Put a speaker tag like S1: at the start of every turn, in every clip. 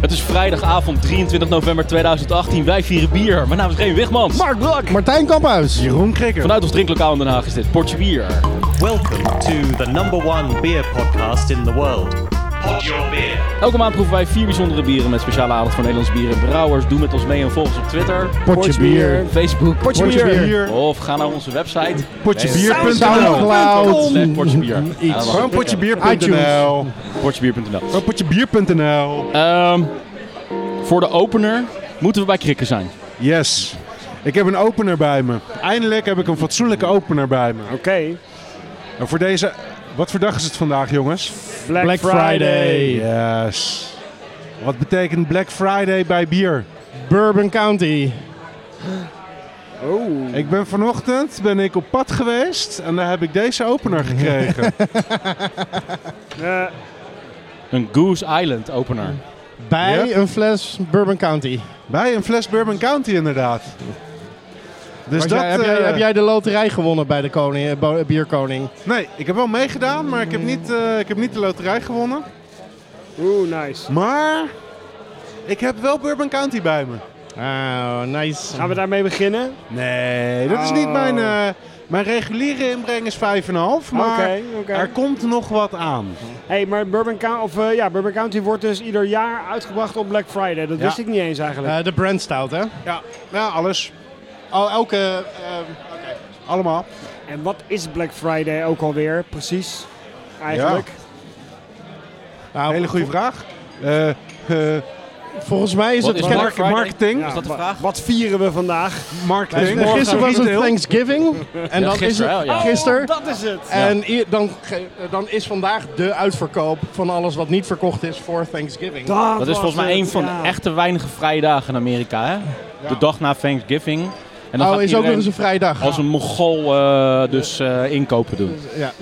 S1: Het is vrijdagavond 23 november 2018. Wij vieren bier. Mijn naam is Geen Wigmans.
S2: Mark Blok.
S3: Martijn Kamphuis.
S2: Jeroen Krikker.
S1: Vanuit ons drinklokaal in Den Haag is dit Portje Bier.
S4: Welcome to the number one beer podcast in the world. Pod your beer.
S1: Elke maand proeven wij vier bijzondere bieren met speciale aandacht voor Nederlands bieren. Brouwers, doe met ons mee en volg ons op Twitter,
S3: Potje bier.
S1: Facebook, Portje
S3: Potje
S1: Bier.
S3: Bier.
S1: Of ga naar onze website.
S2: Potjebier.nl.
S1: Slash
S3: Soundcloud.
S1: Portje Bier. Ja, dat
S3: Iets.
S1: was
S2: Gewoon
S1: het.
S2: potjebier.nl.
S1: Portjebier.nl.
S3: Op potjebier.nl.
S1: Ehm, voor de opener moeten we bij Krikken zijn.
S3: Yes.
S2: Ik heb een opener bij me. Eindelijk heb ik een fatsoenlijke opener bij me.
S5: Oké,
S2: En voor deze... Wat voor dag is het vandaag, jongens?
S5: Black,
S3: Black Friday.
S2: Yes. Wat betekent Black Friday bij bier?
S3: Bourbon County.
S2: Ik ben vanochtend ben ik op pad geweest en daar heb ik deze opener gekregen.
S5: Eh,
S1: Een Goose Island opener.
S3: Bij een fles Bourbon County.
S2: bij een fles Bourbon County inderdaad. Dus
S3: Was
S2: dat...
S3: jij- heb, jij,
S2: eh,
S3: heb jij de loterij gewonnen bij de koning, eh, bo- bierkoning?
S2: Nee, ik heb wel meegedaan, maar ik heb niet, eh, ik heb niet de loterij gewonnen.
S5: Oeh, nice.
S2: Maar ik heb wel Bourbon County bij me.
S3: Oh, nice.
S5: Gaan we daarmee beginnen?
S2: Nee, dat is niet
S5: Oh. Ah,
S2: mijn... eh, mijn reguliere inbreng is 5,5, maar
S5: Oké, oké.
S2: er komt nog wat aan.
S5: hey, maar Bourbon, County, of, eh, ja, Bourbon County wordt dus ieder jaar uitgebracht op Black Friday. Dat
S2: Ja.
S5: wist ik niet eens eigenlijk.
S3: Eh, de brand stout, hè?
S2: Ja, ja alles.
S3: Oh, elke...
S2: Allemaal.
S5: En wat is Black Friday ook alweer, precies? Eigenlijk.
S2: Hele goede vraag. Eh, eh,
S3: Nou, Volgens mij is
S1: Wat
S3: het...
S1: is
S3: Kijk,
S1: Black Friday?
S2: marketing.
S5: Ja,
S1: Is dat de
S5: wa-
S1: vraag?
S5: Wat vieren we vandaag?
S2: marketing.
S3: Gisteren was het
S2: Retail.
S3: Thanksgiving. En dan is
S1: gisteren,
S3: het
S1: ja.
S3: gisteren.
S5: Oh, dat is het.
S3: En i- dan, ge- eh, dan is vandaag de uitverkoop van alles wat niet verkocht is voor Thanksgiving.
S1: Dat is volgens mij een van de echte weinige vrije dagen in Amerika. Hè? De dag na Thanksgiving. En dan gaat
S3: oh, is ook nog
S1: iedereen
S3: eens een vrijdag.
S1: als een mogol eh, dus eh, inkopen doen.
S3: Ja.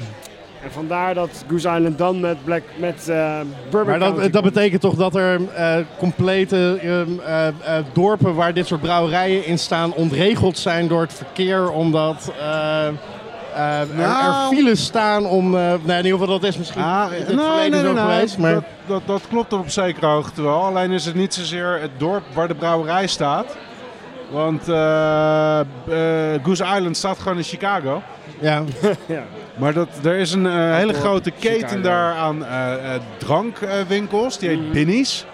S5: En vandaar dat Goose Island dan met, Black, met eh, Bourbon
S3: Maar
S5: County
S3: dat, dat
S5: komt.
S3: betekent toch dat er eh, complete ehm, eh, eh, dorpen waar dit soort brouwerijen in staan ontregeld zijn door het verkeer, omdat eh, eh, er- er,
S2: Nou.
S3: files staan om. eh, nou, in ieder geval dat is misschien
S2: Ah,
S3: in het
S2: nee, nee,
S3: verleden
S2: nee,
S3: zo
S2: nee.
S3: geweest, maar
S2: Dat, dat, dat klopt op zekere hoogte wel. Alleen is het niet zozeer het dorp waar de brouwerij staat. Want eh, eh, Goose Island staat gewoon in Chicago.
S3: ja.
S5: Ja.
S2: Maar dat, er is een eh, hele
S5: dorp,
S2: grote keten
S5: Chicago.
S2: daar aan eh, eh, drankwinkels. Die heet Binnie's.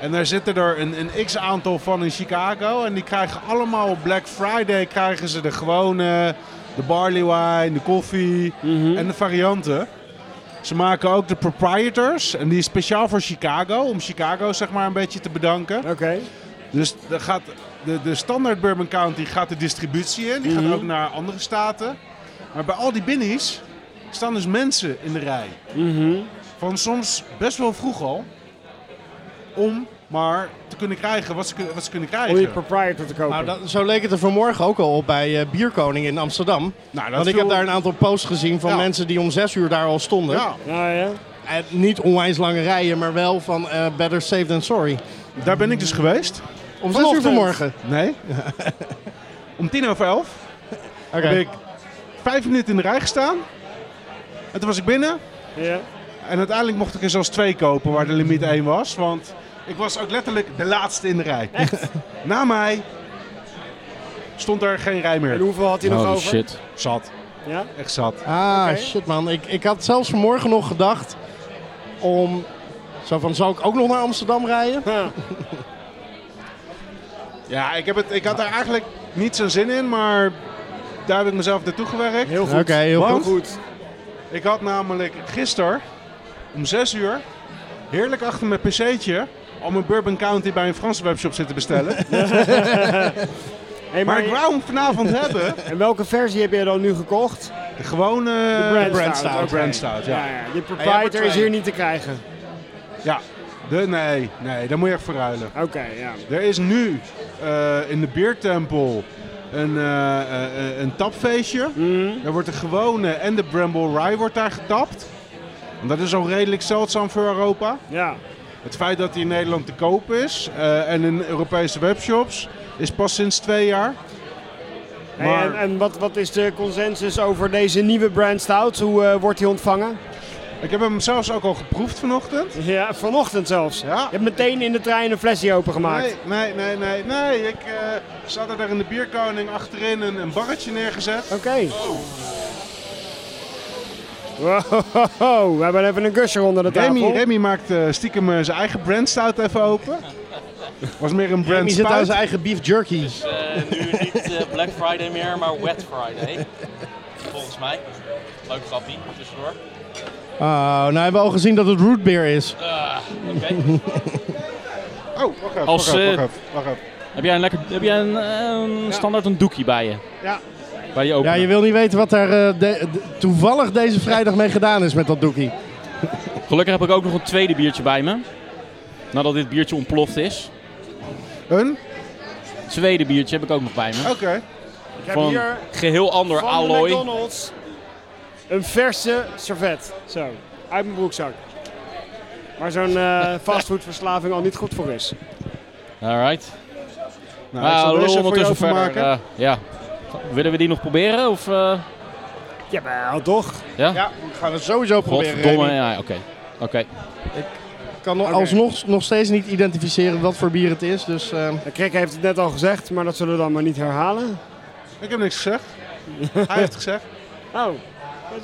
S2: En daar zitten er een, een x-aantal van in Chicago. En die krijgen allemaal op Black Friday krijgen ze de gewone, de barley wine, de koffie en de varianten. Ze maken ook de proprietors. En die is speciaal voor Chicago. Om Chicago zeg maar een beetje te bedanken.
S5: Oké.
S2: Dus er gaat de, de standaard Bourbon County gaat de distributie in. Die
S3: Mhm.
S2: gaat ook naar andere staten. Maar bij al die binnies staan dus mensen in de rij.
S3: Mhm.
S2: Van soms best wel vroeg al. Om maar te kunnen krijgen wat ze, kun- wat ze kunnen
S5: Om je
S2: krijgen.
S5: proprietor te kopen.
S3: Nou, dat, zo leek het er vanmorgen ook al op bij eh, Bierkoning in Amsterdam.
S2: Nou,
S3: Want ik
S2: viel-
S3: heb daar een aantal posts gezien van
S2: Ja.
S3: mensen die om zes uur daar al stonden.
S2: Ja,
S5: Ja, ja.
S3: En niet onwijs lange rijen, maar wel van eh, better safe than sorry.
S2: daar ben ik dus geweest.
S3: Om zes uur vanmorgen.
S2: Nee. Om tien over elf.
S3: Oké.
S2: heb ik vijf minuten in de rij gestaan. En toen was ik binnen.
S5: ja.
S2: En uiteindelijk mocht ik er zelfs twee kopen waar de limiet één was. Want ik was ook letterlijk de laatste in de rij. Echt? Na mij stond er geen rij
S5: En
S2: meer.
S5: hoeveel had hij nog
S1: Oh
S5: over?
S1: shit.
S2: Zat.
S5: Ja?
S2: Echt zat.
S3: Ah,
S5: Oké.
S3: shit man. Ik, ik had zelfs vanmorgen nog gedacht om... Zo van, zou ik ook nog naar Amsterdam rijden?
S5: Ja.
S2: Ja, ik, heb het, ik had daar eigenlijk niet zo'n zin in, maar daar heb ik mezelf naartoe gewerkt.
S5: Heel
S3: Oké,
S5: goed.
S3: heel
S2: Want-
S3: goed.
S5: Goed.
S2: Ik had namelijk gisteren om 6 uur heerlijk achter mijn pc'tje al mijn Bourbon County bij een Franse webshop zitten bestellen.
S5: Hey,
S2: maar
S5: maar
S2: ik wou hem vanavond hebben. eh,
S5: En welke versie heb jij dan nu gekocht?
S2: De gewone
S5: Brand
S3: Stout,
S2: De
S3: oké.
S2: Brand Stout, ja.
S5: Eh, Ja, ja. De
S3: Hey, jij
S5: proprietor
S3: wordt
S5: is hier niet te krijgen.
S2: Ja, de, nee, nee, daar moet je echt voor ruilen.
S5: Oké, ja.
S2: Er is nu eh, in de beertempel een, eh, eh, eh, een tapfeestje. Daar wordt de gewone en de Bramble Rye wordt daar getapt. En dat is al redelijk zeldzaam voor Europa.
S5: Ja.
S2: Het feit dat die in Nederland te koop is eh, en in Europese webshops is pas sinds twee jaar.
S5: Hey,
S2: Maar-
S5: en en wat, wat is de consensus over deze nieuwe brand stout? Hoe eh, wordt die ontvangen?
S2: Ik heb hem zelfs ook al geproefd vanochtend.
S5: Ja, vanochtend zelfs.
S2: Ja.
S5: Je hebt meteen in de trein een flesje opengemaakt.
S2: Nee, nee, nee, nee. nee. Ik eh zat er daar in de bierkoning achterin een, een barretje neergezet.
S5: Oké. Wow, we hebben even een gusher onder de tafel.
S2: Remy, Remy maakt eh, stiekem eh, zijn eigen brandstout even open. Was meer
S3: Remy
S2: een
S3: zit aan
S2: brandstout.
S3: zijn eigen beef jerky.
S6: Eh, nu niet eh, Black Friday meer, maar Wet Friday. Volgens mij. Leuk grappie, tussendoor.
S3: Oh, nou hebben we al gezien dat het root beer is.
S6: Oké.
S2: Oh, wacht even,
S1: Als,
S2: wacht even,
S1: eh,
S2: wacht even, wacht even.
S1: Heb jij een, lekker, heb jij een, eh, een standaard een doekie bij je?
S5: Ja.
S1: Bij je
S3: Ja,
S1: opener?
S3: je wil niet weten wat daar eh, de- de- toevallig deze vrijdag mee gedaan is met dat doekie.
S1: Gelukkig heb ik ook nog een tweede biertje bij me. Nadat dit biertje ontploft is.
S2: Een?
S1: Het tweede biertje heb ik ook nog bij me.
S2: Oké. Nou,
S5: Ik heb
S1: Van
S5: hier
S1: geheel ander
S5: van de
S1: alloy.
S5: McDonald's een verse servet. Zo, uit mijn broekzak. Waar zo'n eh, fastfoodverslaving al niet goed voor is.
S1: Alright.
S2: Nou, ik
S1: Nou,
S2: zal
S1: we
S2: deze
S1: rollen
S2: voor jou
S1: ondertussen verder.
S2: vermaken.
S1: eh, ja. Willen we die nog proberen? Of, eh
S5: Jawel, toch?
S1: ja?
S3: Ja, we gaan het sowieso proberen.
S1: Godverdomme.
S3: Remy.
S1: Ja, oké. Oké.
S3: Ik kan nog-
S5: Oké.
S3: alsnog nog steeds niet identificeren wat voor bier het is. Dus eh,
S5: Krik heeft het net al gezegd, maar dat zullen we dan maar niet herhalen.
S2: Ik heb niks gezegd. Hij heeft gezegd.
S5: Oh. Wat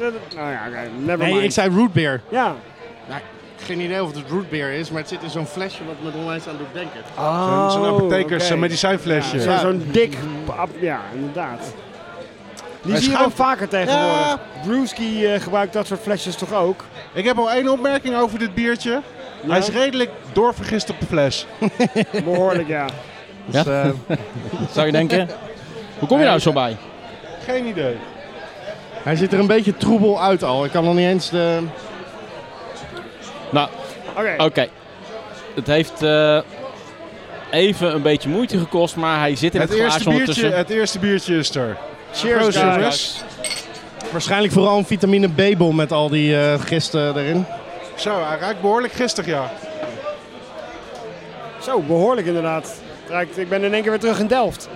S5: is het? Nou ja, oké, never
S3: nee,
S5: mind.
S3: ik zei root beer.
S5: Ja.
S3: Geen idee of het root beer is, maar het zit in zo'n flesje wat me er onwijs aan doet denken.
S5: Oh,
S2: Zo'n- Zo'n apothekers
S5: oké.
S2: eh, medicijnflesje.
S5: Ja,
S2: Ja,
S5: zo- Zo'n dik... ap- Ja, inderdaad. Die
S2: Hij
S5: zie je
S2: schuift-
S5: ook vaker tegenwoordig.
S2: Ja.
S5: Brewski eh, gebruikt dat soort flesjes toch ook?
S2: Ik heb al één opmerking over dit biertje. Hij is redelijk doorvergist op de fles.
S5: Behoorlijk, ja.
S3: Dus, eh,
S1: Zou je denken? Hoe kom je nou zo bij?
S2: Geen idee.
S3: hij ziet er een beetje troebel uit al. Ik kan nog niet eens de...
S1: Nou,
S5: Oké.
S1: Oké. Het heeft eh, even een beetje moeite gekost, maar hij zit in het,
S2: Het eerste,
S1: glaasje
S2: biertje,
S1: ondertussen.
S2: het eerste biertje is er.
S5: Cheers,
S2: Proost,
S5: guys.
S2: jongens.
S3: Waarschijnlijk vooral een vitamine B-bol met al die eh, gisten erin.
S2: Zo, hij ruikt behoorlijk gisteren, ja.
S5: Zo, behoorlijk inderdaad. Het ruikt- Ik ben in één keer weer terug in Delft.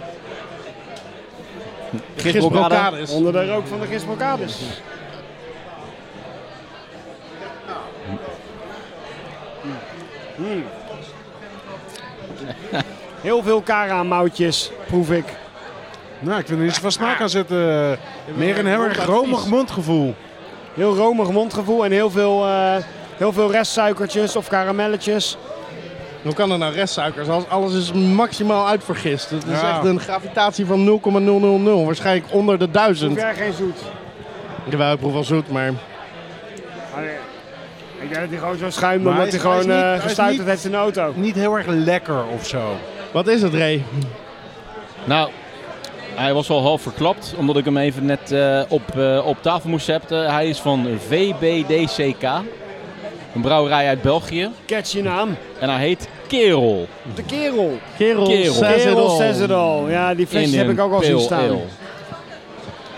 S1: Gistbrokade.
S3: Gistbrokades.
S5: Onder de rook van de Gisbrocades. Mm. Heel veel Kara-moutjes, proef ik.
S2: Nou, ik vind er niet zoveel smaak aan zitten. Meer een heel erg
S3: mondadvies.
S2: romig mondgevoel.
S5: Heel romig mondgevoel en heel veel, eh, heel veel restsuikertjes of karamelletjes.
S3: Hoe kan er nou restsuikers? Als- Alles is maximaal uitvergist. Het is
S2: Ja.
S3: echt een gravitatie van 0,000. Waarschijnlijk onder de
S5: Proef
S3: duizend.
S5: jij geen zoet?
S3: Jawel, ik proef wel zoet, maar...
S5: Allee, Ik denk dat hij gewoon zo schuim
S2: Maar
S5: omdat
S2: hij
S5: hij
S2: is- hij is
S5: gewoon
S2: niet- hij
S5: eh
S2: is
S5: gestuiterd
S2: niet-
S5: heeft in de auto.
S2: Niet heel erg lekker of zo.
S3: Wat is het, Ray?
S1: Nou, hij was al half verklapt, omdat ik hem even net eh, op, eh, op tafel moest zetten. Hij is van VBDCK, een brouwerij uit België.
S5: Catch je naam.
S1: En hij heet Kerel.
S5: De kerel.
S3: Kerel,
S1: Kerel.
S3: says it
S5: Kerel
S3: all.
S5: says it all. Ja, die flesjes heb
S1: Indian
S5: ik ook al zien
S1: Pale
S5: staan.
S1: Ale.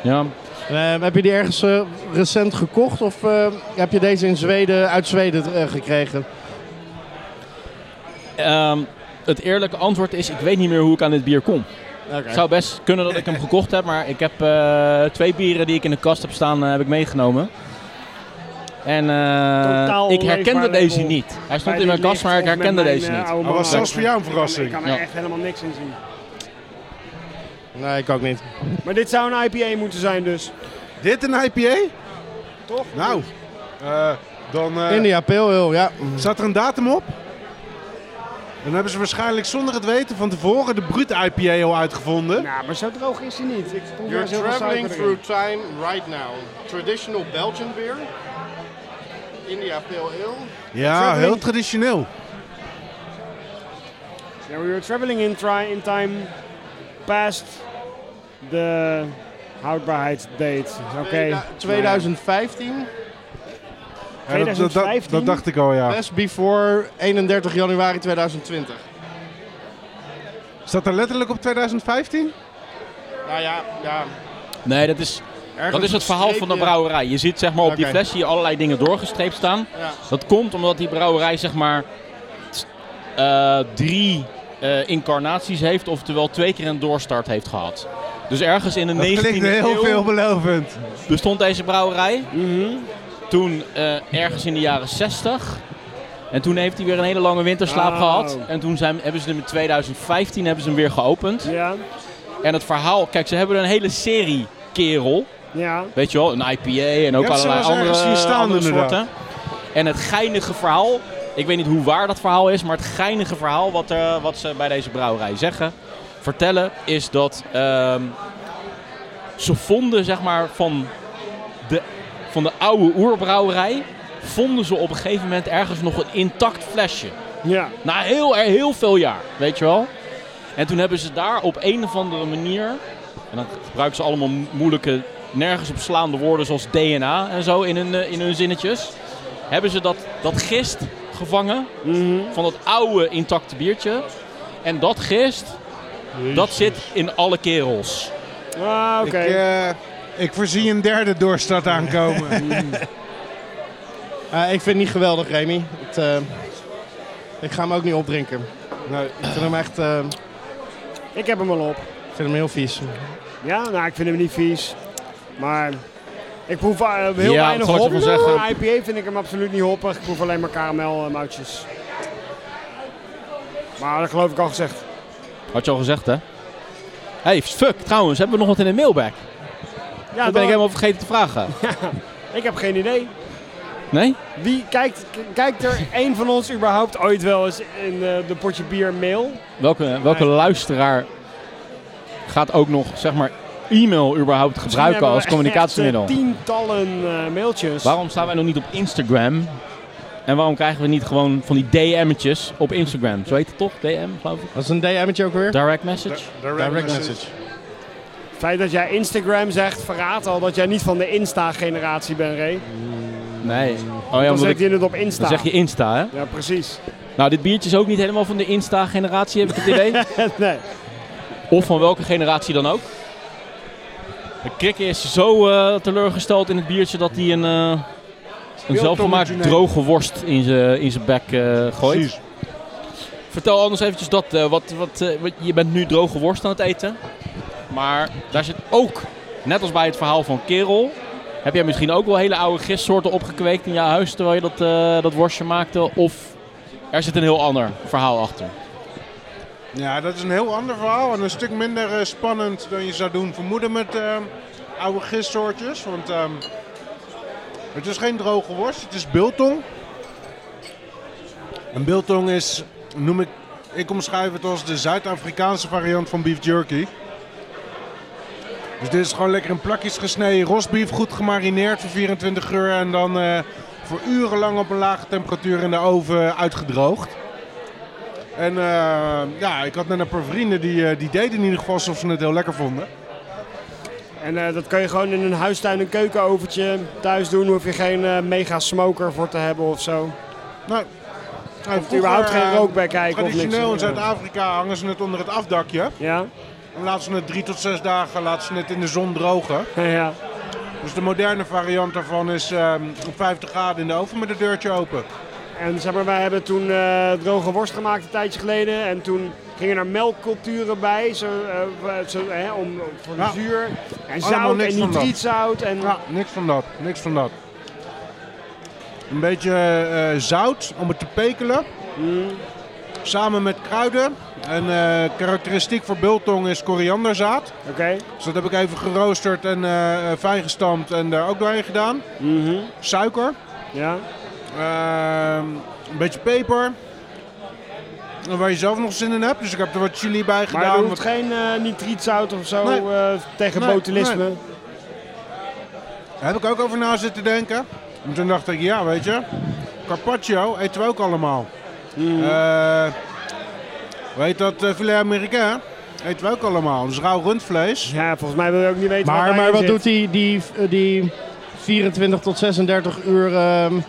S1: Ja,
S3: Eh, heb je die ergens eh, recent gekocht of eh, heb je deze in Zweden, uit Zweden eh, gekregen?
S1: ehm, het eerlijke antwoord is, ik weet niet meer hoe ik aan dit bier kom. Het zou best kunnen dat ik hem gekocht heb, maar ik heb eh, twee bieren die ik in de kast heb staan, eh, heb ik meegenomen. En eh,
S5: Totaal
S1: ik herkende
S5: leefbaar
S1: deze
S5: label.
S1: niet. Hij stond
S5: Bij
S1: in
S5: die
S1: mijn kast,
S5: licht
S1: maar ik
S5: of met
S1: herkende
S5: mijn,
S1: deze
S5: eh,
S1: niet.
S5: oude
S2: Maar was
S5: mama.
S2: zelfs voor jou een verrassing.
S5: Ik kan er
S1: Ja.
S5: echt helemaal niks in zien.
S3: Nee, ik ook niet.
S5: Maar dit zou een IPA moeten zijn dus.
S2: Dit een IPA?
S5: Toch?
S2: Nou, eh, dan eh,
S3: India Pale Ale, ja.
S2: staat er een datum op. Dan hebben ze waarschijnlijk zonder het weten van tevoren de Brut IPA al uitgevonden.
S5: Nou, maar zo droog is hij niet. Ik proef er
S3: You're
S5: eens heel veel
S3: traveling
S5: suiker erin.
S3: through time right now. Traditional Belgian beer. India Pale Ale.
S2: ja, heel traditioneel.
S5: Yeah, we were traveling in, tri- in time past the houdbaarheidsdate. Oké.
S3: Tweeda- 2015.
S2: Ja, dat- dat- dat, dat,
S5: 2015?
S2: dacht ik al, ja.
S3: Best before 31 januari 2020.
S2: Staat er letterlijk op 2015?
S3: Nou ja, ja.
S1: Nee, dat is,
S3: ergens
S1: dat is het verhaal van de
S3: streepje-
S1: brouwerij. Je ziet zeg maar, op die
S3: Oké.
S1: fles hier allerlei dingen doorgestreept staan.
S3: Ja.
S1: Dat komt omdat die brouwerij zeg maar, t- eh, drie eh, incarnaties heeft, oftewel twee keer een doorstart heeft gehad. Dus ergens in de
S2: Dat
S1: 19e
S2: klinkt heel
S1: eeuw
S2: veelbelovend.
S1: bestond deze brouwerij.
S5: Mhm.
S1: toen eh, ergens in de jaren 60. En toen heeft hij weer een hele lange winterslaap
S5: Oh.
S1: gehad. En toen zijn, hebben ze hem in 2015 hebben ze hem weer geopend.
S5: Ja,
S1: En het verhaal, kijk, ze hebben een hele serie kerel.
S5: ja.
S1: Weet je wel, een IPA en ook
S2: Ik heb ze wel
S1: allerlei
S2: eens
S1: andere,
S2: ergens zien staan,
S1: andere
S2: inderdaad.
S1: soorten. En het geinige verhaal, ik weet niet hoe waar dat verhaal is, maar het geinige verhaal wat, eh, wat ze bij deze brouwerij zeggen, vertellen, is dat ehm, ze vonden zeg maar van de, van de oude oerbrouwerij, vonden ze op een gegeven moment ergens nog een intact flesje.
S5: ja.
S1: Na heel, er- heel veel jaar, weet je wel. En toen hebben ze daar op een of andere manier. En dan gebruiken ze allemaal mo- moeilijke, nergens op slaande woorden zoals DNA en zo in hun, eh, in hun zinnetjes. Hebben ze dat, dat gist gevangen
S5: Mhm.
S1: van dat oude intacte biertje. En dat gist, dat zit in alle kerels.
S5: Ah, oké.
S2: Ik, eh, ik voorzie een derde doorstart aankomen.
S3: Eh, ik vind het niet geweldig, Remy. Het, eh, ik ga hem ook niet opdrinken.
S2: Nee.
S3: Ik vind hem echt eh,
S5: Ik heb hem al op.
S3: ik vind hem heel vies.
S5: Ja, nou, ik vind hem niet vies. Maar ik proef eh, heel
S1: Ja,
S5: weinig
S1: dat zal ik
S5: hop.
S1: ervan zeggen.
S5: Een IPA vind ik hem absoluut niet hoppig. Ik proef alleen maar karamelmoutjes. Maar dat geloof ik al gezegd.
S1: Had je al gezegd, hè? hey, fuck, trouwens, hebben we nog wat in de mailbag?
S5: Ja,
S1: dat ben ik helemaal vergeten te vragen.
S5: ik heb geen idee.
S1: Nee?
S5: Wie kijkt, k- kijkt er een van ons überhaupt ooit wel eens in eh, de potje bier mail?
S1: Welke, welke
S5: Nee.
S1: luisteraar gaat ook nog, zeg maar, e-mail überhaupt gebruiken als
S5: eh,
S1: communicatiemiddel?
S5: Tientallen eh, mailtjes.
S1: Waarom staan wij nog niet op Instagram? En waarom krijgen we niet gewoon van die DM'tjes op Instagram? Zo heet het toch? DM, geloof ik?
S3: Dat is een DM'tje ook weer.
S1: Direct message?
S3: Direct message.
S5: Het feit dat jij Instagram zegt verraadt al dat jij niet van de Insta-generatie bent, Ray.
S1: Nee. Oh ja,
S5: Dan
S1: omdat
S5: zet
S1: ik,
S5: je het op Insta.
S1: dan zeg je Insta, hè?
S5: Ja, precies.
S1: Nou, dit biertje is ook niet helemaal van de Insta-generatie, heb ik het idee.
S5: nee.
S1: of van welke generatie dan ook. De krikke is zo eh, teleurgesteld in het biertje dat hij een, eh, een zelfgemaakt
S2: tommetje
S1: droge worst in zijn in zijn bek eh, gooit.
S2: Precies.
S1: Vertel anders eventjes dat. eh, wat, wat, eh, wat- je bent nu droge worst aan het eten. Maar daar zit ook, net als bij het verhaal van Kerel... Heb jij misschien ook wel hele oude gistsoorten opgekweekt in jouw huis terwijl je dat, eh, dat worstje maakte? Of er zit een heel ander verhaal achter?
S2: Ja, dat is een heel ander verhaal en een stuk minder eh, spannend dan je zou doen vermoeden met ehm, oude gistsoortjes. Want ehm, het is geen droge worst, het is biltong. En biltong is, noem ik, ik omschrijf het als de Zuid-Afrikaanse variant van beef jerky. Dus dit is gewoon lekker in plakjes gesneden rosbief, goed gemarineerd voor 24 uur en dan eh, voor urenlang op een lage temperatuur in de oven uitgedroogd. En eh, ja, ik had net een paar vrienden die, eh, die deden in ieder geval alsof ze het heel lekker vonden.
S5: En eh, dat kan je gewoon in een huistuin, een keukenovertje thuis doen. Hoef je geen eh, mega smoker voor te hebben of zo.
S2: Nou, nou,
S5: Of überhaupt
S2: vroeger,
S5: geen
S2: eh,
S5: rook bij kijken of niks.
S2: Traditioneel in Zuid-Afrika hangen ze het onder het afdakje.
S5: Ja?
S2: En laten ze het drie tot zes dagen laten ze het in de zon drogen.
S5: ja.
S2: Dus de moderne variant daarvan is ehm, op 50 graden in de oven met een deurtje open.
S5: En zeg maar, wij hebben toen eh, droge worst gemaakt een tijdje geleden. En toen gingen er melkculturen bij. Zo, eh, zo, hè, om, voor de
S2: Ja.
S5: zuur. En
S2: Allemaal
S5: zout
S2: niks
S5: en
S2: van dat.
S5: nitrietzout. En,
S2: Ja, niks van dat, niks van dat. Een beetje eh, zout om het te pekelen.
S5: Mm,
S2: Samen met kruiden. En eh, karakteristiek voor biltong is korianderzaad.
S5: Oké.
S2: Dus dat heb ik even geroosterd en eh, fijn gestampt en daar ook doorheen gedaan.
S5: Mhm.
S2: Suiker,
S5: Ja.
S2: ehm, een beetje peper. En Waar je zelf nog zin in hebt, dus ik heb er wat chili bij
S5: Maar er
S2: gedaan.
S5: hoeft geen eh, nitrietzout of zo
S2: Nee.
S5: eh, tegen
S2: Nee,
S5: botulisme.
S2: Daar heb ik ook over na zitten denken. En toen dacht ik, ja weet je, carpaccio eten we ook allemaal.
S5: Mhm.
S2: Eh, weet dat, eh, filet américain eten we ook allemaal. Dus rauw rundvlees.
S5: Ja, volgens mij wil je ook niet weten
S3: Maar,
S5: wat
S3: maar
S5: daarin
S3: wat
S5: zit.
S3: doet die, die, eh, die 24 tot 36 uur ehm, in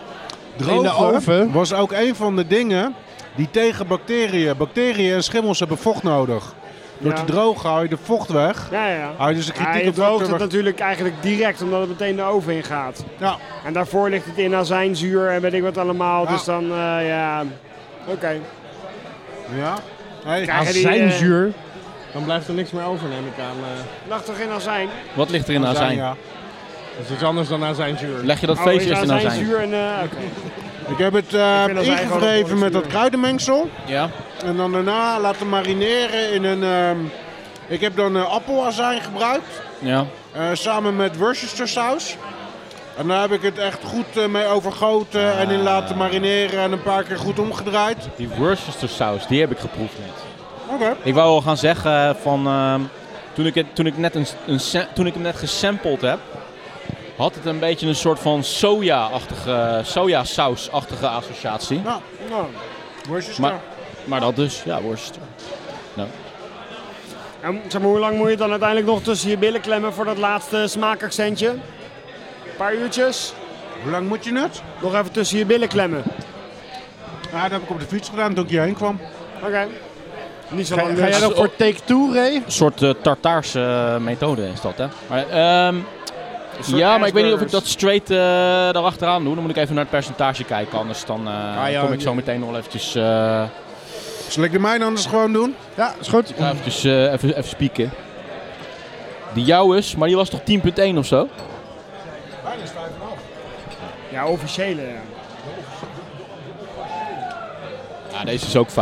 S3: de
S2: Drogen
S3: oven?
S2: was ook een van de dingen die tegen bacteriën. Bacteriën en schimmels hebben vocht nodig. Door
S5: Ja.
S2: te drogen haal je de vocht weg.
S5: Ja, ja.
S2: Hou je dus de
S5: Ja,
S2: kritiek
S5: je
S2: op dat
S5: droogt
S2: er-
S5: het natuurlijk eigenlijk direct omdat het meteen de oven in gaat.
S2: Ja.
S5: En daarvoor ligt het in azijnzuur en weet ik wat allemaal.
S2: Ja.
S1: Ah.
S5: Dus dan, eh, ja, oké.
S2: ja. Hey.
S5: Krijg je die, eh,
S3: Azijnzuur. Dan blijft er niks meer over, neem ik aan. eh.
S5: Lag toch in azijn?
S1: Wat ligt er nou in de
S2: Azijn,
S1: azijn?
S2: ja.
S3: Dat is iets anders dan aan zijn zuur.
S1: Leg je dat
S5: Oh,
S1: feestje
S5: is
S1: eerst
S5: aan
S1: naar
S5: zijn
S1: zijn.
S5: zuur en... eh, oké.
S2: Ik heb
S5: vind
S2: het eh,
S5: dat wij gewoon een
S2: ingevreven
S5: behoorlijk
S2: met dat
S5: zuur.
S2: kruidenmengsel.
S1: Ja.
S2: En dan daarna laten marineren in een... ehm, ik heb dan eh, appelazijn gebruikt.
S1: ja.
S2: eh, samen met Worcestersaus. En daar heb ik het echt goed eh, mee overgoten en in laten marineren en een paar keer goed omgedraaid.
S1: Die Worcester saus, die heb ik geproefd net.
S2: Oké.
S1: Ik wou al gaan zeggen van ehm, toen, ik het, toen, ik net een, een, sa- toen ik hem net gesampled heb, had het een beetje een soort van soja-achtige, sojasaus-achtige associatie.
S2: Nou, nou, Worcester.
S1: Maar, maar dat dus, ja, Worcester.
S5: En, zeg maar, hoe lang moet je dan uiteindelijk nog tussen je billen klemmen voor dat laatste smaakaccentje? Een paar uurtjes.
S2: Hoe lang moet je het?
S5: Nog even tussen je billen klemmen.
S2: Ja, dat heb ik op de fiets gedaan toen ik hierheen kwam.
S5: Oké. Niet zo
S3: Ga,
S5: lang.
S3: ga jij
S5: dus.
S3: dat voor take two, Ray?
S1: Een soort eh, Tartaarse eh, methode is dat, hè? Maar, ehm, ja, maar ik weet niet of ik dat straight eh erachteraan doe. Dan moet ik even naar het percentage kijken, anders dan eh,
S3: Ah, ja,
S1: kom ik zo
S3: ja.
S1: meteen nog wel eventjes, eh,
S2: Zal ik de mijne Dus anders gewoon doen?
S3: Ja, is goed.
S1: ga eventjes eh, even, even spieken. Die jouw is, maar die was toch 10.1 of zo?
S2: Bijna 5,5.
S5: Ja, officiële. ja.
S1: Ja, deze is ook 5,5.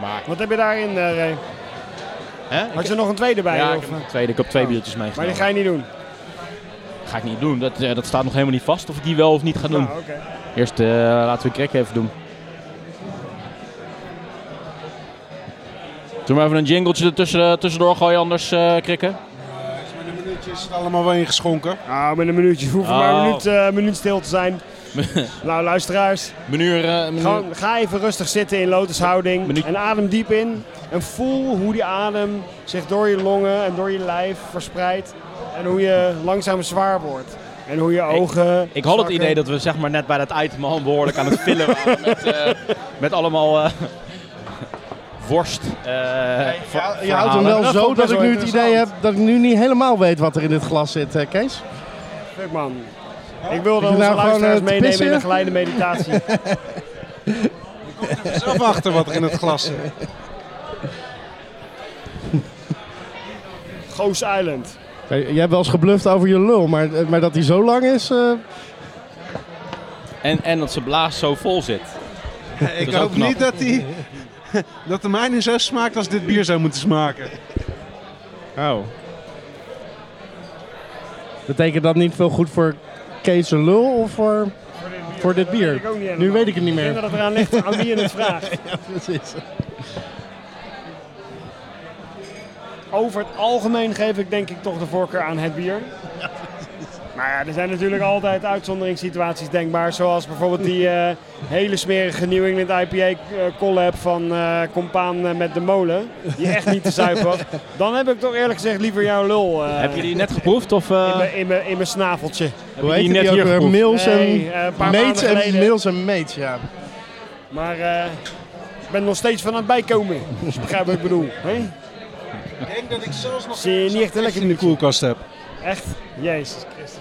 S1: Maar,
S5: Wat heb je daarin, eh, Ray?
S1: hè?
S5: Had je er nog een tweede bij?
S1: ja, ik
S5: of,
S1: heb
S5: eh?
S1: nog een tweede. Ik heb twee biertjes
S5: Maar
S1: meegenomen.
S5: die ga je niet doen.
S1: Ga ik niet doen. Dat, eh, dat staat nog helemaal niet vast of ik die wel of niet ga doen.
S5: Nou, oké.
S1: Eerst eh, laten we Krek even doen. Doe maar even een jingletje ertussen, eh, tussendoor gooien, anders eh krikken.
S2: Met een minuutje is het allemaal wel ingeschonken.
S5: Nou, met een minuutje. We hoeven maar
S1: Oh.
S5: een minuut, eh, minuut stil te zijn. nou, luisteraars.
S1: Meneer, eh, meneer-
S5: Gewoon, ga even rustig zitten in lotushouding.
S1: Minuut.
S5: En adem diep in. En voel hoe die adem zich door je longen en door je lijf verspreidt. En hoe je langzaam zwaar wordt. En hoe je ogen.
S1: ik had het
S5: zakken.
S1: idee dat we zeg maar net bij dat item al behoorlijk aan het fillen waren met, eh, met allemaal eh, worst. eh, ver-
S3: Ja, je houdt
S1: verhalen.
S3: hem wel
S5: Dat
S3: zo
S5: vond ik
S3: dat
S5: best
S3: ik
S5: wel
S3: nu het idee heb
S5: interessant.
S3: dat ik nu niet helemaal weet wat er in dit glas zit, eh, Kees.
S5: Fuck, man. Ik wilde
S3: je
S5: onze
S3: nou gewoon,
S5: luisteraars
S3: eh, te
S5: meenemen in
S3: pissen?
S5: een geleide meditatie.
S2: Zelf achter wat er in het glas zit.
S5: Goos Island.
S3: Eh, Jij hebt wel eens gebluft over je lul, maar, eh, maar dat hij zo lang is... eh,
S1: En, en dat ze blaas zo vol zit.
S2: Ik
S1: is ook
S2: hoop
S1: knap.
S2: niet dat, die, dat de mijne zo smaakt als dit bier zou moeten smaken.
S3: Oh. Betekent dat niet veel goed voor Kees' lul of voor... Voor dit bier.
S5: ik ook niet helemaal.
S3: Nu weet ik het niet
S5: Ik denk
S3: meer.
S5: dat het eraan ligt aan wie je het vraagt.
S3: Ja, precies.
S5: Over het algemeen geef ik denk ik toch de voorkeur aan het bier. Maar ja, er zijn natuurlijk altijd uitzonderingssituaties denkbaar. Zoals bijvoorbeeld die eh, hele smerige New England IPA eh, collab van eh Compaan eh, met de molen. Die echt niet te zuipen was. Dan heb ik toch eerlijk gezegd liever jouw lul eh,
S1: heb je die net geproefd of eh,
S5: in mijn- in mijn- in mijn snaveltje.
S1: heb
S3: Hoe
S1: je
S3: heet
S1: die
S3: die,
S1: net
S3: ook eh,
S1: hier
S3: weer?
S1: geproefd?
S3: Mails
S5: Nee, eh, een
S3: en...
S5: paar
S3: Mates
S5: maanden
S3: en
S5: geleden.
S3: Mails en Mates, ja.
S5: Maar eh, ik ben nog steeds van aan het bijkomen. Als je begrijpt wat ik bedoel. hè?
S2: Ik denk dat ik zelfs nog
S5: Zie je niet echt een lekker
S2: in de
S5: minuutje.
S2: koelkast heb.
S5: Echt? Jezus Christus.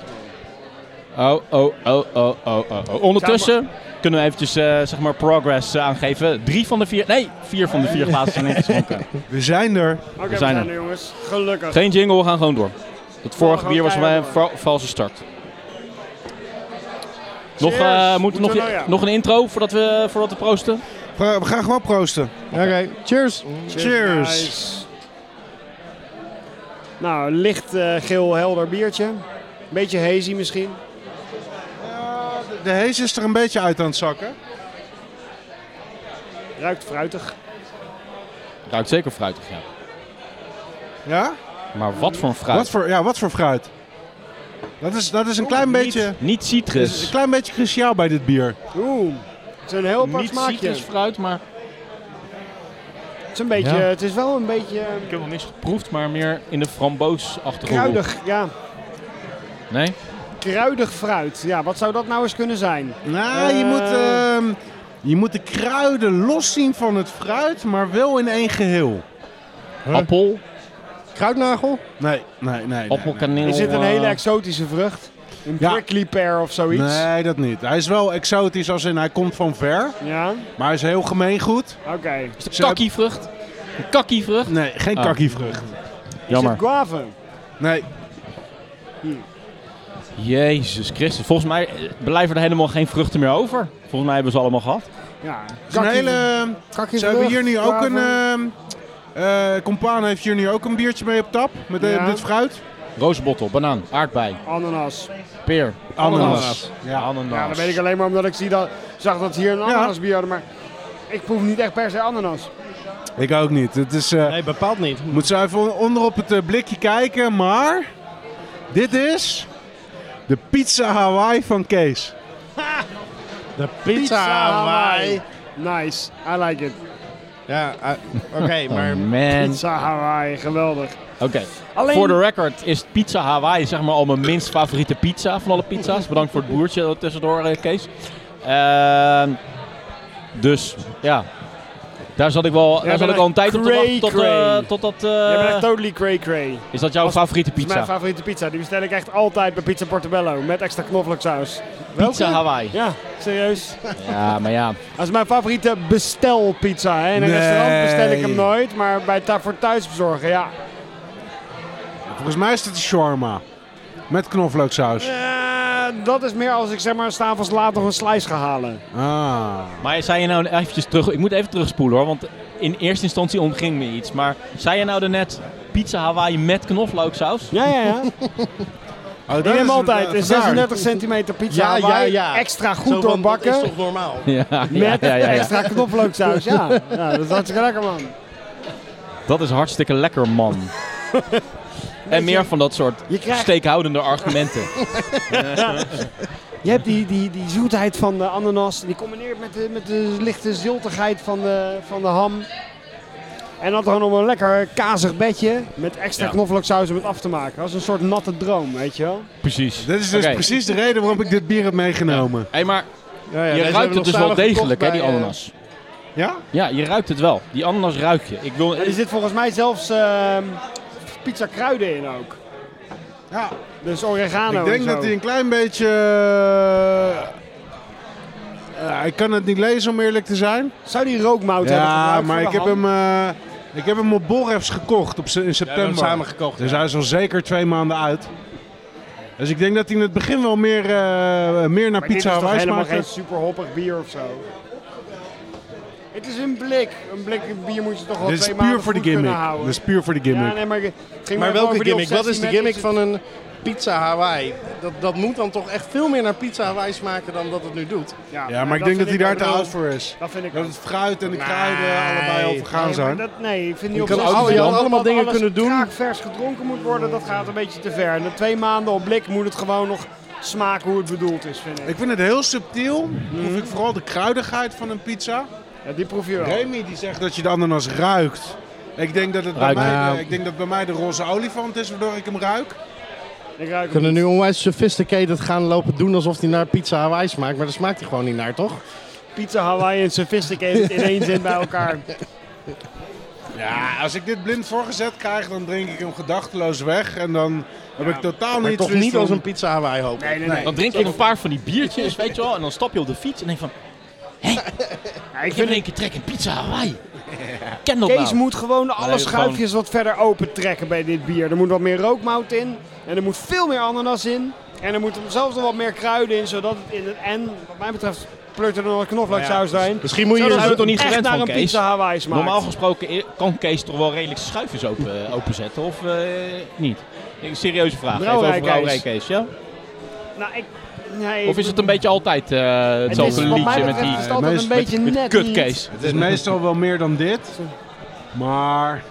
S1: Oh, oh, oh, oh, oh, oh, oh. Ondertussen kunnen we eventjes eh, zeg maar progress eh, aangeven. Drie van de vier, nee, vier van de vier glazen zijn ingeschonken.
S2: We zijn er.
S5: Oké,
S1: zijn
S5: we zijn
S1: er.
S5: er jongens. Gelukkig.
S1: Geen jingle, we gaan gewoon door. Het vorige
S5: gaan
S1: bier was voor mij een
S5: keihard
S1: va- valse start. Nog, eh,
S5: Cheers.
S1: moeten we nog,
S5: Moeten we nou, ja.
S1: nog een intro voordat we, voordat we proosten?
S2: We gaan gewoon proosten.
S3: Oké, cheers.
S2: Cheers.
S5: Nice. Nou, licht eh, geel helder biertje. Beetje hazy misschien.
S2: Ja, de- de hees is er een beetje uit aan het zakken.
S5: Ruikt fruitig.
S1: Ruikt zeker fruitig, ja.
S2: Ja?
S1: Maar wat voor een fruit?
S2: Wat voor, ja, wat voor fruit? Dat is, dat is een klein beetje...
S1: Niet
S2: is een
S1: citrus.
S2: klein beetje cruciaal bij dit bier.
S5: Oeh, het is een heel apart
S1: Niet
S5: smaakje.
S1: citrusfruit, maar...
S5: Het is, een beetje,
S3: Ja.
S5: het is wel een beetje
S2: Oh.
S5: eh,
S1: Ik heb nog niks geproefd, maar meer in de framboosachtige hoek.
S5: kruidig. Ja,
S1: Nee?
S5: kruidig fruit. Ja, wat zou dat nou eens kunnen zijn?
S2: Nou, je,
S5: Eh.
S2: moet, ehm, je moet de kruiden los zien van het fruit, maar wel in één geheel.
S1: Appel,
S3: Kruidnagel?
S2: Nee, nee, nee. nee, nee.
S1: appelkaneel.
S5: Is dit een hele
S1: eh,
S5: exotische vrucht? Een
S2: Oh, Ja.
S5: prickly pear of zoiets?
S2: Nee, dat niet. Hij is wel exotisch als in hij komt van ver,
S5: Ja,
S2: maar hij is heel gemeengoed.
S5: oké.
S1: Is het kakkievrucht? Een kakkievrucht?
S2: Nee, geen
S1: Ah.
S2: kakkievrucht.
S5: Is het guave?
S2: Nee.
S1: Jezus Christus. Volgens mij eh, blijven er helemaal geen vruchten meer over. Volgens mij hebben we ze allemaal gehad.
S5: Ja,
S2: Zo'n hele... Ze hebben hier nu ook een... ehm, eh, eh, Compaan heeft hier nu ook een biertje mee op tap. Met eh,
S5: Ja.
S2: dit fruit.
S1: Rozenbottel, banaan, aardbei,
S5: Ananas.
S1: peer,
S2: Ananas.
S1: ja. ananas.
S5: Ja, dat weet ik alleen maar omdat ik zie dat, zag dat ze hier een ananasbier hadden. Maar ik proef niet echt per se ananas.
S2: Ik ook niet. Het is... eh,
S3: Nee, bepaald niet.
S2: Moet zo even onder op het eh, blikje kijken, maar dit is de pizza Hawaii van Kees.
S3: De pizza Hawaii.
S5: Nice, I like it.
S3: Ja, eh, oké, maar...
S1: Oh, man.
S5: Pizza Hawaii, geweldig.
S1: Oké.
S5: Alleen-
S1: Voor de record is pizza Hawaii zeg maar al mijn minst favoriete pizza van alle pizza's. Bedankt voor het boertje tussendoor, eh, Kees. Ehm, dus ja, daar zat ik wel, daar zat
S5: bent
S1: ik al een
S5: echt
S1: tijd op te wachten
S5: cray
S1: tot, eh
S5: cray.
S1: tot dat... eh,
S5: Jij bent echt totally cray cray.
S1: is dat jouw
S5: Als-
S1: favoriete
S5: Dat is mijn
S1: pizza?
S5: favoriete pizza. Die bestel ik echt altijd bij Pizza Portobello. Met extra knoflooksaus.
S1: Pizza Hawaii.
S5: Ja, serieus.
S1: Ja, maar ja.
S5: Dat is mijn favoriete bestelpizza. Hè. In een
S2: Nee.
S5: restaurant bestel ik hem nooit. Maar bij tha- voor thuisbezorgen, ja.
S2: Volgens mij is het een shawarma met knoflooksaus.
S5: Eh, dat is meer als ik zeg maar s'avonds laat nog een slice ga halen.
S2: Ah.
S1: Maar zei je nou eventjes terug... Ik moet even terugspoelen hoor, want in eerste instantie ontging me iets. Maar zei je nou daarnet pizza Hawaii met knoflooksaus?
S5: Ja, ja, ja.
S2: Oh, dat
S5: Ik
S2: is
S5: neem
S2: een-
S5: altijd dus
S2: eh,
S5: een
S2: vandaar.
S5: 36 centimeter pizza
S3: Ja, ja,
S5: Hawaii,
S3: ja.
S5: extra
S3: Zo
S5: goed
S3: van, Dat is
S5: doorbakken
S3: toch normaal?
S1: Ja, ja,
S5: met
S1: ja, ja, ja.
S5: extra knoflooksaus. Ja. ja, dat is hartstikke lekker man.
S1: Dat is hartstikke lekker, man. en meer van dat soort
S5: Je krijgt-
S1: steekhoudende argumenten.
S5: Je hebt die, die, die zoetheid van de ananas, die combineert met de, met de lichte ziltigheid van de, van de ham. En dat dan nog een lekker kazig bedje met extra
S1: Ja.
S5: knoflooksaus om het af te maken. Dat is een soort natte droom, weet je wel.
S1: Precies.
S2: Dit is dus
S1: Oké.
S2: precies de reden waarom ik dit bier heb meegenomen.
S1: Hey, maar
S3: Ja, ja,
S1: je
S3: deze hebben
S1: ruikt het
S3: we nog
S1: dus wel
S3: samen gekocht
S1: degelijk, hè,
S3: bij,
S1: die
S3: eh,
S1: ananas.
S2: Ja?
S1: Ja, je ruikt het wel. Die ananas ruik je. Ik wil...
S5: En er zit volgens mij zelfs ehm, pizza kruiden in ook.
S2: Ja.
S5: Dus oregano
S2: Ik
S5: en
S2: denk
S5: zo.
S2: dat hij een klein beetje... eh, eh, ik kan het niet lezen om eerlijk te zijn.
S5: Zou die rookmout hebben
S2: Ja,
S5: gebruikt
S2: maar
S5: voor
S2: ik
S5: de
S2: heb
S5: ham?
S2: hem... eh, ik heb hem op Borrefs gekocht op, se- in
S3: we hebben hem
S2: september.
S3: samen gekocht.
S2: Dus hij is al zeker twee maanden uit. Dus ik denk dat hij in het begin wel meer, eh, meer
S5: Maar
S2: naar pizza
S5: dit is toch
S2: Hawaii
S5: helemaal
S2: smaakt.
S5: geen superhoppig bier of zo. Het is een blik. Een blik bier moet je toch wel
S2: Dit is
S5: twee
S2: puur
S5: maanden
S2: voor de
S5: goed kunnen
S2: gimmick.
S5: houden.
S2: Dit is puur voor de gimmick.
S5: Ja, nee, maar ik- het ging
S3: Maar
S5: even over
S3: welke
S5: die
S3: gimmick? Wat is
S5: obsessie
S3: de
S5: met
S3: gimmick
S5: het-
S3: van een pizza Hawaii? Dat, dat moet dan toch echt veel meer naar pizza Hawaii smaken dan dat het nu doet.
S2: Ja, maar ik denk dat hij
S5: vind
S2: daar
S5: ook
S2: te
S5: wel-
S2: oud voor is.
S5: Dat vind ik
S2: Dat
S5: ook.
S2: het fruit en de kruiden allebei al vergaan
S5: Nee, maar
S2: zijn.
S5: dat- Nee, ik vind die
S3: Je kan
S5: obsessie
S3: al- je
S5: dat
S3: had allemaal dingen
S5: alles
S3: kunnen doen.
S5: kraakvers gedronken moet worden, dat gaat een beetje te ver. Na twee maanden op blik moet het gewoon nog smaken hoe het bedoeld is, vind ik.
S2: Ik vind het heel subtiel. Proef ik vooral de kruidigheid van een pizza.
S5: Ja, die proef je wel.
S2: Remy die zegt dat je de ananas ruikt. Ik denk dat het bij,
S1: Ruikt.
S2: mij,
S1: Ja.
S2: eh, ik denk dat bij mij de roze olifant is waardoor ik hem ruik.
S5: Ik ruik
S3: We
S5: hem.
S3: kunnen nu onwijs sophisticated gaan lopen doen alsof die naar pizza Hawaii smaakt. Maar daar smaakt hij gewoon niet naar, toch?
S5: Pizza Hawaii en sophisticated in één zin bij elkaar.
S2: Ja, als ik dit blind voorgezet krijg, dan drink ik hem gedachteloos weg. En dan heb ik totaal
S3: Maar
S2: niet
S3: toch
S2: zoiets
S3: niet
S2: van-
S3: als een pizza Hawaii, hoop ik.
S5: Nee, nee, nee.
S1: Dan drink ik een paar van die biertjes, weet je wel. En dan stap je op de fiets en denk van...
S5: Ja, ik
S1: Ik heb
S5: vind
S1: in één keer trek in pizza Hawaii. Ik Ken dat
S5: Kees
S1: nou.
S5: moet gewoon alle
S1: Nee,
S5: schuifjes wat verder open trekken bij dit bier. Er moet wat meer rookmout in. En er moet veel meer ananas in. En er moeten zelfs nog wat meer kruiden in. Zodat het in het... En wat mij betreft pleurt er nog een
S1: Nou
S5: knoflooksaus doorheen.
S3: Misschien moet je
S1: Zo
S3: hier
S1: zijn we dus- toch
S3: zo-
S1: niet
S5: Echt
S1: gewend
S5: naar
S1: van
S5: een
S1: Kees?
S5: pizza Hawaii smaakt.
S1: Normaal gesproken i- kan Kees toch wel redelijk zijn schuifjes open, openzetten, of eh, niet? Een serieuze vraag. Even
S5: Brouwerij
S1: over brouwerij
S5: Kees.
S1: Kees, ja?
S5: nou, ik, nee,
S1: Of is het een beetje altijd eh,
S5: het is,
S1: hetzelfde
S5: wat mij
S1: liedje met
S5: betreft
S1: die
S5: is het altijd een
S2: met-
S5: beetje
S1: met
S5: net
S1: kut
S5: niet.
S1: Kees?
S2: Het is meestal wel meer dan dit. Maar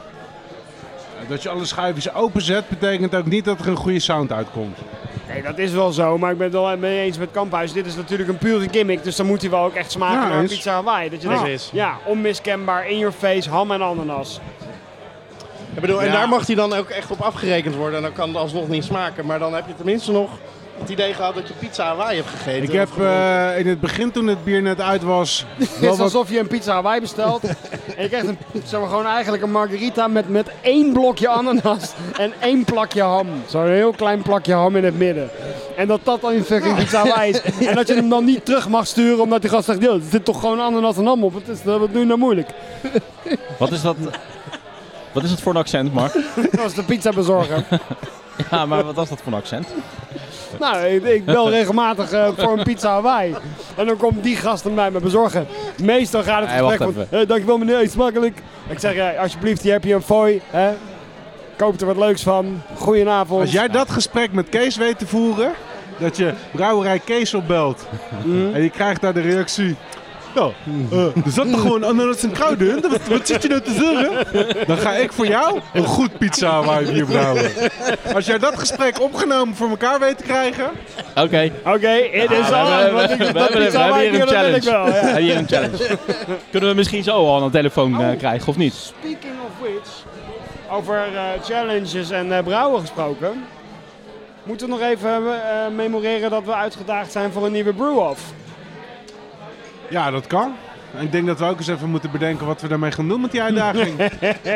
S2: dat je alle schuifjes openzet, betekent ook niet dat er een goede sound uitkomt.
S5: Nee, dat is wel zo, maar ik ben het wel mee eens met Kamphuis. Dit is natuurlijk een pure gimmick, dus dan moet hij wel ook echt smaken
S2: Ja,
S5: naar
S2: eens.
S5: pizza Hawaii. Dat je
S3: Ja,
S5: denkt,
S3: eens.
S5: ja, onmiskenbaar, in your face, ham en ananas.
S3: Ik bedoel, en
S2: Ja.
S3: daar mag hij dan ook echt op afgerekend worden. En dan kan het alsnog niet smaken. Maar dan heb je tenminste nog het idee gehad dat je pizza Hawaii hebt gegeten.
S2: Ik heb
S3: Of gewoon-
S2: eh, in het begin toen het bier net uit was,
S5: Het
S2: wel
S5: is
S2: wat,
S5: alsof je een pizza Hawaii bestelt en je krijgt een, zeg maar, gewoon eigenlijk een margarita met, met één blokje ananas en één plakje ham. Zo'n heel klein plakje ham in het midden. En dat dat dan in fucking pizza Hawaii is. En dat je hem dan niet terug mag sturen omdat die gast zegt, "Yo, er zit toch gewoon ananas en ham op. Wat, is, wat doe je nou moeilijk?
S1: Wat is dat? Wat is dat voor een accent, Mark?
S5: Dat was de pizza bezorger.
S1: Ja, maar wat was dat voor een accent?
S5: Nou, ik, ik bel regelmatig eh, voor een pizza Hawaii. En dan komt die gast hem bij me bezorgen. Meestal gaat het
S1: Hey, wacht
S5: gesprek van, eh, dankjewel meneer, eet smakelijk. Ik zeg, eh, alsjeblieft, hier heb je een fooi. Hè? Koop er wat leuks van. Goedenavond.
S2: Als jij dat gesprek met Kees weet te voeren, dat je brouwerij Kees opbelt
S5: Mhm.
S2: en je krijgt daar de reactie. Ja, eh, er zat er gewoon ananas en kruiden in. Wat, wat zit je nou te zeuren? Dan ga ik voor jou een goed pizza waar hier brouwen. Als jij dat gesprek opgenomen voor elkaar weet te krijgen,
S1: Oké.
S5: Oké, it is
S1: we
S5: all.
S1: hebben-
S5: want ik-
S1: we
S5: dat
S1: hebben- we
S5: pizza
S1: hebben
S5: Hawaii,
S1: hier een
S5: dat wil ik wel.
S1: challenge.
S5: ja.
S1: Heb hier een challenge? Kunnen we misschien zo al een telefoon eh,
S5: Oh.
S1: krijgen, of niet?
S5: Speaking of which, over eh, challenges en eh, brouwen gesproken. Moeten we nog even eh, memoreren dat we uitgedaagd zijn voor een nieuwe brew-off.
S2: ja, dat kan. En ik denk dat we ook eens even moeten bedenken wat we daarmee gaan doen met die uitdaging.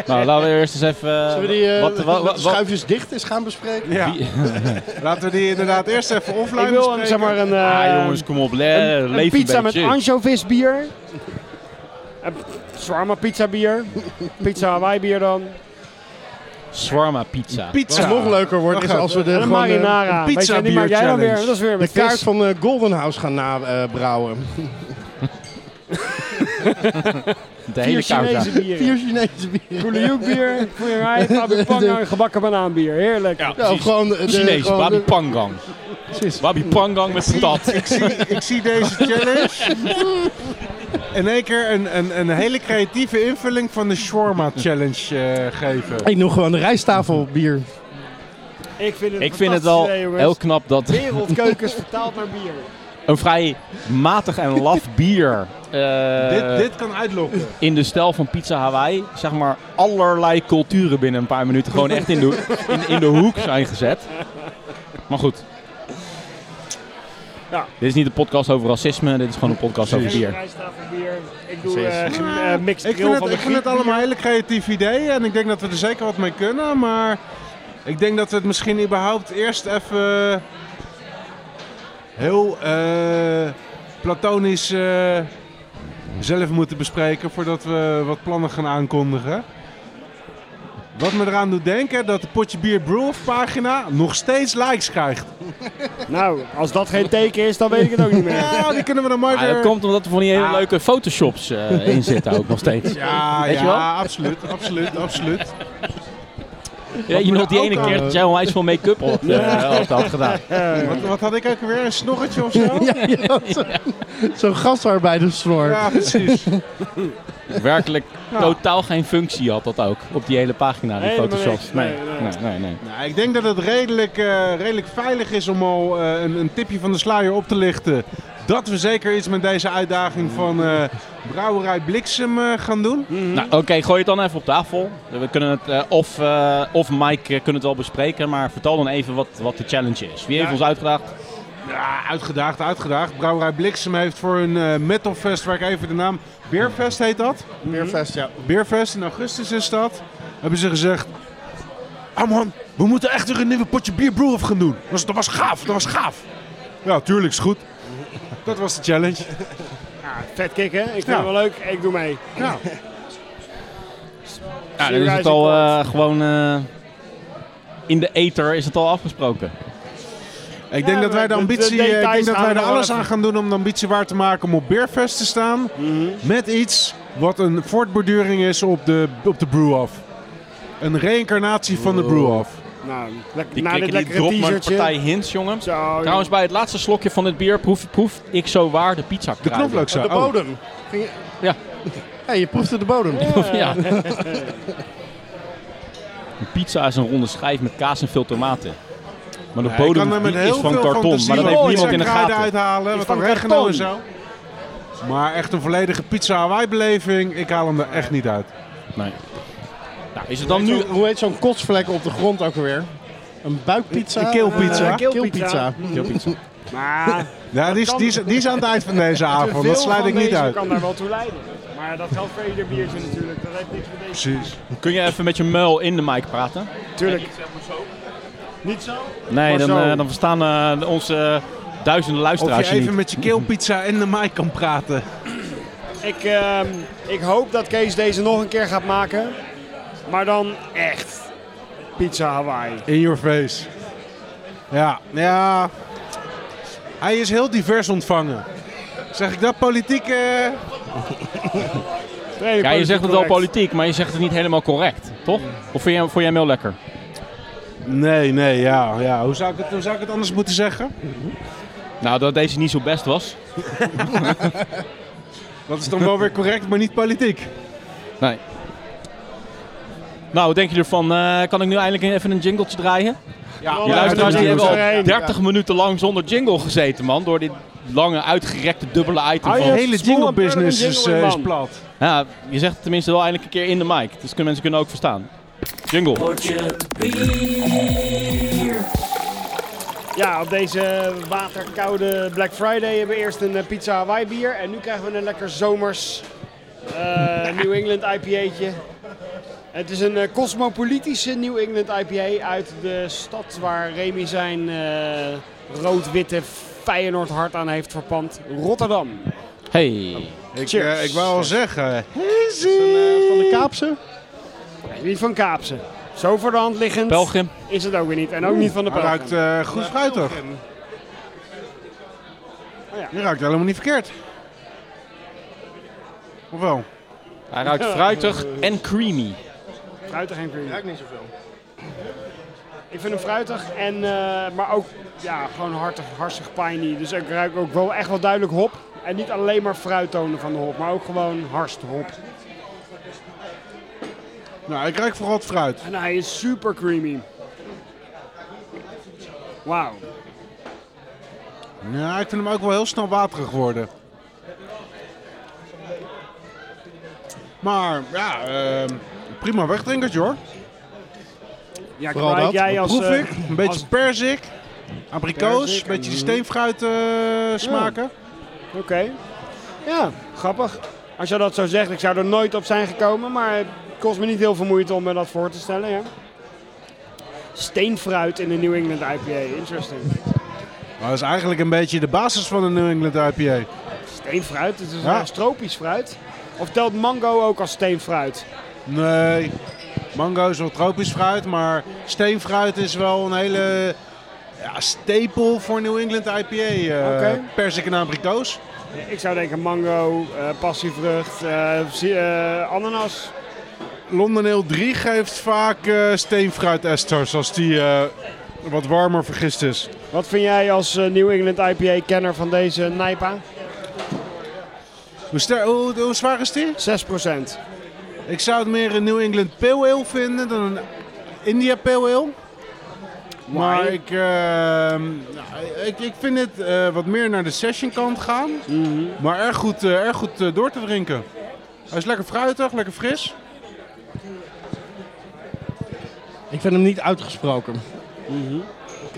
S1: Nou, laten we eerst eens even... eh,
S3: Zullen we die eh,
S1: wat- wat- wat- wat-
S3: schuifjes dicht eens gaan bespreken?
S2: Ja. Laten we die inderdaad eerst even offline
S5: Ik wil een,
S2: bespreken.
S5: zeg maar een, eh,
S1: Ah, jongens, kom op. le-
S5: een- een,
S1: leef een
S5: pizza met
S1: beetje.
S5: anchovis bier. Een shawarma pizza bier. Pizza Hawaii bier dan.
S1: Shawarma pizza.
S2: pizza.
S3: Wat nog leuker wordt is
S2: Wacht,
S3: als we de,
S5: en een
S3: gewoon, eh,
S5: marinara.
S2: een
S5: Weet je, die
S2: pizza
S5: maak
S2: bier
S5: jij dan weer.
S2: challenge.
S5: Dat is weer
S3: de
S5: met
S3: kaart
S5: vis.
S3: van eh, Golden House gaan eh, nabrouwen.
S1: De hele
S5: Vier
S1: kouta.
S5: Chinese bieren.
S3: Vier Chinese bieren.
S5: Koelioek bier, koeierij, fabrikpang en gebakken banaanbier. Heerlijk.
S3: Ja, of gewoon de,
S1: Chinees,
S3: gewoon
S1: Wabi
S3: de-
S1: Pangang.
S3: precies.
S1: Wabi Pangang met stad.
S2: Ik zie, ik zie deze challenge. In één keer een, een, een hele creatieve invulling van de shawarma challenge eh, geven.
S3: Ik noem gewoon de rijsttafelbier.
S5: Ik vind het,
S1: Ik vind het wel heel knap dat
S5: Wereldkeukens vertaald naar bier.
S1: een vrij matig en laf bier eh,
S2: dit, dit kan uitlokken.
S1: in de stijl van Pizza Hawaii, zeg maar, allerlei culturen binnen een paar minuten gewoon echt in de, in, in de hoek zijn gezet. Maar goed.
S5: Ja.
S1: Dit is niet een podcast over racisme, dit is gewoon een podcast over bier.
S5: bier. Ik doe eh
S3: Precies.
S5: ge- eh, mixed
S2: Ah, Ik
S5: grill
S2: vind
S5: van
S2: het,
S5: de
S2: ik vind het
S5: Griek
S2: allemaal hele creatieve ideeën en ik denk dat we er zeker wat mee kunnen. Maar ik denk dat we het misschien überhaupt eerst even heel eh, platonisch eh, zelf moeten bespreken voordat we wat plannen gaan aankondigen. Wat me eraan doet denken dat de Potje Bier Brew pagina nog steeds likes krijgt.
S5: bier. Nou, als dat geen teken is, dan weet ik het ook niet meer.
S2: Ja, die kunnen we dan mooi
S1: Ah,
S2: weer...
S1: dat komt omdat er van die hele
S2: Ah.
S1: leuke photoshops eh, in zitten ook nog steeds.
S2: Ja,
S1: Weet
S2: ja,
S1: je wel?
S2: absoluut, absoluut, absoluut.
S1: Weet je nog die ene
S2: ook
S1: keer
S3: aan-
S1: dat jij onwijs veel make-up had, eh, had- had gedaan?
S2: Wat, wat had ik ook weer? Een snorretje of zo?
S3: Ja, ja, zo- Zo'n gastarbeidersnor.
S2: Ja, precies.
S1: Werkelijk totaal geen functie had dat ook, op die hele pagina, die
S5: Helemaal
S1: photoshops.
S5: niks.
S1: Nee,
S5: Nee, nee.
S1: nee, nee. nee.
S2: Nou, ik denk dat het redelijk, eh, redelijk veilig is om al eh, een, een tipje van de sluier op te lichten. Dat we zeker iets met deze uitdaging van eh, Brouwerij Bliksem eh, gaan doen.
S1: Nou, oké, gooi het dan even op tafel. We kunnen het, eh, of, eh, of Mike eh, kunnen het wel bespreken, maar vertel dan even wat, wat de challenge is. Wie heeft
S2: Ja.
S1: ons uitgedaagd?
S2: Ja, uitgedaagd, uitgedaagd. Brouwerij Bliksem heeft voor een eh, metalfest, waar ik even de naam... Beerfest heet dat?
S3: Beerfest, ja.
S2: Beerfest in augustus is dat. Hebben ze gezegd... Ah man, we moeten echt weer een nieuwe potje bier brew gaan doen. Dat was, dat was gaaf, dat was gaaf. Ja, tuurlijk, is goed. Dat was de challenge.
S5: Vet kicken, ik vind
S2: Ja.
S5: het wel leuk, ik doe mee.
S2: Ja.
S1: Nou, dan is het al eh, gewoon eh, in de ether is het al afgesproken.
S2: Ik denk
S5: Ja,
S2: dat wij de
S5: de- de
S2: ambitie, eh, ik
S5: details
S2: denk dat
S5: gaan
S2: wij
S5: we
S2: er
S5: nog wel
S2: alles
S5: even- Mhm.
S2: aan gaan doen om de ambitie waar te maken om op Beerfest te staan. Met iets wat een voortborduring is op de, op de brew-off. Een reïncarnatie van
S5: Oh,
S2: de brew-off.
S5: Nou, lekker-
S1: Die
S5: na dit
S1: klikken die
S5: lekkere
S1: drop maar een
S5: t-shirtje.
S1: partij hints, jongens.
S5: Zo, joh.
S1: Trouwens, bij het laatste slokje van dit bier proef, proef ik zo waar de pizza
S2: De knoflooksaus.
S3: De
S2: Oh.
S3: bodem. Ging je-
S1: Ja.
S3: Ja, je proefde de bodem.
S1: Ja. Een pizza is een ronde schijf met kaas en veel tomaten. Maar de
S2: Ja, ik
S1: bodem
S2: kan er met
S1: die is
S2: heel
S1: van
S2: veel
S1: karton,
S2: fantasie
S1: maar dat
S2: nog
S1: heeft
S2: iets
S1: niemand in de
S2: aan kruiden
S1: gaten.
S2: uithalen, wat
S5: van
S2: oregano en zo.
S5: karton.
S2: Maar echt een volledige pizza Hawaii beleving, ik haal hem er echt niet uit.
S1: Nee. Nou, is het dan nu
S3: Zo'n- hoe heet zo'n kotsvlek op de grond ook alweer? Een buikpizza?
S2: Een keelpizza.
S3: Eh, keelpizza.
S5: Maar
S2: Ja, die is,
S5: kan-
S2: die, is, die is aan het eind van deze avond, dat sluit ik niet uit.
S5: kan daar wel toe leiden. Maar dat geldt voor ieder biertje natuurlijk. Dat heeft niks met deze.
S2: Precies.
S1: Kun je even met je muil in de mic praten?
S5: Tuurlijk. Niet zo?
S1: Nee,
S5: Maar
S1: dan,
S5: zo.
S1: eh, dan verstaan eh, onze eh, duizenden
S2: Of
S1: luisteraars
S2: je
S1: je niet.
S2: even met je keelpizza en de mic kan praten.
S5: Ik, ehm, ik hoop dat Kees deze nog een keer gaat maken. Maar dan echt. Pizza Hawaii.
S2: In your face. Ja, ja. Hij is heel divers ontvangen. Zeg ik dat politiek? eh?
S5: Redelijk
S1: Ja, je zegt het wel
S5: correct.
S1: politiek, maar je zegt het niet helemaal correct, toch? Of vond jij, vond jij hem heel lekker?
S2: Nee, nee, ja, ja. Hoe, zou ik het, hoe zou ik het anders moeten zeggen?
S1: Nou, dat deze niet zo best was.
S2: Dat is dan wel weer correct, maar niet politiek.
S1: Nee. Nou, wat denken jullie ervan? Eh, kan ik nu eindelijk even een jingletje draaien?
S2: Ja,
S5: Oh,
S1: Die luisteraars die
S5: doe
S1: hebben
S5: maar.
S1: al
S5: Doe
S1: 30 minuten lang zonder jingle gezeten, man. Door dit lange, uitgerekte, dubbele item
S5: Hou
S2: De
S5: je-
S1: van...
S2: hele jingle business is, eh, is plat.
S1: Ja, je zegt het tenminste wel eindelijk een keer in de mic. Dus kunnen mensen kunnen ook verstaan. Jingle.
S5: Ja, op deze waterkoude Black Friday hebben we eerst een eh, Pizza Hawaii bier. En nu krijgen we een lekker zomers eh, New England IPA'tje. Het is een eh, cosmopolitische New England IPA uit de stad waar Remy zijn eh, rood-witte Feyenoord hart aan heeft verpand. Rotterdam.
S1: Hey.
S2: Ik,
S5: Cheers.
S2: eh, ik wou al zeggen. eh,
S3: Van de Kaapse?
S5: Niet van Kaapse. Zo voor de hand liggend
S1: Belgium.
S5: is het ook weer niet. En ook niet van de
S2: Hij
S5: Belgen.
S2: ruikt eh, goed fruitig.
S5: Oh ja.
S2: Die ruikt helemaal niet verkeerd. Of wel?
S1: Hij ruikt fruitig en creamy.
S5: Fruitig en creamy.
S3: niet zoveel.
S5: Ik vind hem fruitig, en, eh, maar ook ja, gewoon hartig, hartstikke piney. Dus ik ruik ook wel echt wel duidelijk hop. En niet alleen maar fruittonen van de hop, maar ook gewoon harst hop.
S2: Nou, ik ruik vooral het fruit.
S5: En hij is super creamy. Wauw.
S2: Ja, ik vind hem ook wel heel snel waterig worden. Maar ja, ehm, prima wegdrinkertje hoor.
S5: Ja,
S3: Vooral
S5: Craig,
S3: dat.
S5: jij als...
S2: Proef
S5: eh,
S2: ik. Een beetje
S5: als-
S2: perzik, abrikoos,
S5: Perzik,
S2: een beetje die
S5: mm.
S2: steenfruit eh, smaken.
S5: Oké. Ja, grappig. Als je dat zo zegt, ik zou er nooit op zijn gekomen, maar het kost me niet heel veel moeite om me dat voor te stellen. Ja. Steenfruit in de New England IPA, interesting.
S2: Maar dat is eigenlijk een beetje de basis van een New England IPA.
S5: Steenfruit, het is
S2: Ja.
S5: een tropisch fruit. Of telt mango ook als steenfruit?
S2: Nee, mango is wel tropisch fruit, maar steenfruit is wel een hele ja, stapel voor New England IPA. eh,
S5: Oké.
S2: Perzik en abrikoos.
S5: Ik zou denken mango, eh passievrucht, eh, zie- eh, ananas.
S2: London Ale 3 geeft vaak eh steenfruit esters als die eh, wat warmer vergist is.
S5: Wat vind jij als eh, New England IPA-kenner van deze Nijpa?
S2: Hoe, ster- hoe, hoe zwaar is die?
S5: 6%.
S2: Ik zou het meer een New England Pale Ale vinden dan een India Pale Ale. Maar
S5: Why?
S2: ik, ehm, nou, ik, ik vind het eh, wat meer naar de session kant gaan. Maar erg goed, eh, erg goed eh, door te drinken. Hij is lekker fruitig, lekker fris.
S3: Ik vind hem niet uitgesproken.
S2: Mhm.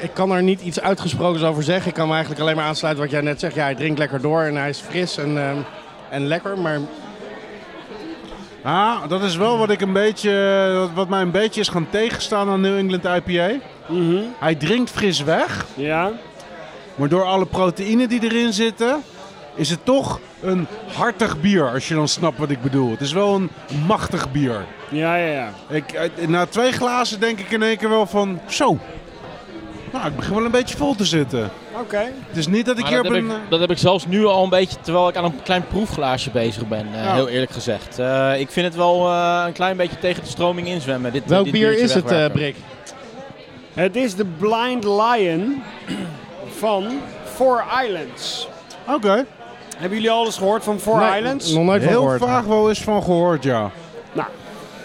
S3: Ik kan er niet iets uitgesprokens over zeggen. Ik kan me eigenlijk alleen maar aansluiten wat jij net zegt. Ja, hij drinkt lekker door en hij is fris en, ehm, en lekker. Maar
S2: Ah, dat is wel wat, ik een beetje, eh, wat- wat mij een beetje is gaan tegenstaan aan New England IPA. Hij drinkt fris weg.
S5: Ja?
S2: Maar door alle proteïne die erin zitten, is het toch een hartig bier, als je dan snapt wat ik bedoel. Het is wel een machtig bier.
S5: Ja, ja, ja.
S2: Ik, eh, na twee glazen denk ik in één keer wel van, zo. Nou, ik begin wel een beetje vol te zitten.
S5: Oké.
S2: Het is niet dat ik
S1: Maar
S2: hier
S1: Ah, dat,
S2: op
S1: heb
S2: een...
S1: ik, dat heb ik zelfs nu al een beetje, terwijl ik aan een klein proefglaasje bezig ben, eh,
S2: Ja.
S1: heel eerlijk gezegd. Eh, ik vind het wel eh, een klein beetje tegen de stroming inzwemmen. Dit,
S3: welk
S1: dit
S3: bier
S1: biertje
S3: is het, eh
S1: wegwerken.
S3: Brik?
S5: Het is de Blind Lion van Four Islands.
S2: eh, Oké,
S5: Hebben jullie al eens gehoord van Four
S3: Nee,
S5: Islands?
S3: Nog nooit van
S2: heel
S3: gehoord.
S2: vaag wel eens van gehoord, ja.
S5: Nou,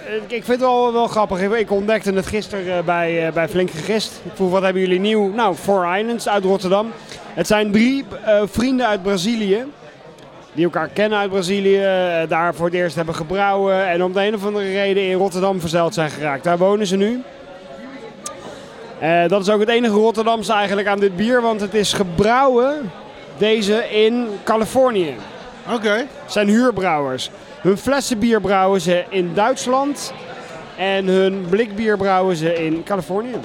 S5: eh, ik vind het wel, wel grappig. Ik- Ik ontdekte het gisteren eh, bij, eh, bij Flink Gegist. Ik vroeg, wat hebben jullie nieuw? Nou, Four Islands uit Rotterdam. Het zijn drie eh, vrienden uit Brazilië. Die elkaar kennen uit Brazilië. eh, daar voor het eerst hebben gebrouwen. En om de een of andere reden in Rotterdam verzeild zijn geraakt. Daar wonen ze nu. Eh, dat is ook het enige Rotterdamse eigenlijk aan dit bier. Want het is gebrouwen, deze, in Californië
S2: Oké,
S5: zijn huurbrouwers. Hun flessenbier brouwen ze in Duitsland en hun blikbier brouwen ze in Californië.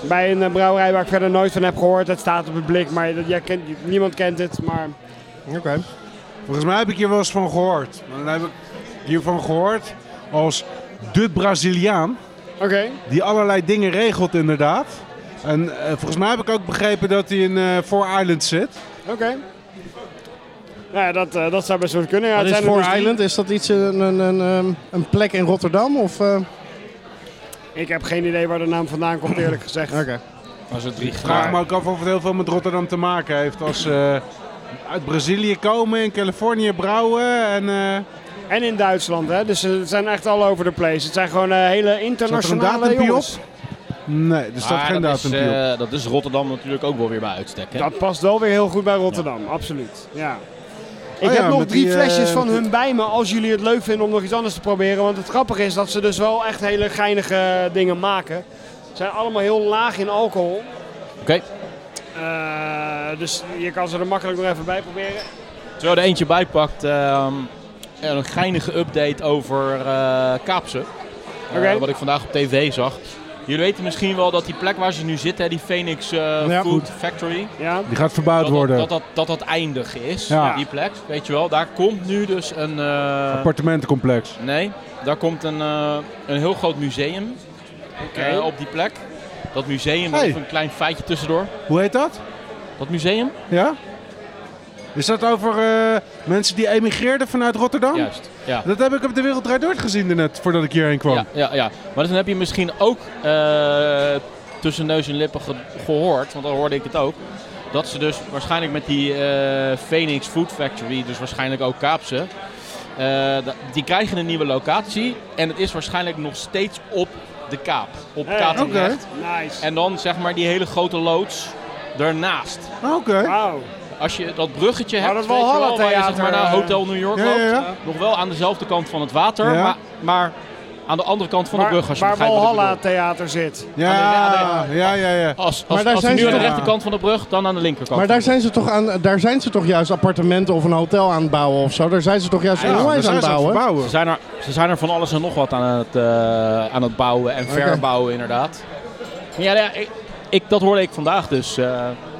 S5: Bij een eh, brouwerij waar ik verder nooit van heb gehoord. Het staat op het blik, maar dat, jij kent, niemand kent het. Maar
S3: Oké.
S2: volgens mij heb ik hier wel eens van gehoord. Maar dan heb ik hiervan gehoord als de Braziliaan.
S5: Oké.
S2: die allerlei dingen regelt inderdaad. En eh, volgens mij heb ik ook begrepen dat hij in eh Four Islands zit.
S5: Oké. Nou ja, dat, eh, dat zou best wel kunnen. Ja,
S3: Wat
S5: het
S3: is
S5: zijn er
S3: Four
S5: dus drie.
S3: Island? Is dat iets, een, een, een, ehm, een plek in Rotterdam? Of, eh,
S5: Ik heb geen idee waar de naam vandaan komt, eerlijk gezegd.
S3: oké.
S1: Als het drie
S2: Ik vraag me ook af of het heel veel met Rotterdam te maken heeft. Als ze uit Brazilië komen, in Californië brouwen. En, eh,
S5: En in Duitsland, hè. Dus eh, het zijn echt all over the place. Het zijn gewoon eh, hele internationale
S2: datumpje op?
S5: jongens.
S2: nee, er staat geen
S1: Ah, dat, is,
S2: datum op.
S1: eh, dat is Rotterdam natuurlijk ook wel weer bij uitstek. Hè?
S5: Dat past wel weer heel goed bij Rotterdam, absoluut. Ja. Ik
S2: Oh ja,
S5: heb nog
S2: met
S5: drie
S2: die, eh,
S5: flesjes van hun bij me als jullie het leuk vinden om nog iets anders te proberen. Want het grappige is dat ze dus wel echt hele geinige dingen maken. Ze zijn allemaal heel laag in alcohol.
S1: Oké.
S5: Eh, dus je kan ze er makkelijk nog even bij proberen.
S1: Terwijl er eentje bijpakt, ehm een geinige update over eh Kaapse. Eh,
S5: Oké.
S1: wat ik vandaag op tv zag. Jullie weten misschien wel dat die plek waar ze nu zitten, die Phoenix eh,
S3: Ja.
S1: Food Factory,
S5: Ja,
S2: Die gaat verbouwd
S1: dat dat,
S2: worden.
S1: dat, dat, dat dat eindig is,
S2: Ja.
S1: die plek. Weet je wel, daar komt nu dus een... eh,
S2: Appartementencomplex.
S1: Nee, daar komt een, eh, een heel groot museum eh, op die plek. Dat museum,
S2: Hey.
S1: even een klein feitje tussendoor.
S2: Hoe heet dat?
S1: Dat museum?
S2: Ja? Is dat over eh, mensen die emigreerden vanuit Rotterdam?
S1: Juist, ja.
S2: Dat heb ik op de Wereld Draait Door gezien net, voordat ik hierheen kwam.
S1: Ja, ja, ja. Maar dus dan heb je misschien ook eh, tussen neus en lippen ge- gehoord, want dan hoorde ik het ook. Dat ze dus waarschijnlijk met die eh, Phoenix Food Factory, dus waarschijnlijk ook Kaapse, eh, da- die krijgen een nieuwe locatie. En het is waarschijnlijk nog steeds op de Kaap. Op
S5: Hey.
S1: Katendrecht.
S5: nice.
S1: En dan zeg maar die hele grote loods daarnaast.
S2: Ah, Oké.
S5: Wauw.
S1: Als je dat bruggetje
S5: Maar
S1: hebt,
S5: dat
S1: weet je wel, waar je zeg
S5: Walhalla-theater,
S1: maar naar
S5: eh,
S1: Hotel New York
S2: ja,
S1: loopt.
S2: ja, ja.
S1: Nog wel aan dezelfde kant van het water,
S2: Ja.
S1: maar, maar aan de andere kant van de brug.
S5: Waar,
S1: Als je
S5: waar
S1: begrijpt wat ik bedoel.
S5: Walhalla Theater zit.
S2: Ja, ja, ja, ja.
S1: Als, als,
S3: Maar daar
S1: als
S3: zijn
S1: hij nu
S3: ze-
S1: aan de
S3: ja.
S1: rechterkant van de brug, dan aan de linkerkant.
S3: Maar daar
S1: van de
S3: zijn, ze toch aan, daar zijn ze toch juist appartementen of een hotel aan het bouwen of zo? Daar zijn ze toch juist
S2: Ja,
S3: onwijs
S2: daar
S3: aan
S2: zijn
S3: het
S2: ze aan het
S3: bouwen?
S1: brug. ze
S2: verbouwen.
S1: zijn, er, ze zijn er van alles en nog wat aan het, eh, aan het bouwen en verbouwen, inderdaad. Ja, ja ik, ik- dat hoorde ik vandaag dus. eh.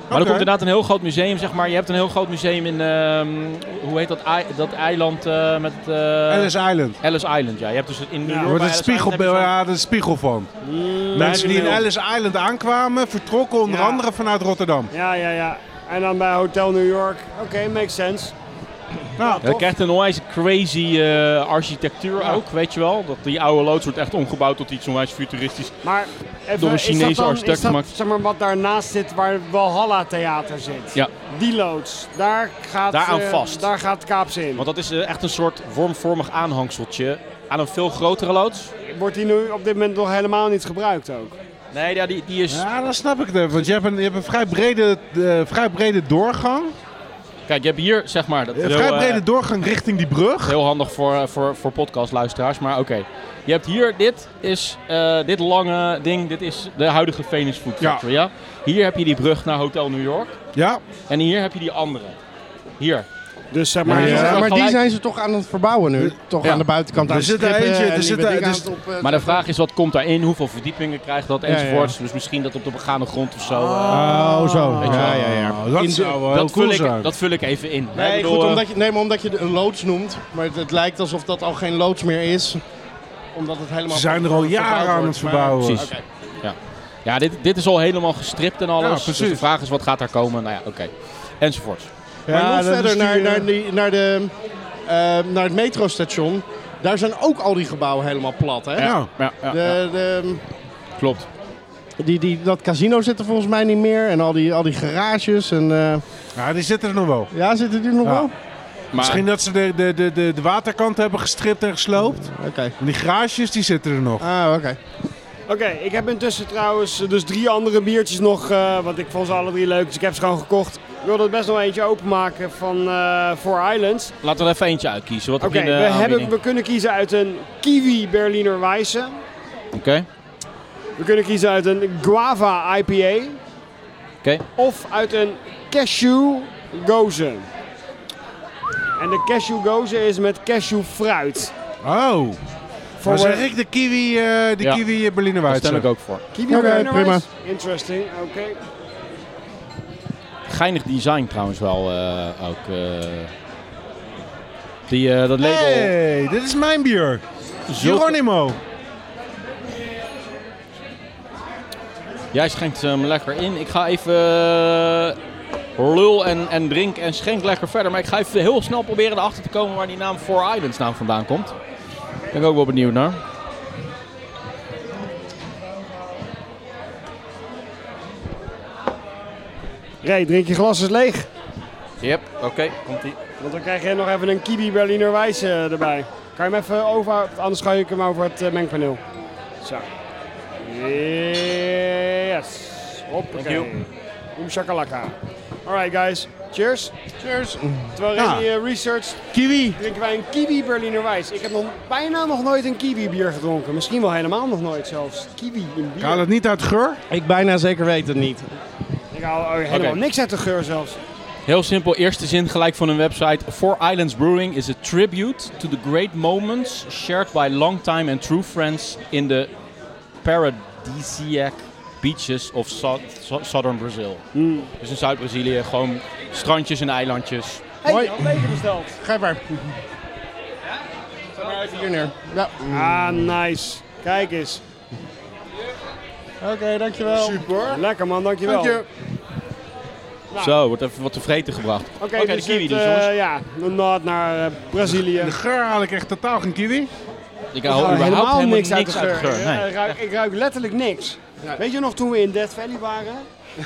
S1: Maar
S2: Oké.
S1: er komt inderdaad een heel groot museum, zeg maar. Je hebt een heel groot museum in, ehm, hoe heet dat, ei- dat eiland eh, met... eh,
S2: Ellis Island.
S1: Ellis Island, ja. Je hebt dus in New
S5: Ja,
S1: York
S2: Er wordt
S1: bij
S2: een
S1: Ellis Island
S2: spiegelbeeld,
S1: heb je
S2: ja, er is een spiegel van. Mensen die in Ellis Island aankwamen, vertrokken onder
S5: Ja.
S2: andere vanuit Rotterdam.
S5: Ja, ja, ja. En dan bij Hotel New York. Oké, makes sense.
S2: Nou,
S1: zo'n- Ja, je krijgt een onwijs crazy eh, architectuur ook, weet je wel. Dat die oude loods wordt echt omgebouwd tot iets onwijs futuristisch.
S5: Maar even,
S1: Door een
S5: is dat
S1: Chinese
S5: dan-
S1: architect
S5: is dat,
S1: gemaakt.
S5: Zeg maar wat daarnaast zit waar Walhalla Theater zit.
S1: Ja.
S5: Die loods. Daar gaat,
S1: Daaraan
S5: eh,
S1: vast.
S5: daar gaat Kaaps in.
S1: Want dat is eh, echt een soort wormvormig aanhangseltje aan een veel grotere loods.
S5: Wordt die nu op dit moment nog helemaal niet gebruikt ook?
S1: Nee, ja, die, die is...
S2: ja, dan snap ik het even, Want je hebt een, je hebt een vrij, brede, eh, vrij brede doorgang.
S1: Kijk, je hebt hier, zeg maar... Dat
S2: Een
S1: is heel,
S2: vrij
S1: eh,
S2: brede doorgang richting die brug.
S1: heel handig voor, eh, voor, voor podcastluisteraars, maar oké. Je hebt hier, dit is eh, dit lange ding, dit is de huidige Venus Food
S2: Ja.
S1: Factory, ja? Hier heb je die brug naar Hotel New York.
S2: Ja,
S1: En hier heb je die andere. Hier.
S5: Dus zeg maar...
S3: Maar,
S2: Ja.
S3: maar die
S1: Gelijk-
S3: zijn ze toch aan het verbouwen nu? Toch
S1: Ja.
S3: aan de buitenkant
S2: Er
S3: aan het
S2: zit er
S3: strippen
S2: eentje,
S3: en
S2: er
S3: nieuwe
S2: zit er- dus-
S3: dingen
S2: er
S3: aan
S2: is-
S3: het op, eh,
S1: Maar de vraag is, wat komt daarin? Hoeveel verdiepingen krijgt dat?
S3: ja.
S1: Enzovoorts. Dus misschien dat op een begaande grond of zo. eh,
S3: Oh, zo.
S1: Weet je
S3: Ja,
S1: wel.
S3: ja, ja.
S2: Oh, dat
S3: In de-
S2: zou wel heel
S1: dat,
S2: cool
S1: vul
S2: zijn.
S1: ik, dat vul ik even in.
S3: Nee,
S1: Ik bedoel,
S3: goed,
S1: eh,
S3: omdat je, nee, maar omdat je de- een loods noemt. Maar het, het lijkt alsof dat al geen loods meer is. Omdat het helemaal...
S2: Ze zijn er al jaren aan het verbouwen.
S1: Precies.
S3: Oké.
S1: Ja, dit, dit is al helemaal gestript en alles.
S2: Ja,
S1: dus
S2: precies.
S1: de vraag is, wat gaat daar komen? Nou ja, oké. Enzovoorts.
S3: Maar
S2: Ja,
S3: nog
S2: dat
S3: verder
S2: is die,
S3: naar,
S2: eh,
S3: naar, die, naar, de, ehm, naar het metrostation. Daar zijn ook al die gebouwen helemaal plat, hè?
S2: Ja.
S1: Ja, ja, ja,
S3: De, de,
S1: klopt.
S3: die, die, dat casino zit er volgens mij niet meer. En al die, al die garages. En, eh,
S2: ja, die zitten er nog wel.
S3: ja, zitten die er nog
S2: Ja.
S3: wel?
S1: Maar,
S2: Misschien dat ze de, de, de, de, de waterkant hebben gestript en gesloopt.
S3: Oké.
S2: En die garages, die zitten er nog.
S3: Ah, oké.
S5: Oké, ik heb intussen trouwens eh, dus drie andere biertjes nog, eh, want ik vond ze alle drie leuk, dus ik heb ze gewoon gekocht. Ik wil er best nog eentje openmaken van eh Four Islands.
S1: laten we er even eentje uitkiezen. Wat
S5: Oké,
S1: heb je in de
S5: we, hebben-
S1: aanbieding?
S5: we kunnen kiezen uit een Kiwi Berliner Weisse.
S1: Oké,
S5: We kunnen kiezen uit een Guava IPA.
S1: Oké.
S5: Of uit een Cashew Gozen. En de Cashew Gozen is met cashew fruit.
S2: Oh,
S5: Voor
S2: maar zeg ik de kiwi, eh de
S1: Ja.
S2: kiwi eh, Berliner
S1: daar
S2: Weisse.
S1: stem ik ook voor.
S5: Kiwi
S3: Oké,
S5: Berliner
S3: prima.
S5: Weisse? Interesting, oké.
S1: Geinig design trouwens wel eh, ook. eh. die, eh, dat label.
S2: Hey, dit is mijn bier.
S1: Zulke-
S2: Geronimo.
S1: Jij schenkt hem lekker in. Ik ga even eh, lul en, en drink en schenk lekker verder. Maar ik ga even heel snel proberen erachter te komen waar die naam Four Islands naam vandaan komt. Ben ik ook wel benieuwd naar.
S5: Ray, drink je glas eens leeg.
S1: Yep, oké, komt ie.
S5: Want dan krijg je nog even een kiwi Berliner Wijze erbij. Kan je hem even over, anders ga ik hem over het eh, mengpaneel. Zo. Yes. Hoppakee.
S1: Thank you.
S5: Om shakalaka. Alright guys, cheers.
S3: Cheers.
S5: Terwijl
S2: Ja.
S5: Ray eh, research
S3: Kiwi.
S5: drinken wij een kiwi Berliner Wijs. Ik heb nog bijna nog nooit een kiwi bier gedronken. Misschien wel helemaal nog nooit zelfs. Kiwi in bier.
S2: Gaat het niet uit geur?
S3: Ik bijna zeker weet het niet.
S5: Ik haal eh, helemaal
S1: Oké.
S5: niks uit de geur zelfs.
S1: Heel simpel, eerste zin gelijk van hun website. Four Islands Brewing is a tribute to the great moments shared by longtime and true friends in the paradisiac beaches of Sou- Sou- southern Brazil. Dus in Zuid-Brazilië gewoon strandjes en eilandjes.
S5: Hey,
S3: Mooi.
S5: al beter besteld.
S3: Ga maar. Zet maar even hier neer. Ja.
S5: Ah, nice. Kijk eens.
S3: Oké, dankjewel.
S2: Super.
S5: Lekker man, dankjewel.
S3: Dank je.
S1: Zo, wordt even wat te vreten gebracht.
S5: Oké,
S1: Oké,
S5: dus
S1: de kiwi
S5: het,
S1: dus,
S5: eh,
S1: jongens.
S5: ja, een nod naar eh, Brazilië.
S2: De geur haal ik echt totaal geen kiwi.
S1: Ik
S5: Ik
S1: hou
S5: ruik
S1: überhaupt helemaal, niks uit de geur.
S5: Ja,
S1: Nee.
S5: ik ruik- ik ruik letterlijk niks. Weet je nog toen we in Death Valley waren?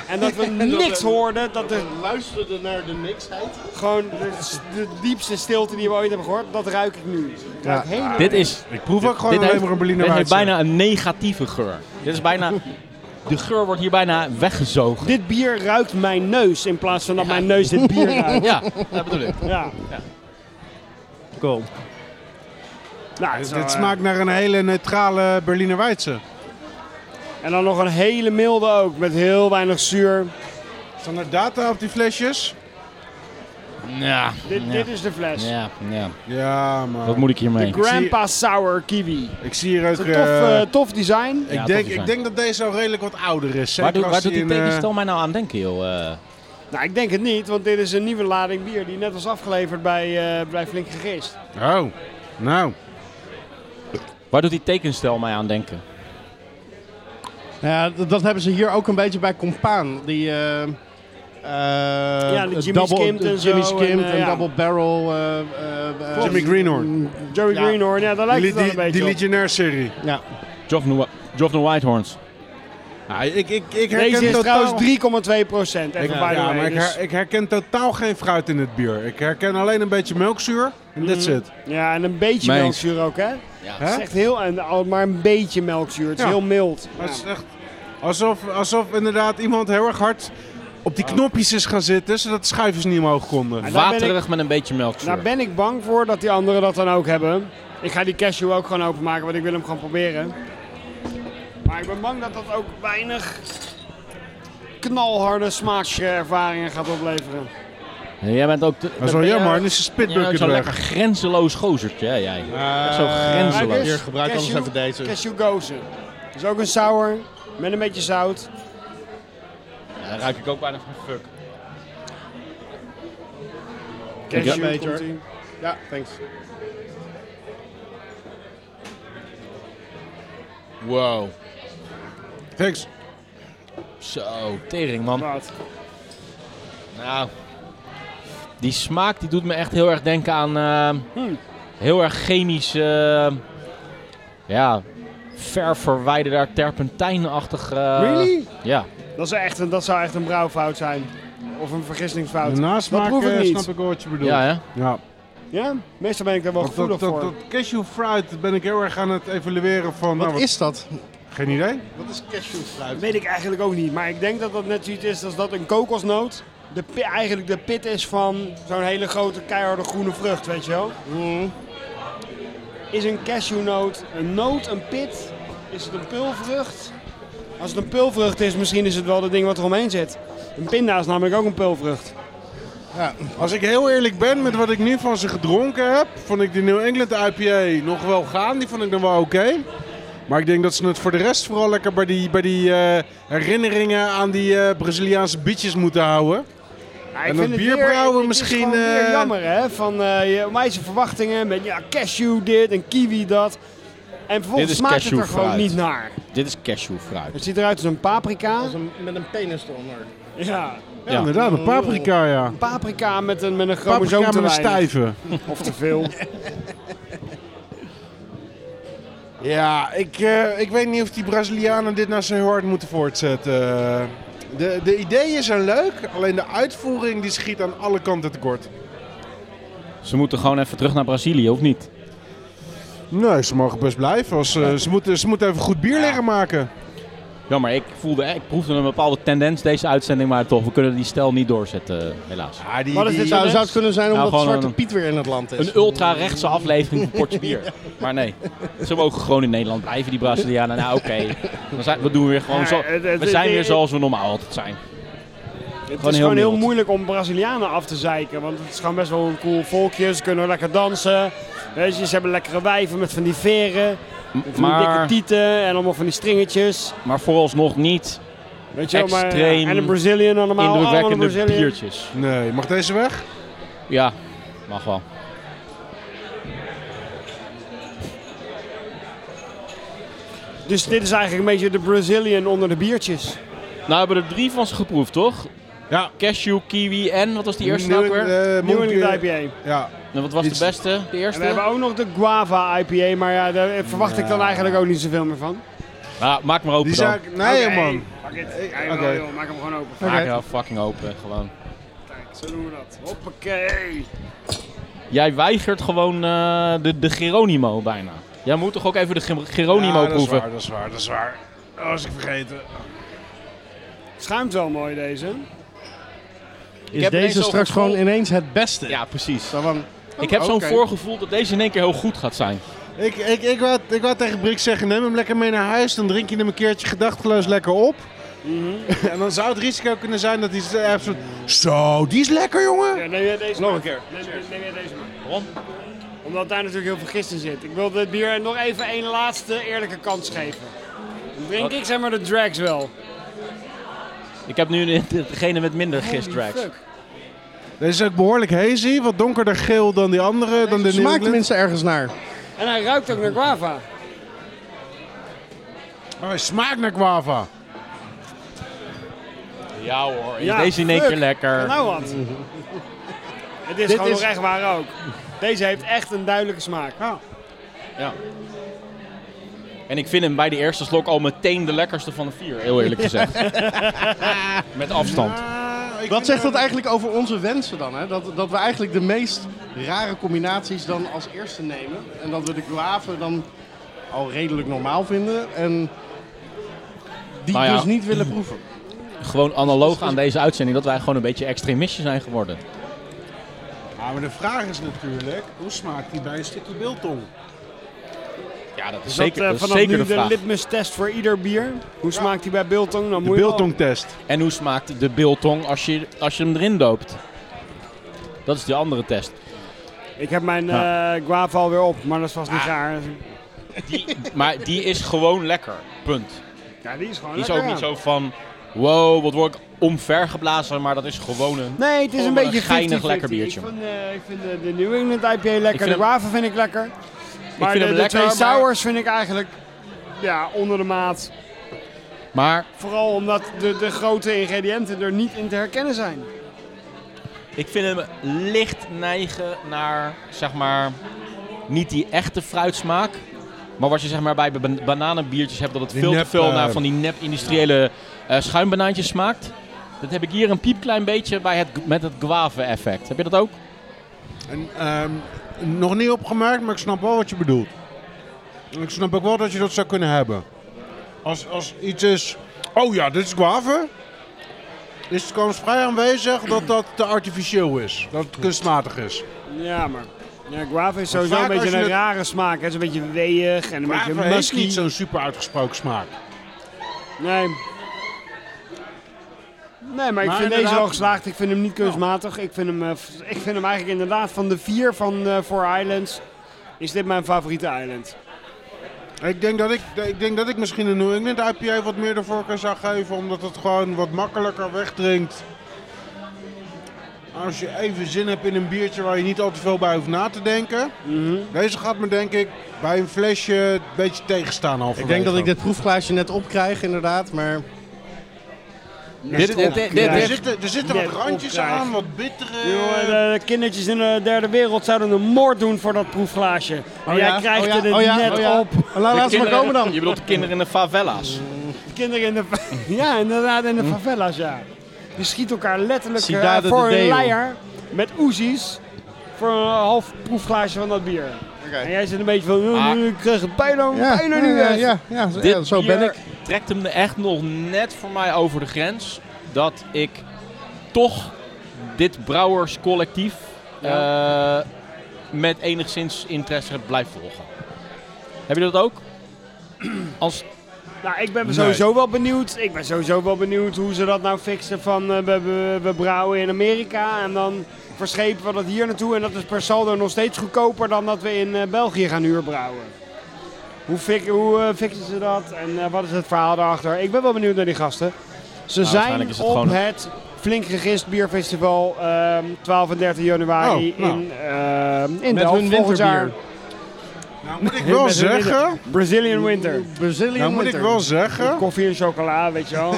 S5: En dat we niks hoorden, dat er
S3: Luisterde naar de niksheid.
S5: gewoon de, de diepste stilte die we ooit hebben gehoord, dat ruik ik nu. Ik ruik helemaal-
S1: Dit is
S2: Ik proef ook gewoon
S1: dit
S2: alleen
S1: heeft,
S2: maar een Berliner
S1: dit heeft
S2: Weisse.
S1: bijna een negatieve geur. Dit is bijna... De geur wordt hier bijna weggezogen.
S5: Dit bier ruikt mijn neus in plaats van dat mijn neus dit bier ruikt.
S1: Ja, dat bedoel ik.
S5: Ja.
S3: Cool.
S5: Nou, het is wel,
S2: Dit
S5: eh,
S2: smaakt naar een hele neutrale Berliner Weisse.
S5: eh, En dan nog een hele milde ook, met heel weinig zuur.
S2: Staan er data op die flesjes?
S1: Ja,
S5: Dit,
S1: ja.
S5: dit is de fles.
S1: Ja, ja.
S2: Ja,
S1: Dus Wat
S2: maar
S1: moet ik hiermee?
S2: zie-
S5: Grandpa Sour Kiwi.
S2: ik zie hier ook...
S5: Tof,
S2: eh,
S5: eh, tof design.
S2: ik,
S1: Ja,
S2: denk,
S1: tof design.
S2: ik denk dat deze al redelijk wat ouder is.
S1: Waar,
S2: Zeker
S1: doet-
S2: als
S1: waar doet
S2: die
S1: die
S2: in, eh,
S1: tegenstel mij nou aan denken, joh? Eh,
S5: Nou, ik denk het niet, want dit is een nieuwe lading bier die net was afgeleverd bij, eh, bij Flink Gegist.
S2: Oh, nou.
S1: waar doet die tekenstel mij aan denken?
S3: Ja, d- dat hebben ze hier ook een beetje bij Compaan. Die, eh, eh,
S5: de
S3: het
S5: Jimmy
S3: double-
S5: Skimmed en
S3: Jimmy
S5: zo en,
S3: Skimmed
S5: eh,
S3: en
S5: ja.
S3: Double Barrel. eh, eh, eh,
S2: Jimmy Greenhorn.
S5: Mm, Joey
S3: Ja.
S5: Greenhorn, ja, daar lijkt
S2: Die,
S5: het wel
S2: die,
S5: een beetje
S2: die
S5: op.
S2: Legionnaire-serie.
S3: Ja.
S1: Joffne Whitehorns.
S2: Nou, ik, ik, ik herken
S5: Deze is
S2: totaal...
S5: trouwens 3,2 procent.
S2: Ik,
S5: Even
S2: ja,
S5: by the way,
S2: maar ik,
S5: dus-
S2: her- ik herken totaal geen fruit in het bier. Ik herken alleen een beetje melkzuur. En that's
S5: Mm.
S2: it.
S5: ja, en een beetje
S1: Meens.
S5: melkzuur ook, hè?
S2: Hè?
S5: Het is echt heel, en, al- maar een beetje melkzuur. Het is
S2: Ja.
S5: heel mild.
S2: Maar het is
S5: Ja.
S2: echt alsof, alsof inderdaad iemand heel erg hard op die knopjes is gaan zitten, zodat de schuifjes niet omhoog konden.
S5: En daar ben
S1: Waterig met een beetje melkzuur.
S5: Daar Nou, ben ik bang voor dat die anderen dat dan ook hebben. Ik ga die cashew ook gewoon openmaken, want ik wil hem gewoon proberen. Maar ik ben bang dat dat ook weinig knalharde smaakservaringen gaat opleveren.
S1: Jij bent ook...
S2: Dat is wel jammer, dan is de spitbucket
S1: Zo'n lekker
S2: weg.
S1: grenzeloos gozertje, hè, jij.
S2: Eh,
S1: Echt zo
S5: kijk eens.
S1: grenzeloos.
S3: Hier, gebruik anders
S5: Cashew-
S3: even deze.
S5: Cashew gozen. Dat is ook een sour, met een beetje zout.
S1: Ja,
S2: dus-
S1: daar ruik ik ook bijna van fuck.
S5: Cashew
S3: Major.
S5: komt ie.
S3: Ja, thanks.
S1: Wow.
S2: Thanks.
S1: Zo, tering, man.
S5: Wat?
S1: Nou, die smaak die doet me echt heel erg denken aan eh, heel erg chemisch, eh, ja, ver verwijderd terpentijnachtig. eh,
S5: Really?
S1: Ja.
S5: Dat, is echt een, dat zou echt een brouwfout zijn. Of een vergissingsfout.
S2: De
S3: Nou.
S2: nasmaak
S5: dat proef ik
S2: eh,
S5: niet.
S2: snap ik wel wat je bedoelt.
S1: Ja, hè?
S2: Ja.
S5: Ja? Meestal ben ik daar wel
S2: Dat, dat,
S5: gevoelig
S2: dat,
S5: voor.
S2: dat cashew fruit ben ik heel erg aan het evalueren van... nou,
S3: Wat is dat?
S2: Geen idee.
S3: Wat is cashewfruit?
S5: Dat weet ik eigenlijk ook niet. Maar ik denk dat dat net zoiets is als dat een kokosnoot de pi- eigenlijk de pit is van zo'n hele grote keiharde groene vrucht, weet je wel. Is een cashewnoot een noot, een pit? Is het een pulvrucht? Als het een pulvrucht is, misschien is het wel dat ding wat er omheen zit. Een pinda is namelijk ook een pulvrucht.
S2: Als ik heel eerlijk ben met wat ik nu van ze gedronken heb, vond ik die New England IPA nog wel gaan. Die vond ik dan wel oké. Maar ik denk dat ze het voor de rest vooral lekker bij die, bij die eh, herinneringen aan die eh, Braziliaanse beaches moeten houden.
S5: Ja, ik
S2: En dat
S5: vind het
S2: bier
S5: weer- het
S2: brouwen
S5: is
S2: misschien,
S5: gewoon weer
S2: eh,
S5: jammer, hè? Van eh je meisje verwachtingen met ja, cashew dit en kiwi dat. En vervolgens
S1: Dit is
S5: smaakt het er
S1: cashew
S5: gewoon
S1: fruit.
S5: niet naar.
S1: Dit is cashewfruit.
S5: Het ziet eruit als een paprika.
S3: Als een- met een penis eronder.
S5: Ja,
S2: Ja,
S1: Ja.
S2: inderdaad, een paprika, ja.
S5: paprika met een, met een chromosoom
S2: Paprika
S5: te
S2: met een
S5: weinig.
S2: stijve.
S5: Of te veel.
S2: Ja, ik, eh, ik weet niet of die Brazilianen dit nou zo heel hard moeten voortzetten. De, de ideeën zijn leuk, alleen de uitvoering die schiet aan alle kanten tekort.
S1: Ze moeten gewoon even terug naar Brazilië, of niet?
S2: Nee, ze mogen best blijven. Als, eh, ze, moeten, ze moeten even goed bier leren maken.
S1: Ja, maar ik voelde, ik proefde een bepaalde tendens deze uitzending, maar toch, we kunnen die stijl niet doorzetten, eh, helaas.
S2: Ja, die,
S5: Wat is
S2: die-
S5: dit
S3: Zou, zou het kunnen zijn
S1: Nou,
S3: omdat
S1: gewoon
S3: Zwarte
S1: een-
S3: Piet weer in het land is?
S1: Een ultra-rechtse aflevering van Portje Bier. Maar nee, ze mogen gewoon in Nederland blijven, die Brazilianen. Nou, oké. Dan zijn- We doen weer gewoon zo.
S5: Ja, het- het-
S1: We zijn
S5: het-
S1: weer zoals we normaal altijd zijn. Gewoon
S5: Het is
S1: heel
S5: gewoon heel
S1: mild.
S5: moeilijk om Brazilianen af te zeiken. Want het is gewoon best wel een cool volkje. Ze kunnen lekker dansen. Weet je, ze hebben lekkere wijven met van die veren.
S1: M-
S5: Van die dikke
S1: Maar,
S5: tieten en allemaal van die stringetjes.
S1: maar vooralsnog niet
S5: Weet je, wel, maar,
S1: Extreem
S5: en een Brazilian allemaal. Allemaal een
S1: indrukwekkende
S5: Brazilian.
S1: biertjes.
S2: Nee, mag deze weg?
S1: Ja, mag wel.
S5: Dus dit is eigenlijk een beetje de Brazilian onder de biertjes.
S1: Nou hebben we er drie van ze geproefd, toch?
S2: Ja.
S1: Cashew, kiwi en, wat was die eerste nou
S2: Nieuwe-
S1: ook weer?
S2: eh,
S5: New
S2: Monkey-
S5: England IPA.
S2: Ja,
S1: En wat was de
S2: iets-
S1: beste, de
S5: En we hebben
S1: eerste?
S5: ook nog de Guava IPA, maar ja, daar verwacht ik dan eigenlijk ook niet zoveel meer van.
S1: Nou, maak maar
S2: die
S1: open dan.
S2: zaak. Nee,
S5: Oké,
S2: man.
S5: Pak het. Ja,
S2: Oké.
S5: jawel, joh, Maak hem gewoon open.
S1: Maak nou fucking open, gewoon.
S5: Kijk, zo doen we dat. Hoppakee.
S1: Jij weigert gewoon eh, de, de Geronimo bijna. Jij moet toch ook even de Ge- Geronimo
S2: Ja, dat is
S1: proeven?
S2: waar, dat is waar, dat is waar. Dat was ik vergeten.
S5: Schuimt wel mooi deze.
S1: Ik
S3: Is
S1: heb ineens
S3: deze
S1: zo'n
S3: straks
S1: gevoel-
S3: gewoon ineens het beste?
S1: Ja, precies.
S3: Zo van,
S1: ik
S5: Oh,
S1: heb zo'n
S3: oké.
S1: voorgevoel dat deze in één keer heel goed gaat zijn.
S2: Ik, ik, ik, wou, ik wou tegen Brik zeggen, neem hem lekker mee naar huis. Dan drink je hem een keertje gedachteloos lekker op. en dan zou het risico kunnen zijn dat hij z- eh, soort... Zo, die is lekker, jongen.
S5: Ja, neem jij deze
S1: Nog
S5: maar.
S1: een keer.
S5: Neem, neem jij deze maar.
S1: Waarom?
S5: Omdat daar natuurlijk heel veel gist in zit. Ik wil dit bier nog even één laatste eerlijke kans geven. Dan drink ik zeg maar de drags wel.
S1: Ik heb nu een- degene met minder gistracks.
S5: Oh, Fuck.
S2: Deze is ook behoorlijk hazy. Wat donkerder geel dan die andere. Dan
S3: Het
S2: de
S3: smaakt
S2: New England.
S3: tenminste ergens naar.
S5: En hij ruikt ook naar guava.
S2: Oh, hij smaakt naar guava.
S1: Ja hoor, is
S5: Ja,
S1: deze in één keer
S5: fuck.
S1: lekker.
S5: Nou wat. Het is
S3: Dit
S5: gewoon
S3: is-
S5: nog echt waar ook. Deze heeft echt een duidelijke smaak.
S1: Ah. Ja. En ik vind hem bij de eerste slok al meteen de lekkerste van de vier, heel eerlijk gezegd. Met afstand.
S2: Eh,
S3: Wat zegt dat eigenlijk over onze wensen dan? Hè? Dat, dat we eigenlijk de meest rare combinaties dan als eerste nemen. En dat we de guave dan al redelijk normaal vinden. En die
S1: Nou ja.
S3: dus niet willen proeven.
S1: Gewoon analoog aan deze uitzending dat wij gewoon een beetje extremistje zijn geworden.
S2: Ja, maar de vraag is natuurlijk, hoe smaakt die bij een stukje biltong?
S1: Ja, dat is
S5: Is
S1: zeker,
S5: dat, eh,
S1: dat is
S5: vanaf
S1: zeker
S5: nu
S1: de
S5: de
S1: vraag.
S5: litmus test voor ieder bier? Hoe smaakt die bij Biltong? Dan
S2: De
S5: moet je wel-
S2: biltongtest.
S1: En hoe smaakt de biltong als je, als je hem erin doopt? Dat is die andere test.
S5: Ik heb mijn eh guava alweer op, maar dat is vast
S1: Ah.
S5: niet raar.
S1: Maar die is gewoon lekker. Punt.
S5: Ja, die is gewoon
S1: Die is
S5: lekker,
S1: ook niet
S5: ja.
S1: zo van, wow, wat word ik omvergeblazen. Maar dat is gewoon een...
S5: Nee, het is
S1: Oh,
S5: een
S1: maar
S5: beetje
S1: een geinig
S5: 50-50.
S1: lekker biertje.
S5: Ik vind, eh, ik vind de, de New England IPA lekker,
S1: vind
S5: de
S1: hem-
S5: Waven vind ik lekker. Maar
S1: vind
S5: de,
S1: hem
S5: de
S1: lekker,
S5: twee
S1: maar-
S5: sours vind ik eigenlijk ja, onder de maat.
S1: Maar
S5: Vooral omdat de, de grote ingrediënten er niet in te herkennen zijn.
S1: ik vind hem licht neigen naar, zeg maar, niet die echte fruitsmaak. Maar wat je zeg maar bij ban- bananenbiertjes hebt, dat het
S2: Die
S1: veel
S2: nep,
S1: te veel
S2: eh,
S1: naar van die nep-industriële eh schuimbanaantjes smaakt. Dat heb ik hier een piepklein beetje bij het, met het guave-effect. Heb je dat ook?
S2: En, ehm, nog niet opgemerkt, maar ik snap wel wat je bedoelt. En Ik snap ook wel dat je dat zou kunnen hebben. Als, als iets is... Oh ja, dit is guave. Is de kans vrij aanwezig dat dat te artificieel is. Dat het kunstmatig is.
S5: Ja, maar ja, guava is sowieso
S2: vaak
S5: een
S2: als
S5: beetje
S2: je
S5: een
S2: het-
S5: rare smaak. Het is een beetje weeg en een beetje
S2: Guave heeft
S5: musky.
S2: niet zo'n super uitgesproken smaak.
S5: Nee. Nee, maar ik
S2: Maar
S5: vind deze
S2: inderdaad-
S5: wel geslaagd. Ik vind hem niet kunstmatig. Ik vind hem, eh, f- ik vind hem eigenlijk inderdaad van de vier van eh Four Islands... is dit mijn favoriete island.
S2: Ik denk, dat ik, ik denk dat ik misschien een New England IPA wat meer de voorkeur zou geven. Omdat het gewoon wat makkelijker wegdrinkt. Als je even zin hebt in een biertje waar je niet al te veel bij hoeft na te denken. Deze gaat me denk ik bij een flesje een beetje tegenstaan al
S3: Ik denk dat ik dit proefglaasje net opkrijg, inderdaad. Maar
S1: Dit, dit, dit- dit-
S2: er zitten, er zitten
S5: Net
S2: wat randjes
S5: opkrijgen.
S2: aan, wat bittere...
S5: Jongen, de kindertjes in de derde wereld zouden een moord doen voor dat proefglaasje. en jij krijgt
S3: oh ja,
S5: het
S3: oh ja,
S5: net
S3: oh ja.
S5: op.
S3: Laat, laat ze maar
S1: kinderen-
S3: komen dan.
S1: Je bedoelt de kinderen in de favela's.
S5: Kinderen in de, ja, inderdaad, in de favelas, ja. Die schieten elkaar letterlijk eh,
S3: Cidade Hm. de
S5: voor een
S3: Deus.
S5: leier met oezies voor een half proefglaasje van dat bier. En jij zit een beetje van, "Oh,
S1: Ah.
S5: ik krijg het bijna, bijna niet
S3: ja,
S5: weg."
S3: ja, ja, zo-
S1: Dit
S3: ja, zo ben
S1: bier
S3: ik.
S1: trekt hem er echt nog net voor mij over de grens. Dat ik toch dit brouwerscollectief eh, met enigszins interesse blijf volgen. Heb je dat ook? Als,
S5: Nou, ik ben sowieso wel benieuwd. Ik ben sowieso wel benieuwd hoe ze dat nou fixen van eh, we, we, we brouwen in Amerika en dan verschepen we dat hier naartoe. En dat is per saldo nog steeds goedkoper dan dat we in eh, België gaan huurbrouwen. Hoe, fik, hoe eh, fixen ze dat en eh, wat is het verhaal daarachter? Ik ben wel benieuwd naar die gasten. Ze zijn
S1: waarschijnlijk is het
S5: op
S1: gewoon-
S5: het Flink Gegist Bierfestival ehm, 12 en 13 januari
S2: Oh, nou.
S5: in, ehm in
S3: Met
S5: Delft
S3: hun
S5: volgend jaar.
S3: winterbier.
S2: Nou moet ik
S5: Met
S2: wel
S5: hun
S2: zeggen...
S5: Brazilian Winter.
S3: Brazilian
S2: Nou moet ik
S3: winter.
S2: wel zeggen
S5: Koffie en chocola, weet je wel.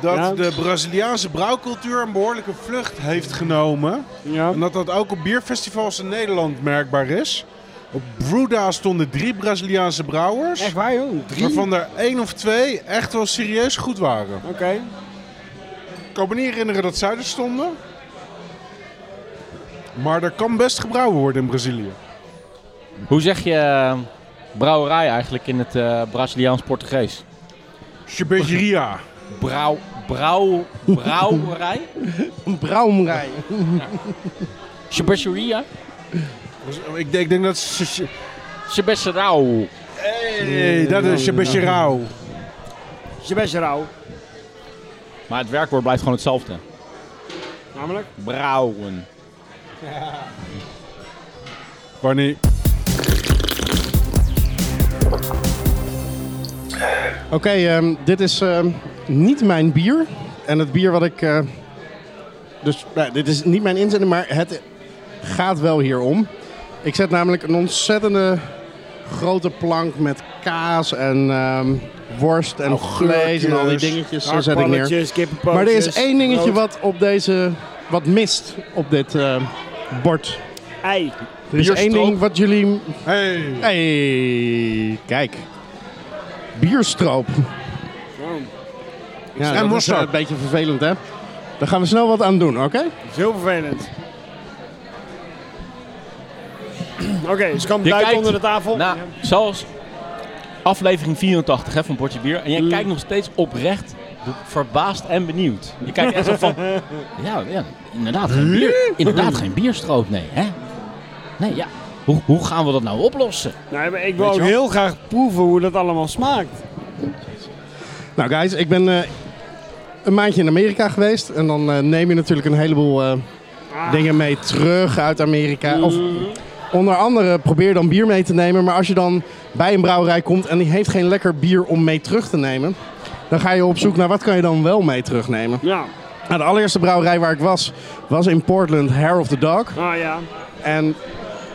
S2: dat
S5: Ja.
S2: de Braziliaanse brouwcultuur een behoorlijke vlucht heeft genomen.
S5: ja.
S2: En dat dat ook op bierfestivals in Nederland merkbaar is. Op Bruda stonden drie Braziliaanse brouwers.
S5: Echt waar joh, drie?
S2: Waarvan er één of twee echt wel serieus goed waren.
S5: Oké.
S2: Ik kan me niet herinneren dat zij er stonden. Maar er kan best gebrouwen worden in Brazilië.
S1: hoe zeg je eh, brouwerij eigenlijk in het eh, Braziliaans-Portugees?
S2: Chebejeria.
S1: Brouw, brouw, brouwerij?
S3: Een brouwerij.
S1: Chibasseria?
S2: Ik, denk- ik denk dat... ze- ze-
S1: Chibasserau.
S2: Hey, dat is Chebejerau.
S5: Is je best rauw.
S1: Maar het werkwoord blijft gewoon hetzelfde.
S5: Namelijk?
S1: Brouwen.
S2: Barney.
S3: Oké, ehm, dit is ehm, niet mijn bier. En het bier wat ik. eh, dus nou, dit is niet mijn inzending, maar het gaat wel hier om. Ik zet namelijk een ontzettende grote plank met kaas en ehm, worst en vlees en al die dingetjes. Zo zet ik neer.
S5: Oh, dus. Hakballetjes, kippenpootjes.
S3: Maar er is één dingetje
S5: brood.
S3: wat op deze. wat mist op dit eh, bord.
S5: Ei.
S3: Er is één
S1: Bierstroop.
S3: ding wat jullie
S2: Hey.
S3: Hey, kijk. Bierstroop. Ja, dat is
S2: mosterd.
S3: eh, een beetje vervelend, hè? Daar gaan we snel wat aan doen, oké?
S5: Dat is heel vervelend. Oké, dus kan
S1: Je
S5: duiken
S1: kijkt
S5: onder de tafel.
S1: Nou, zoals aflevering 84 hè, van Bordje Bier. En jij kijkt nog steeds oprecht verbaasd en benieuwd. Je kijkt echt zo van... Ja, ja inderdaad, geen bier, inderdaad geen bierstroop, nee. Hè? Nee, ja. Hoe, hoe gaan we dat nou oplossen?
S5: Nee, maar ik wil ook heel graag proeven hoe dat allemaal smaakt.
S3: Nou, guys, ik ben eh, een maandje in Amerika geweest. En dan eh, neem je natuurlijk een heleboel eh, dingen mee terug uit Amerika. Of onder andere probeer dan bier mee te nemen. Maar als je dan bij een brouwerij komt en die heeft geen lekker bier om mee terug te nemen... dan ga je op zoek naar wat kan je dan wel mee terugnemen.
S5: Ja.
S3: Nou, de allereerste brouwerij waar ik was, was in Portland, Hair of the Dog.
S5: Ah ja.
S3: En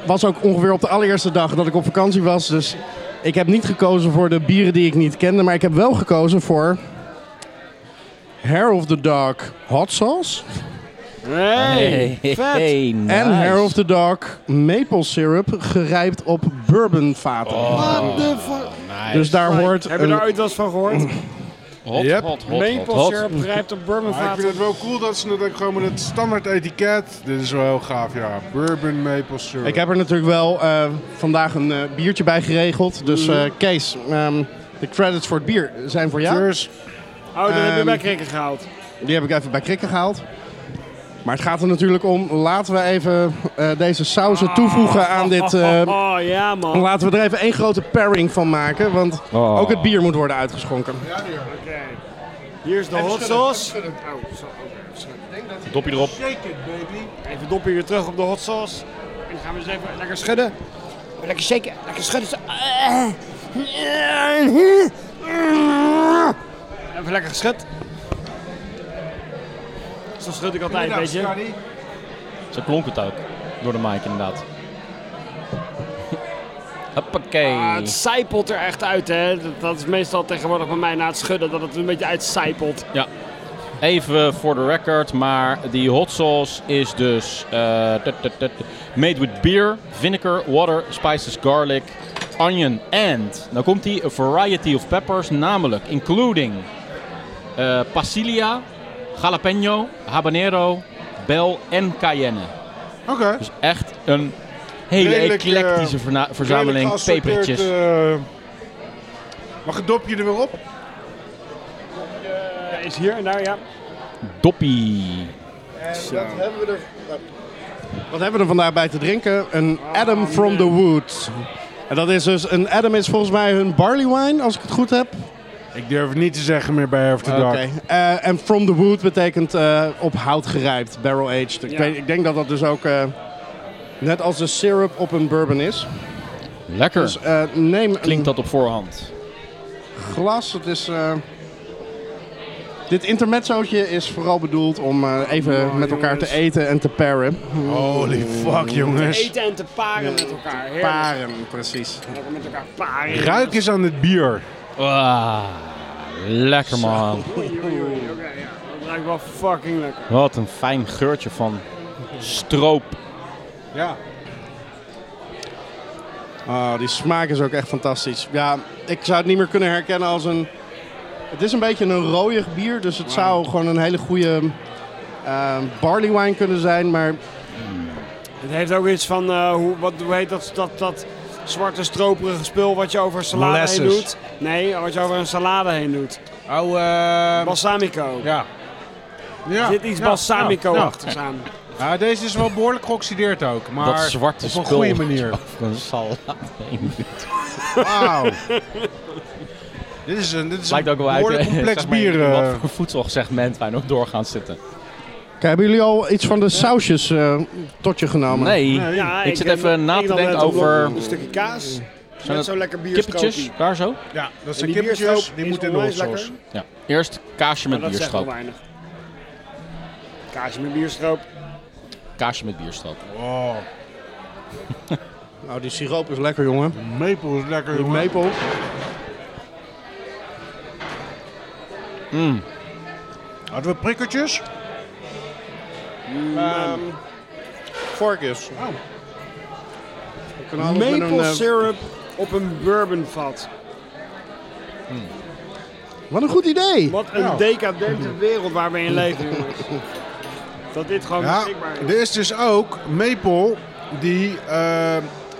S3: was ook ongeveer op de allereerste dag dat ik op vakantie was. Dus ik heb niet gekozen voor de bieren die ik niet kende. Maar ik heb wel gekozen voor Hair of the Dog Hot Sauce.
S5: Hey. vet.
S3: En Hair of the Dog Maple Syrup gerijpt op bourbonvaten.
S5: What the fuck?
S3: Dus daar hoort...
S5: Heb je
S3: een-
S5: daar ooit wat van gehoord?
S1: Hot,
S2: Yep.
S1: hot, hot, hot,
S5: Maple
S1: hot.
S5: syrup grijpt op
S2: Maar ik vind
S5: bourbonvaten.
S2: het wel cool dat ze het ook gewoon met het standaard etiket. Dit is wel heel gaaf, ja. Bourbon maple syrup.
S3: Ik heb er natuurlijk wel eh, vandaag een eh, biertje bij geregeld. Dus eh, Kees, ehm, de credits voor het bier zijn voor jou.
S2: Cheers.
S5: Oh, dat heb je
S3: Ehm,
S5: bij krikken gehaald.
S3: Die heb ik even bij Krikken gehaald. Maar het gaat er natuurlijk om, laten we even eh, deze sausen toevoegen aan dit. eh,
S5: Oh ja man.
S3: laten we er even één grote pairing van maken, want
S1: Oh.
S3: ook het bier moet worden uitgeschonken.
S5: Oké. Hier is de hot sauce. Oh, zo-
S1: Dopje erop.
S5: Even doppen weer terug op de hot sauce. En dan gaan we eens even lekker schudden. Lekker shaken, lekker schudden. Zo. Eh. Eh. Even lekker geschud. Zo schud ik altijd, weet je.
S1: Zo klonk het ook. Door de mic inderdaad. Hoppakee.
S5: Ah, het zijpelt er echt uit, hè. Dat, dat is meestal tegenwoordig bij mij na het schudden, dat het een beetje uitcijpelt.
S1: Even voor de record, maar die hot sauce is dus eh, tut, tut, tut, made with beer, vinegar, water, spices, garlic, onion and, dan komt die, a variety of peppers, namelijk including eh pasilia, jalapeno, habanero, bel en cayenne.
S2: Oké.
S1: Dus echt een hele
S2: Redelijk, eh,
S1: eclectische verna- verzameling
S2: Redelijk geassorteerd,
S1: pepertjes.
S2: eh, mag het dopje er weer op?
S5: Ja, Eh, is hier en daar, ja.
S1: Doppie.
S3: Wat hebben we er... Wat hebben we er vandaag bij te drinken? Een Adam from the Wood. En dat is dus, een Adam is volgens mij hun barley wine, als ik het goed heb.
S2: Ik durf het niet te zeggen meer bij After
S3: Oké.
S2: Dark.
S3: Eh, en from the wood betekent eh, op hout gerijpt, barrel aged. Ik,
S5: Ja.
S3: weet, ik denk dat dat dus ook eh, net als de syrup op een bourbon is.
S1: Lekker.
S3: Dus eh, neem
S1: Klinkt dat op voorhand.
S3: een glas. Het is, eh, dit intermezzootje is vooral bedoeld om eh, even met elkaar
S5: jongens.
S3: te eten en te paren.
S2: Holy fuck, jongens.
S5: Eten en te paren met elkaar. Heerlijk.
S3: Paren, precies.
S5: Lekker met elkaar paren.
S2: Ruik eens aan het bier.
S1: Ah, lekker man.
S5: Oei, oei, oei, Oké, ja. Dat ruikt wel fucking lekker.
S1: Wat een fijn geurtje van stroop.
S2: Ja.
S3: Ah, die smaak is ook echt fantastisch. Ja, ik zou het niet meer kunnen herkennen als een... Het is een beetje een rooiig bier, dus het zou gewoon een hele goede eh, barley wine kunnen zijn. Maar
S5: Het heeft ook iets van, eh, hoe, wat, hoe heet dat, dat, dat zwarte stroperige spul wat je over een salade heen
S2: Molasses.
S5: doet? Nee, wat je over een salade heen doet.
S2: Oh, eh...
S5: Balsamico.
S2: ja. Ja.
S5: Er zit iets
S2: ja, ja, ja.
S5: balsamico-achtigs aan.
S2: Ja, deze is wel behoorlijk geoxideerd ook, maar
S1: dat zwarte
S2: op
S1: spul.
S2: een goede manier.
S1: Over Een salade heen.
S2: Wauw. dit is een, dit is
S1: Lijkt
S2: een
S1: ook wel uit.
S2: behoorlijk
S1: eh,
S2: complex
S1: zeg maar, in
S2: bier. eh.
S1: Wat voor voedselsegment wij nog doorgaan zitten.
S3: Kijk, hebben jullie al iets van de sausjes eh, tot je genomen?
S1: Nee,
S2: Nee.
S5: Ja,
S1: Ik zit even
S5: heb-
S1: na
S5: ik
S1: te
S5: had
S1: denken
S5: net een
S1: over-
S5: blok- Een stukje kaas. Net
S1: dat
S5: zo lekker
S1: kippetjes
S5: bierstroopje.
S1: daar zo.
S2: Ja, dat
S5: En
S2: zijn
S5: die
S2: kippetjes,
S5: bierstroop
S2: die
S5: is
S2: moeten in de hot
S5: onwijs
S2: sauce.
S5: lekker,
S1: Ja. Eerst kaasje met
S5: maar dat zegt wel
S1: bierstroop.
S5: weinig. Kaasje met bierstroop.
S1: Kaasje met bierstroop.
S2: Oh,
S3: Nou, die siroop is lekker, jongen.
S2: maple is lekker,
S3: Die
S2: jongen.
S3: maple.
S2: Hadden we prikkertjes?
S1: Mm.
S2: Ehm,
S3: Varkens.
S2: Oh.
S3: Ik kan alles met een,
S5: Maple
S3: eh,
S5: syrup op een bourbonvat.
S3: Wat een goed idee.
S5: Wat een
S2: Ja.
S5: decadente wereld waar we in leven, jongens. Dat dit gewoon
S2: Ja,
S5: Oh, beschikbaar is.
S2: er is dus ook maple die eh,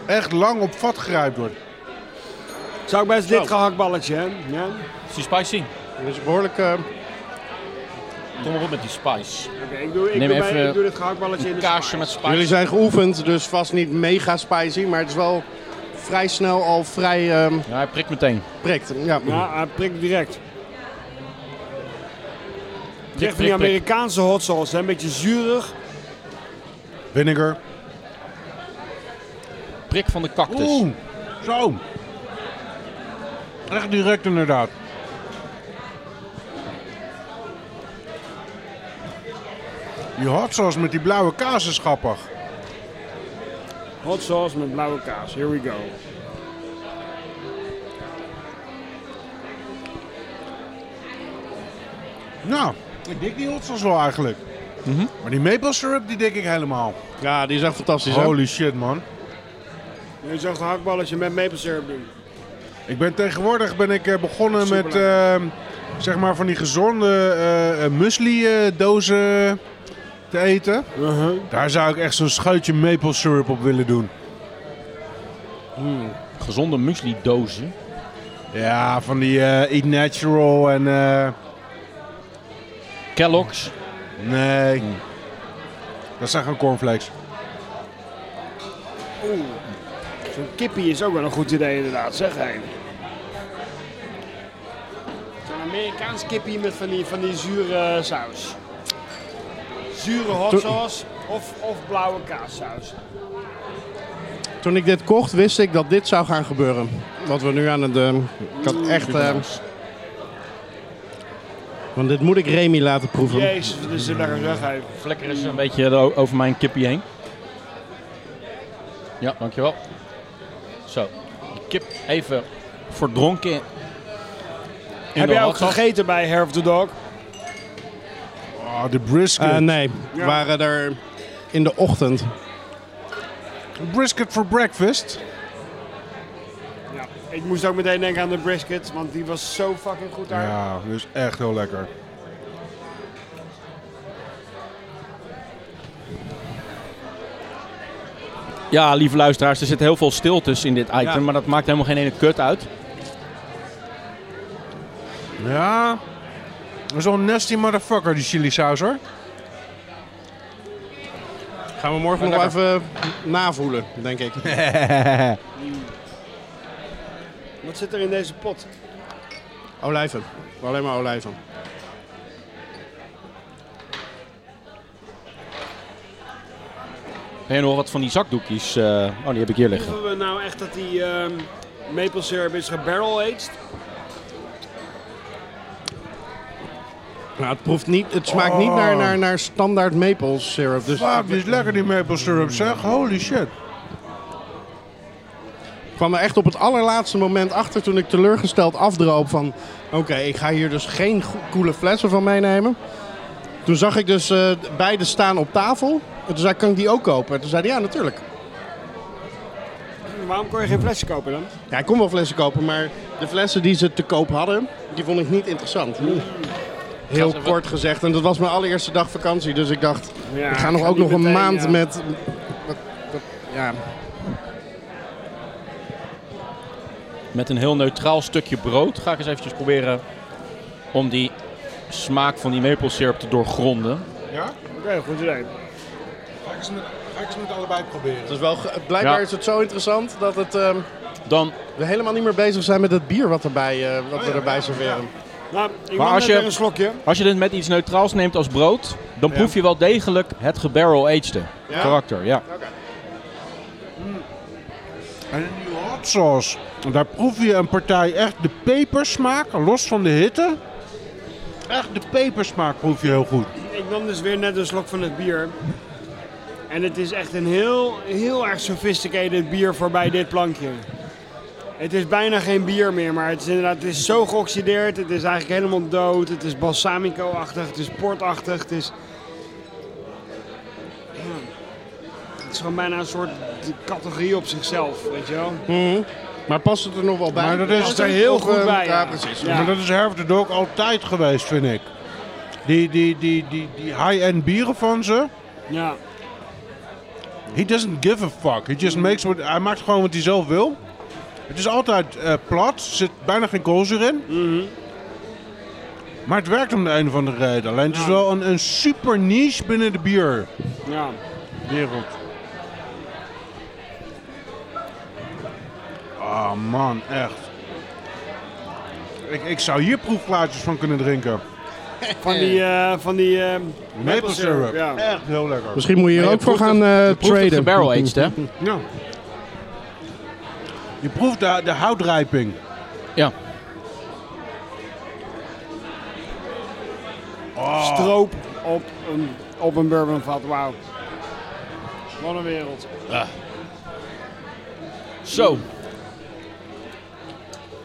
S2: echt lang op vat gerijpt wordt.
S5: Zou ik best dit
S3: Zo.
S5: gehaktballetje, hè? Ja?
S1: Is die spicy?
S3: Dat is behoorlijk... eh,
S1: Kom maar op met die spice.
S5: Oké, ik doe, ik
S1: Neem
S5: doe,
S1: even
S5: mijn- ik doe dit gehaktballetje in de
S1: Kaasje
S5: smaak.
S1: met spice.
S3: jullie zijn geoefend, dus vast niet mega spicy, maar het is wel vrij snel al vrij ehm
S1: Ja, Nou, hij prikt meteen.
S3: prikt. Ja.
S5: Ja, hij prikt direct. Het is echt van
S1: prik,
S5: die
S1: prik.
S5: Amerikaanse hot sauce, hè? een beetje zuurig.
S2: Vinegar.
S1: Prik van de cactus.
S2: Oeh, zo. Echt direct inderdaad. Die hot sauce met die blauwe kaas is grappig.
S5: Hot sauce met blauwe kaas, here we go.
S2: Nou, ik dik die hot sauce wel eigenlijk. Maar die maple syrup, die dik ik helemaal.
S3: ja, die is echt fantastisch. hè?
S2: Holy shit, man.
S5: Nu zo'n gehaktballetje met maple syrup doen.
S2: Ik ben tegenwoordig ben ik eh, begonnen
S5: Super
S2: met ehm, zeg maar van die gezonde eh, eh muesli eh, dozen te eten.
S3: Uh-huh.
S2: Daar zou ik echt zo'n schuitje maple syrup op willen doen.
S1: Gezonde muesli dozen.
S2: Ja, van die eh, Eat Natural en... eh,
S1: Kellogg's.
S2: nee. Dat zijn gewoon cornflakes.
S5: Oeh, zo'n kippie is ook wel een goed idee inderdaad, zeg hé. Zo'n Amerikaans kippie met van die, van die zure saus. Zure hot sauce of, of blauwe kaassaus.
S3: Toen ik dit kocht, wist ik dat dit zou gaan gebeuren. Wat we nu aan het... ehm, ik had echt... ehm, Want dit moet ik Remy laten proeven.
S5: Jezus, dit is een lekker zeg. hij.
S1: Vlekker is een beetje er o- over mijn kippie heen. Ja, dankjewel. Zo, die kip even verdronken. in
S5: Heb
S1: de
S5: jij ook
S1: hotdog.
S5: gegeten bij Herf the Dog?
S2: Oh, de brisket.
S3: Eh, nee, we
S5: Ja.
S3: waren er in de ochtend.
S2: Brisket for breakfast.
S5: Ja. Ik moest ook meteen denken aan de brisket, want die was zo fucking goed daar.
S2: Ja, dus echt heel lekker.
S1: Ja, lieve luisteraars, er zit heel veel stiltes in dit item,
S2: Ja.
S1: maar dat maakt helemaal geen ene kut uit.
S2: Ja. Zo'n nasty motherfucker, die chili saus hoor.
S3: Gaan we morgen nog wel even navoelen, denk ik.
S5: Wat zit er in deze pot?
S3: Olijven. Alleen maar olijven.
S1: Heb je nog wat van die zakdoekjes? eh, oh, die heb ik hier liggen.
S5: Proeven we nou echt dat die ehm, maple syrup is gebarrel aged?
S3: Nou, het, proeft niet, het Oh. smaakt niet naar, naar, naar standaard maple syrup. Dus
S2: Fuck, die is lekker die maple syrup zeg. Holy shit.
S3: Ik kwam er echt op het allerlaatste moment achter toen ik teleurgesteld afdroop van... Oké, ik ga hier dus geen go- koele flessen van meenemen. Toen zag ik dus eh, beide staan op tafel. En toen zei ik, kan ik die ook kopen? En toen zei hij, ja, natuurlijk.
S5: Waarom kon je geen flesje kopen dan?
S3: Ja, ik kon wel flessen kopen, maar de flessen die ze te koop hadden, die vond ik niet interessant. Heel kort gezegd. En dat was mijn allereerste dag vakantie, dus ik dacht,
S5: Ja,
S3: ik ga nog ook nog een maand
S5: met.
S3: met... met- met- ja,
S1: Met een heel neutraal stukje brood ga ik eens eventjes proberen om die smaak van die maple syrup te doorgronden.
S2: Ja?
S5: Oké, goed idee.
S2: Ga ik eens met, ga ik eens met allebei proberen.
S3: het is wel, ge- blijkbaar
S1: Ja.
S3: is het zo interessant dat het, ehm,
S1: Dan,
S3: we helemaal niet meer bezig zijn met het bier wat, erbij, eh, wat we erbij serveren.
S5: Nou, ik
S1: Maar
S5: maar
S1: als
S5: als
S1: je-
S5: een slokje.
S1: als je dit met iets neutraals neemt als brood, dan proef je wel degelijk het gebarrel aged
S3: Ja?
S1: karakter. Ja.
S2: En een nieuwe hot sauce. Daar proef je een partij echt de pepersmaak, los van de hitte. Echt de pepersmaak proef je heel goed.
S5: Ik nam dus weer net een slok van het bier. En het is echt een heel, heel erg sophisticated bier voorbij dit plankje. Het is bijna geen bier meer, maar het is inderdaad het is zo geoxideerd. Het is eigenlijk helemaal dood. Het is balsamico-achtig, het is portachtig. Het is... Ja. Het is gewoon bijna een soort categorie op zichzelf, weet je wel.
S3: Mhm. Maar past het er nog wel bij?
S2: Maar dat is
S3: Past
S2: er
S3: het?
S5: heel
S3: Of,
S5: goed
S3: eh,
S5: bij,
S3: Ja,
S5: ja.
S3: precies.
S5: Ja.
S2: Maar dat is Herf de Dog altijd geweest, vind ik. Die, die, die, die, die high-end bieren van ze.
S5: Ja.
S2: He doesn't give a fuck. He
S5: Mm.
S2: just makes what, hij maakt gewoon wat hij zelf wil. Het is altijd eh, plat, zit bijna geen koolzuur in.
S5: Mhm.
S2: Maar het werkt om de een of andere reden. Alleen het is
S5: Ja.
S2: wel een, een super niche binnen de bierwereld.
S5: ja.
S2: Ah man, echt. Ik, ik zou hier proefplaatjes van kunnen drinken.
S5: Van die... eh, van die eh,
S2: Maple syrup.
S5: Ja.
S2: Echt heel lekker.
S3: Misschien moet je hier
S1: Maar je
S3: ook voor
S1: proeft
S3: gaan eh
S1: Je proeft het
S3: traden.
S1: gebarrel aged, hè?
S2: Ja. Je proeft de, de houtrijping.
S1: Ja.
S5: stroop op een, op een bourbonvat. Wauw. Wat een wereld.
S1: Zo.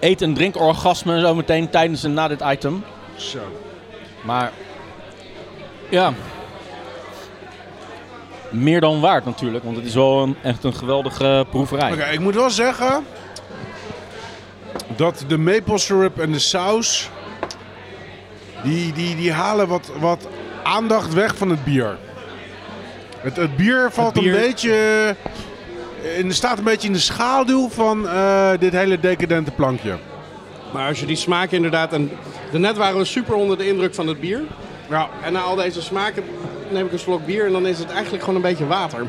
S1: Eet- en drinkorgasme zo meteen tijdens en na dit item.
S2: Zo.
S1: Maar ja, meer dan waard natuurlijk, want het is wel een, echt een geweldige proeverij.
S2: Oké, ik moet wel zeggen dat de maple syrup en de saus, die, die, die halen wat, wat aandacht weg van het bier. Het, het bier valt
S1: bier-
S2: een beetje, in, staat een beetje in de schaduw van eh, dit hele decadente plankje.
S3: Maar als je die smaak inderdaad... En daarnet waren we super onder de indruk van het bier.
S2: Ja,
S3: En na al deze smaken neem ik een slok bier en dan is het eigenlijk gewoon een beetje water.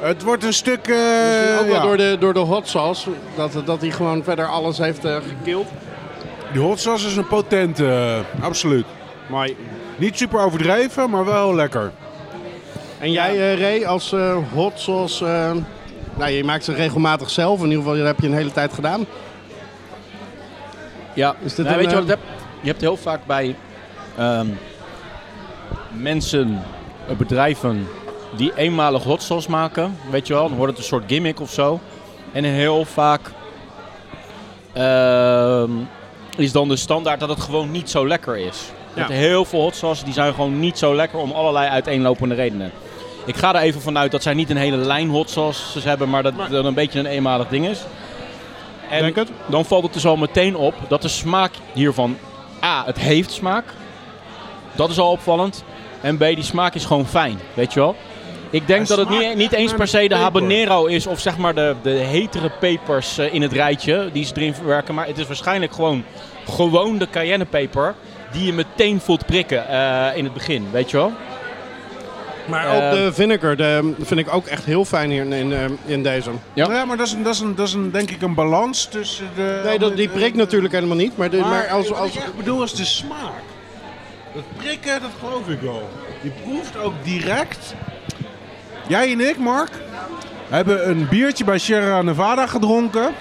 S2: het wordt een stuk... eh,
S3: Misschien ook wel
S2: ja.
S3: door, de, door de hot sauce, dat, dat hij gewoon verder alles heeft eh gekild.
S2: Die hot sauce is een potente, eh, absoluut.
S3: Mooi.
S2: Niet super overdreven, maar wel heel lekker.
S3: En jij, eh, Ray, als eh, hot sauce... eh, nou, je maakt ze regelmatig zelf. In ieder geval, dat heb je een hele tijd gedaan.
S1: Ja,
S3: Is dit
S1: Nou,
S3: een,
S1: weet je wat
S3: eh,
S1: het heb- je hebt heel vaak bij ehm, mensen, eh, bedrijven die eenmalig hot sauce maken, weet je wel, dan wordt het een soort gimmick of zo. En heel vaak ehm, is dan de standaard dat het gewoon niet zo lekker is. Want heel veel hot sauce die zijn gewoon niet zo lekker om allerlei uiteenlopende redenen. Ik ga er even vanuit dat zij niet een hele lijn hot sauces hebben, maar dat dat een beetje een eenmalig ding is. En
S2: Denk het?
S1: dan valt het dus al meteen op dat de smaak hiervan... A, het heeft smaak. Dat is al opvallend. En B, die smaak is gewoon fijn. Weet je wel? Ik denk
S2: Hij
S1: dat het niet,
S2: smaakt
S1: niet eens per se de
S2: naar peper.
S1: habanero is of zeg maar de, de hetere pepers eh, in het rijtje die ze erin verwerken. Maar het is waarschijnlijk gewoon, gewoon de cayennepeper die je meteen voelt prikken eh, in het begin. Weet je wel?
S3: Maar
S1: Eh,
S3: ook de vinegar, de, vind ik ook echt heel fijn hier in, in, eh, in deze.
S1: Ja.
S2: Nou Ja, maar dat is, een, dat, is een, dat is een, denk ik een balans tussen de...
S3: Nee, dat, die prikt natuurlijk helemaal niet. Maar, de,
S2: Maar,
S3: maar als,
S2: wat
S3: als,
S2: ik echt bedoel is de smaak. Dat prikken, dat geloof ik wel. Je proeft ook direct. Jij en ik, Mark, hebben een biertje bij Sierra Nevada gedronken.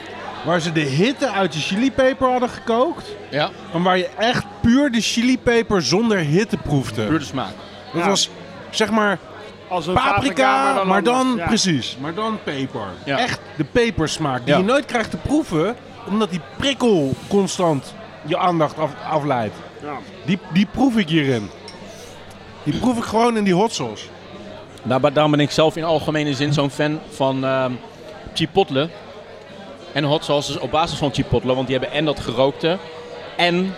S2: Waar ze de hitte uit de chilipeper hadden gekookt.
S1: Ja.
S2: Maar waar je echt puur de chilipeper zonder hitte
S1: Puur
S2: proefde.
S1: de smaak.
S2: Dat
S5: Ja.
S2: was, zeg maar,
S5: Als een
S2: paprika, maar dan,
S5: anders. Ja.
S2: precies. Maar dan peper.
S1: Ja.
S2: Echt de pepersmaak die
S1: Ja.
S2: je nooit krijgt te proeven, omdat die prikkel constant je aandacht af- afleidt.
S5: Ja.
S2: Die, die proef ik hierin. Die proef ik gewoon in die hot sauce.
S1: Nou, maar daarom ben ik zelf in algemene zin zo'n fan van ehm, chipotle. En hot sauces op basis van chipotle. Want die hebben en dat gerookte. En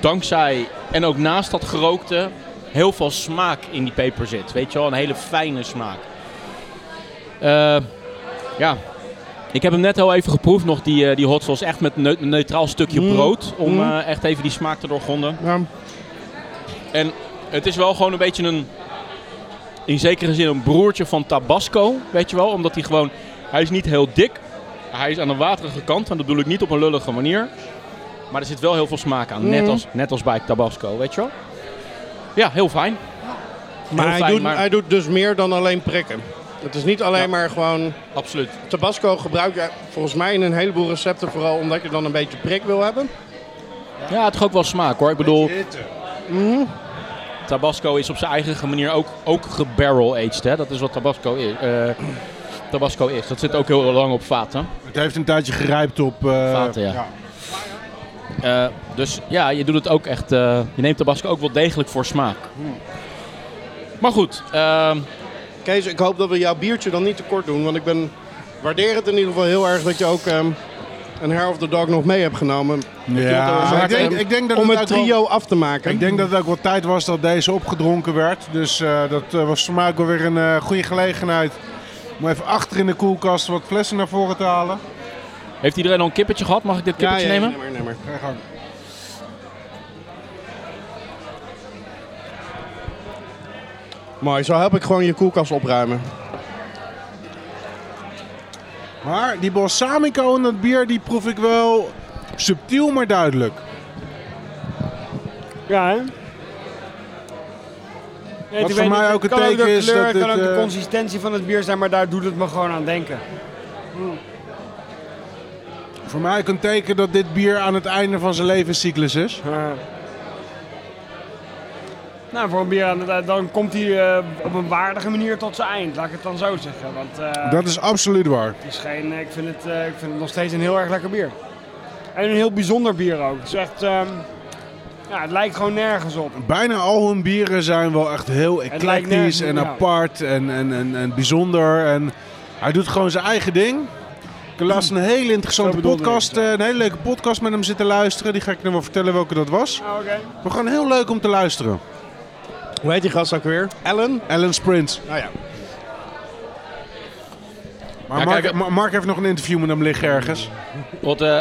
S1: dankzij en ook naast dat gerookte heel veel smaak in die peper zit. Weet je wel, een hele fijne smaak. Eh, ja. Ik heb hem net heel even geproefd nog, die, eh, die hot sauce. Echt met een neu- neutraal stukje brood. Om
S3: Mm.
S1: eh, echt even die smaak te doorgronden.
S3: ja,
S1: En het is wel gewoon een beetje een, in zekere zin een broertje van Tabasco, weet je wel. Omdat hij gewoon, hij is niet heel dik. Hij is aan de waterige kant en dat bedoel ik niet op een lullige manier. Maar er zit wel heel veel smaak aan, net, als, net als bij Tabasco, weet je wel. Ja, heel fijn.
S3: maar, hij,
S1: fijn,
S3: doet,
S1: maar-
S3: hij doet dus meer dan alleen prikken. Het is niet alleen maar gewoon...
S1: Absoluut.
S3: Tabasco gebruik je volgens mij in een heleboel recepten vooral omdat je dan een beetje prik wil hebben.
S1: Ja, het heeft ook wel smaak hoor. Ik bedoel, Mhm.
S2: Hitte.
S1: Tabasco is op zijn eigen manier ook, ook gebarrel-aged. hè. Dat is wat Tabasco is. eh, Tabasco is. Dat zit ook heel lang op vaten.
S2: Het heeft een tijdje gerijpt op... eh,
S1: Vaten, ja. Eh, dus ja, je doet het ook echt. eh, je neemt tabasco ook wel degelijk voor smaak. Maar goed, ehm,
S3: Kees, ik hoop dat we jouw biertje dan niet te kort doen, want ik ben, waardeer het in ieder geval heel erg dat je ook ehm, een Hair of the Dog nog mee hebt genomen.
S2: Ja.
S3: Maar
S2: ik, denk,
S3: ehm,
S2: ik denk dat
S3: om
S2: het
S3: het
S2: ook wel-
S3: trio af te maken.
S2: Ik denk dat het ook wel tijd was dat deze opgedronken werd. Dus eh, dat eh, was voor mij ook wel weer een eh, goede gelegenheid om even achter in de koelkast wat flessen naar voren te halen.
S1: heeft iedereen al een kippertje gehad? Mag ik dit kippertje nemen?
S3: Nee, maar, nee, maar.
S2: Ga je gang.
S3: Mooi, zo help ik gewoon je koelkast opruimen.
S2: Maar die balsamico en dat bier, die proef ik wel subtiel maar duidelijk.
S5: Ja, hè? Nee,
S2: Wat
S5: ik weet
S2: voor mij
S5: niet,
S2: ook
S5: het
S2: een
S5: kan ook
S2: teken
S5: de
S2: is
S5: kleur,
S2: dat
S5: het kan
S2: het,
S5: ook de
S2: eh,
S5: consistentie van het bier zijn, maar daar doet het me gewoon aan denken.
S2: Voor mij ook een teken dat dit bier aan het einde van zijn levenscyclus is.
S5: Eh. Nou, voor een bier aan het- dan komt hij eh, op een waardige manier tot zijn eind, laat ik het dan zo zeggen. Want eh,
S2: Dat is absoluut waar.
S5: het is geen, ik, vind het, eh, ik vind het nog steeds een heel erg lekker bier. En een heel bijzonder bier ook. Het, is echt, ehm, ja, het lijkt gewoon nergens op.
S2: Bijna al hun bieren zijn wel echt heel
S5: lijkt
S2: eclectisch
S5: nergens-
S2: en
S5: ja.
S2: apart en, en, en, en bijzonder. En hij doet gewoon zijn eigen ding. Ik heb laatst een hele
S5: Zo
S2: interessante
S5: bedoelde ik
S2: podcast,
S5: het,
S2: eh, een hele leuke podcast met hem zitten luisteren. Die ga ik nog wel vertellen welke dat was.
S5: Ah, Oké.
S2: Maar gewoon heel leuk om te luisteren.
S3: Hoe heet die gast ook weer? Ellen?
S2: Alan Sprint.
S3: Nou ja.
S2: Maar
S1: Ja,
S2: Mark,
S1: kijk,
S2: Ma- Mark heeft nog een interview met hem liggen ergens.
S1: Wat eh,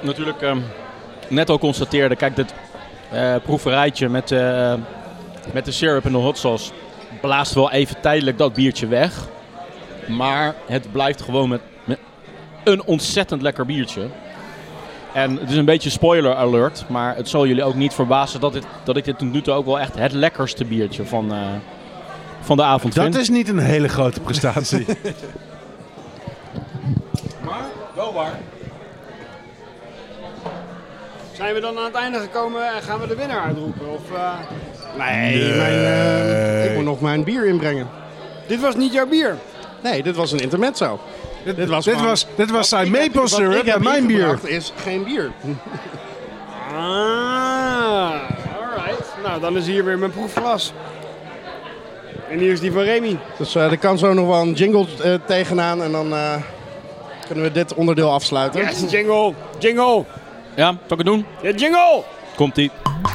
S1: natuurlijk ehm, net al constateerde, kijk, dit eh, proeverijtje met, eh, met de syrup en de hot sauce blaast wel even tijdelijk dat biertje weg. Maar het blijft gewoon met, met een ontzettend lekker biertje. En het is een beetje spoiler alert, maar het zal jullie ook niet verbazen dat, dit, dat ik dit tot nu toe ook wel echt het lekkerste biertje van, eh, van de avond vind.
S2: Dat is niet een hele grote prestatie. maar wel waar.
S5: Zijn we dan aan het einde gekomen en gaan we de winnaar uitroepen? Of, eh,
S3: Nee, mijn, eh, ik moet nog mijn bier inbrengen.
S5: Dit was niet jouw bier.
S3: Nee, dit was een intermezzo.
S2: Dit,
S3: Dit was
S2: dit,
S3: gewoon-
S2: was, dit was zijn
S3: Ik heb-
S2: maple
S3: wat ik
S2: syrup
S3: heb
S2: en mijn bier.
S3: ingebracht is geen bier.
S5: Ah, alright. Nou, dan is hier weer mijn proefglas. En hier is die van Remy.
S3: Dus eh, er kan zo nog wel een jingle eh, tegenaan en dan eh, kunnen we dit onderdeel afsluiten.
S5: Yes, jingle, jingle,
S1: Ja, zal ik het doen?
S5: ja, jingle!
S1: Komt-ie.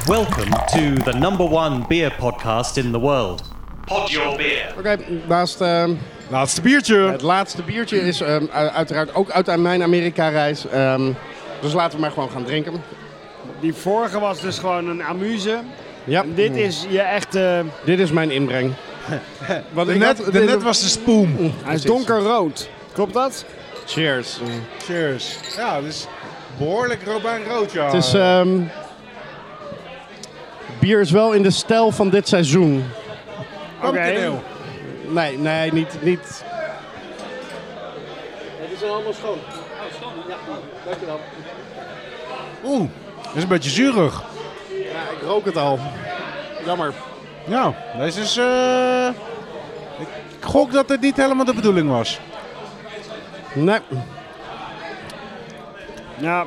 S4: Welcome to the number one beer podcast in the world. Pod Your Beer.
S3: Oké, naast eh,
S2: Laatste biertje.
S3: het laatste biertje is eh, u- uiteraard ook uit mijn Amerika-reis. Ehm, dus laten we maar gewoon gaan drinken.
S5: Die vorige was dus gewoon een amuse.
S3: Ja,
S5: En dit is je echte...
S3: dit is mijn inbreng. Want
S2: De
S3: ik
S2: net,
S3: had-
S2: de
S3: dit-
S2: net was de spoem.
S5: Hij is
S3: Precies.
S5: donkerrood. Klopt dat?
S3: Cheers.
S2: Cheers. Ja, dus behoorlijk robijn rood, ja.
S3: Het is, ehm, bier is wel in de stijl van dit seizoen.
S5: Oké.
S3: Nee, nee, niet, niet
S2: Oeh, dat is een beetje zuurig.
S3: Ja, ik rook het al. Jammer.
S2: Nou, deze is... eh, ik gok dat dit niet helemaal de bedoeling was.
S3: Nee.
S5: Ja,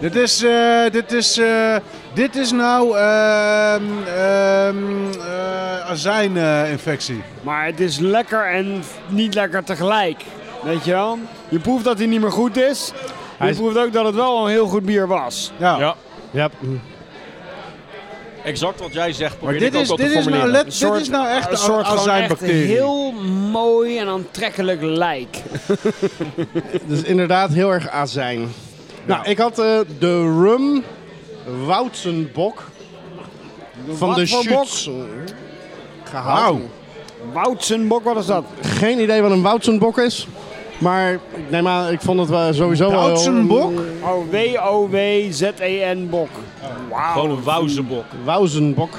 S2: Dit is, eh, dit is, eh, dit is nou ehm ehm, eh, azijninfectie.
S5: maar het is lekker en niet lekker tegelijk. Weet je wel? Je proeft dat hij niet meer goed is. Je
S3: is-
S5: proeft ook dat het wel een heel goed bier was.
S2: ja.
S1: Ja,
S3: Ja.
S1: exact wat jij zegt
S2: Maar
S1: probeer
S2: dit
S1: ik ook
S2: is,
S1: wel te
S2: dit, is
S1: formuleren.
S2: nou let, dit
S5: soort-
S2: is nou echt
S5: een soort
S2: een
S5: gewoon echt een
S2: azijnbacterie.
S5: heel mooi en aantrekkelijk lijk.
S3: Dus inderdaad heel erg azijn. Nou, ik had eh, de rum Woutsenbok van
S5: wat
S3: de
S5: voor bok?
S3: Schütz gehaald.
S2: Wauw.
S5: Woutsenbok, wat is dat?
S3: Geen idee wat een Woutsenbok is. Maar ik neem aan, ik vond het wel sowieso wel...
S2: Woutsenbok?
S5: Oh,
S3: E
S5: W-O-W-Z-E-N bok.
S1: Gewoon een wauzenbok.
S3: Wauzenbok.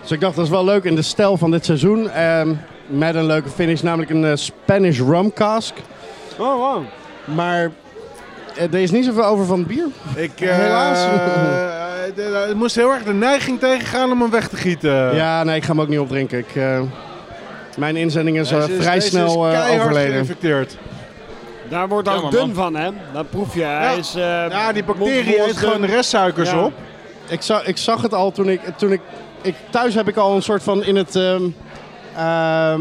S3: Dus ik dacht, dat is wel leuk in de stijl van dit seizoen. Ehm, met een leuke finish, namelijk een eh, Spanish rum cask.
S5: Oh, wow.
S3: Maar eh, er is niet zoveel over van het bier.
S2: Ik,
S3: Helaas.
S2: eh, eh, de- ik moest heel erg de neiging tegengaan om hem weg te gieten.
S3: Ja, nee, ik ga hem ook niet opdrinken. Ik, eh, mijn inzending is eh,
S2: Deze is-
S3: vrij
S2: deze
S3: snel
S2: is
S3: eh,
S2: keihard
S3: overleden.
S2: geïnfecteerd.
S5: Daar wordt ook
S1: Jammer,
S5: dun
S1: man.
S5: van, hè? Dat proef je. Hij is, eh,
S2: Ja, die
S5: mondvol
S2: bacterie
S5: als
S2: eet gewoon de
S5: dun.
S2: restsuikers
S5: Ja.
S2: op.
S3: Ik, zag, ik zag het al toen ik, toen ik, ik... Thuis heb ik al een soort van in het... ehm, ehm,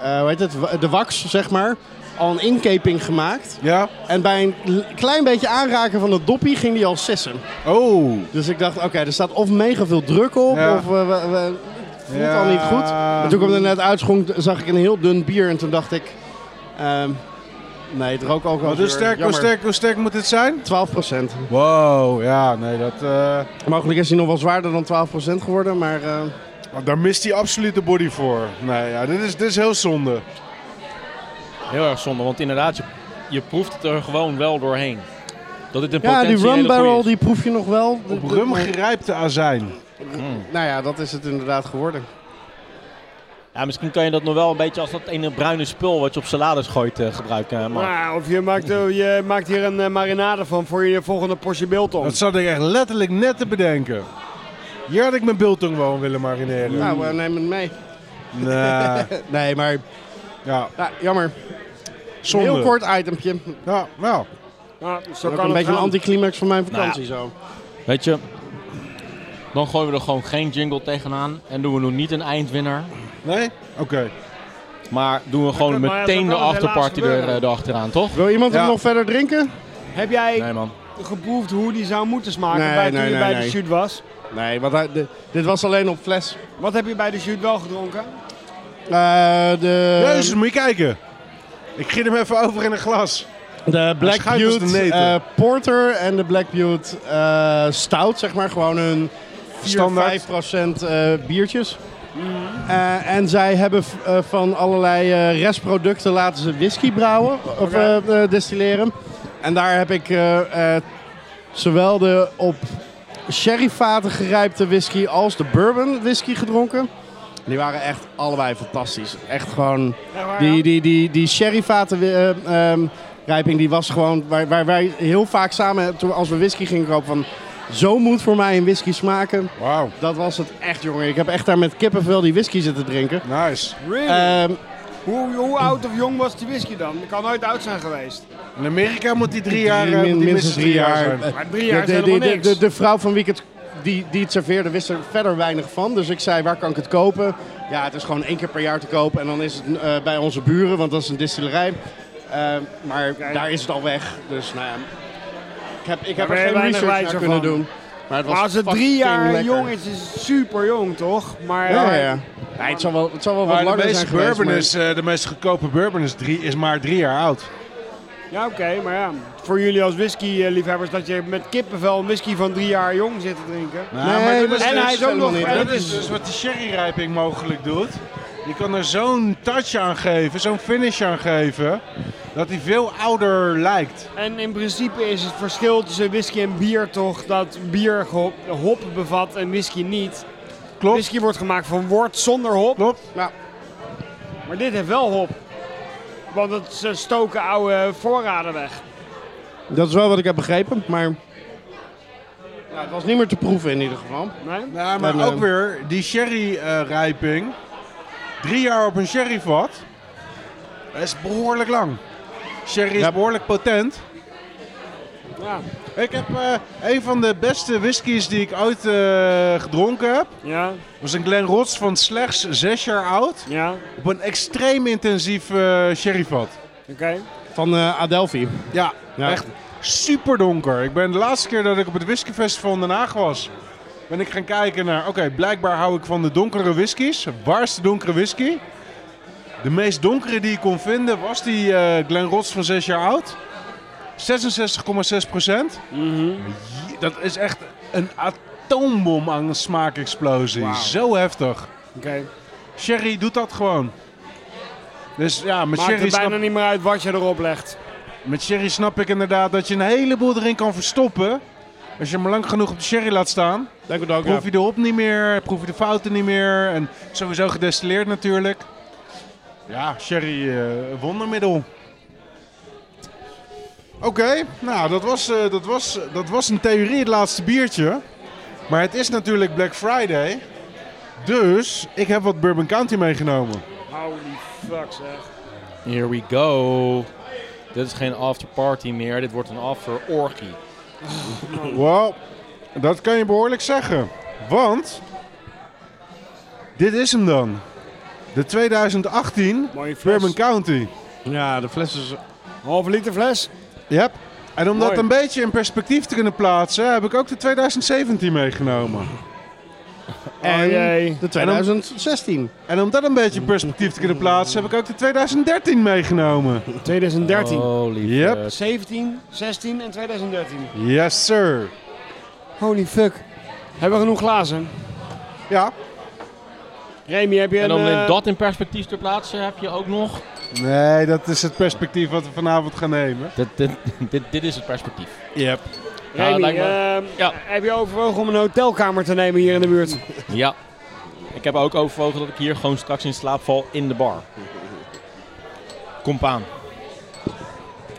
S3: eh, hoe heet het? Wa- De wax, zeg maar. Al een inkeping gemaakt.
S2: Ja.
S3: En bij een l- klein beetje aanraken van het doppie ging die al sissen.
S2: Oh.
S3: Dus ik dacht, oké, er staat of mega veel druk op,
S2: Ja.
S3: of eh, we- we- het voelt
S2: Ja.
S3: al niet goed. En toen ik hem er net uitschonk, zag ik een heel dun bier en toen dacht ik, ehm, nee, het rook ook al
S5: dus
S2: Wat hoe, sterk, hoe, sterk, hoe sterk moet dit zijn?
S3: 12 procent.
S2: Wow, ja, nee, dat, eh,
S3: Mogelijk is hij nog wel zwaarder dan 12 geworden, maar eh,
S2: Nou, daar mist hij absoluut de body voor. Nee, ja, dit is, dit is heel zonde.
S1: Heel erg zonde, want inderdaad, je, je proeft het er gewoon wel doorheen. Dat dit een
S3: ja,
S1: potentie
S3: die
S1: hele
S3: rum
S1: goeie
S3: barrel
S1: is.
S3: die proef je nog wel.
S2: Op rum gerijpte azijn.
S3: Nou ja, dat is het inderdaad geworden.
S1: Ja, misschien kan je dat nog wel een beetje als dat ene bruine spul wat je op salades gooit eh, gebruiken. eh, Mark.
S5: Nou, of je maakt, eh, je maakt hier een eh, marinade van voor je volgende portie biltong.
S2: Dat zat ik echt letterlijk net te bedenken. Hier had ik mijn biltong gewoon willen marineren.
S3: Nou, eh, neem het mee. Eh,
S2: Nee,
S3: Nee, maar
S2: ja,
S3: ja, jammer.
S2: zonde.
S3: Heel kort itempje.
S2: Ja, nou,
S5: Ja, zo
S3: Ook
S5: kan
S3: een
S5: het
S3: beetje een
S5: gaan.
S3: anticlimax van mijn
S1: ja.
S3: vakantie zo.
S1: Weet je, dan gooien we er gewoon geen jingle tegenaan en doen we nog niet een eindwinnaar.
S2: nee? Oké.
S1: Maar doen we gewoon
S5: kan- maar ja,
S1: meteen
S5: zo
S1: de
S5: kan het
S1: afterparty
S5: helaas
S1: er,
S5: gebeuren.
S1: eh, erachteraan, toch?
S3: Wil iemand
S2: Ja.
S3: hem nog verder drinken?
S5: Heb jij
S1: Nee man.
S5: geproefd hoe die zou moeten smaken
S3: Nee,
S5: bij, toen
S3: nee,
S5: je
S3: nee,
S5: bij de
S3: nee.
S5: shoot was?
S3: Nee, want hij- de- dit was alleen op fles.
S5: Wat heb je bij de shoot wel gedronken?
S3: Eh, de,
S2: Jezus, moet je kijken. Ik giet hem even over in een glas.
S3: de Black
S2: schuift als de
S3: Butte
S2: neten.
S3: eh, Porter en de Black Butte eh, Stout, zeg maar. Gewoon hun 4,
S2: Standaard.
S3: 5 procent biertjes. Eh, en zij hebben v- eh, van allerlei eh, restproducten laten ze whisky brouwen of eh, eh, destilleren. En daar heb ik eh, eh, zowel de op sherryvaten gerijpte whisky als de bourbon whisky gedronken. Die waren echt allebei fantastisch. Echt gewoon die, die, die, die sherryvaten eh, ehm, rijping die was gewoon waar, waar wij heel vaak samen toen als we whisky gingen kopen van Zo moet voor mij een whisky smaken.
S2: Wauw,
S3: Dat was het echt, jongen. Ik heb echt daar met kippenvel die whisky zitten drinken.
S2: nice. Eh,
S5: Really?
S3: Ehm,
S5: hoe, hoe oud of jong was die whisky dan? Dat kan nooit oud zijn geweest.
S2: In Amerika moet die drie jaar,
S3: min-
S2: eh, moet die minstens drie jaar zijn.
S3: Eh,
S5: Maar drie jaar is
S3: de, de,
S5: helemaal
S3: de,
S5: niks.
S3: de, de vrouw van wie ik het, die, die het serveerde wist er verder weinig van. Dus ik zei, waar kan ik het kopen? Ja, het is gewoon één keer per jaar te kopen. En dan is het eh, bij onze buren, want dat is een distillerij. Eh, maar daar is het al weg. Dus nou ja, ik heb, ik heb er
S5: ben je
S3: geen
S5: weinig
S3: research naar
S5: wijzer
S3: kunnen
S5: van.
S3: doen. Maar, het was
S5: Maar als het drie
S3: fucking
S5: jaar
S3: lekker.
S5: jong is, is het super jong toch? Maar
S3: Ja, ja,
S5: eh,
S3: ja. Nee, het zal wel, het zal wel wat
S2: Maar de
S3: langer
S2: meeste
S3: zijn geweest.
S2: bourbon
S3: maar-
S2: is, eh, de meest goedkope bourbon is, drie, is maar drie jaar oud.
S5: ja, oké, maar ja. Voor jullie als whisky-liefhebbers dat je met kippenvel een whisky van drie jaar jong zit te drinken.
S2: Nou,
S3: Nee,
S2: maar dat
S3: dat
S2: is
S5: en
S2: dus-
S5: hij is ook
S3: helemaal
S5: nog...
S3: niet.
S5: en
S2: Dat is dus wat de sherryrijping mogelijk doet. Je kan er zo'n touch aan geven, zo'n finish aan geven, dat hij veel ouder lijkt.
S5: En in principe is het verschil tussen whisky en bier toch dat bier gehop- hop bevat en whisky niet.
S2: Klopt.
S5: Whisky wordt gemaakt van wort zonder hop,
S2: Klopt?
S5: maar dit heeft wel hop. Want het ze stoken oude voorraden weg.
S3: Dat is wel wat ik heb begrepen, maar... Ja, het was niet meer te proeven in ieder geval.
S5: Nee?
S2: Nou, maar
S3: En,
S2: ook
S3: eh,
S2: weer die sherryrijping. Drie jaar op een sherryvat. Dat is behoorlijk lang. Sherry is
S3: Ja.
S2: behoorlijk potent.
S5: Ja.
S2: Ik heb eh, een van de beste whiskies die ik ooit eh, gedronken heb.
S5: Ja,
S2: was een Glen Rots van slechts zes jaar oud.
S5: ja,
S2: Op een extreem intensief eh, sherryvat.
S5: oké.
S3: Van eh Adelphi.
S2: Ja,
S3: Ja.
S2: echt super donker. Ik ben de laatste keer dat ik op het whiskyfestival in Den Haag was, ben ik gaan kijken naar, oké, blijkbaar hou ik van de donkere whiskies. Waar is de donkere whisky? De meest donkere die ik kon vinden was die eh Glen Rots van 6 jaar oud. 66,6 procent.
S5: Mhm.
S2: Dat is echt een atoombom aan smaakexplosie. Zo heftig.
S5: Oké.
S2: Sherry doet dat gewoon. Dus ja, met
S5: Maakt
S2: sherry
S5: het
S2: snap
S5: bijna niet meer uit wat je erop legt.
S2: met sherry snap ik inderdaad dat je een heleboel erin kan verstoppen. Als je hem lang genoeg op de sherry laat staan,
S3: Dank u, dank u.
S2: proef je de hop niet meer, proef je de fouten niet meer. En sowieso gedestilleerd natuurlijk. Ja, sherry eh, wondermiddel. Oké, nou dat was, eh, dat, was, dat was in theorie het laatste biertje. Maar het is natuurlijk Black Friday. Dus ik heb wat Bourbon County meegenomen.
S5: Holy fuck zeg.
S1: Here we go. Dit is geen afterparty meer, dit wordt een after-orgie.
S2: Wel, dat kan je behoorlijk zeggen. Want, dit is hem dan. De 2018
S5: Mooie fles.
S2: Bourbon County.
S3: Ja, de fles is
S5: Halve liter fles.
S2: Yep. En om dat
S5: Mooi.
S2: een beetje in perspectief te kunnen plaatsen, heb ik ook de 2017 meegenomen.
S5: Oh jee.
S3: de 2016.
S2: En om dat een beetje in perspectief te kunnen plaatsen, heb ik ook de 2013 meegenomen.
S5: 2013.
S1: Holy
S2: Yep.
S1: fuck.
S5: 17, 16 en 2013.
S2: Yes, sir.
S5: Holy fuck. Hebben we genoeg glazen?
S2: Ja.
S5: Remy, heb je
S1: En
S5: een...
S1: om
S5: eh,
S1: dat in perspectief te plaatsen heb je ook nog...
S2: Nee, dat is het perspectief wat we vanavond gaan nemen.
S1: Dit, dit, dit, dit is het perspectief.
S2: Yep.
S1: Ja,
S5: Remy,
S1: lijkt me-
S5: ehm,
S1: ja.
S5: heb je overwogen om een hotelkamer te nemen hier in de buurt?
S1: Ja. Ik heb ook overwogen dat ik hier gewoon straks in slaap val in de bar. Kom aan.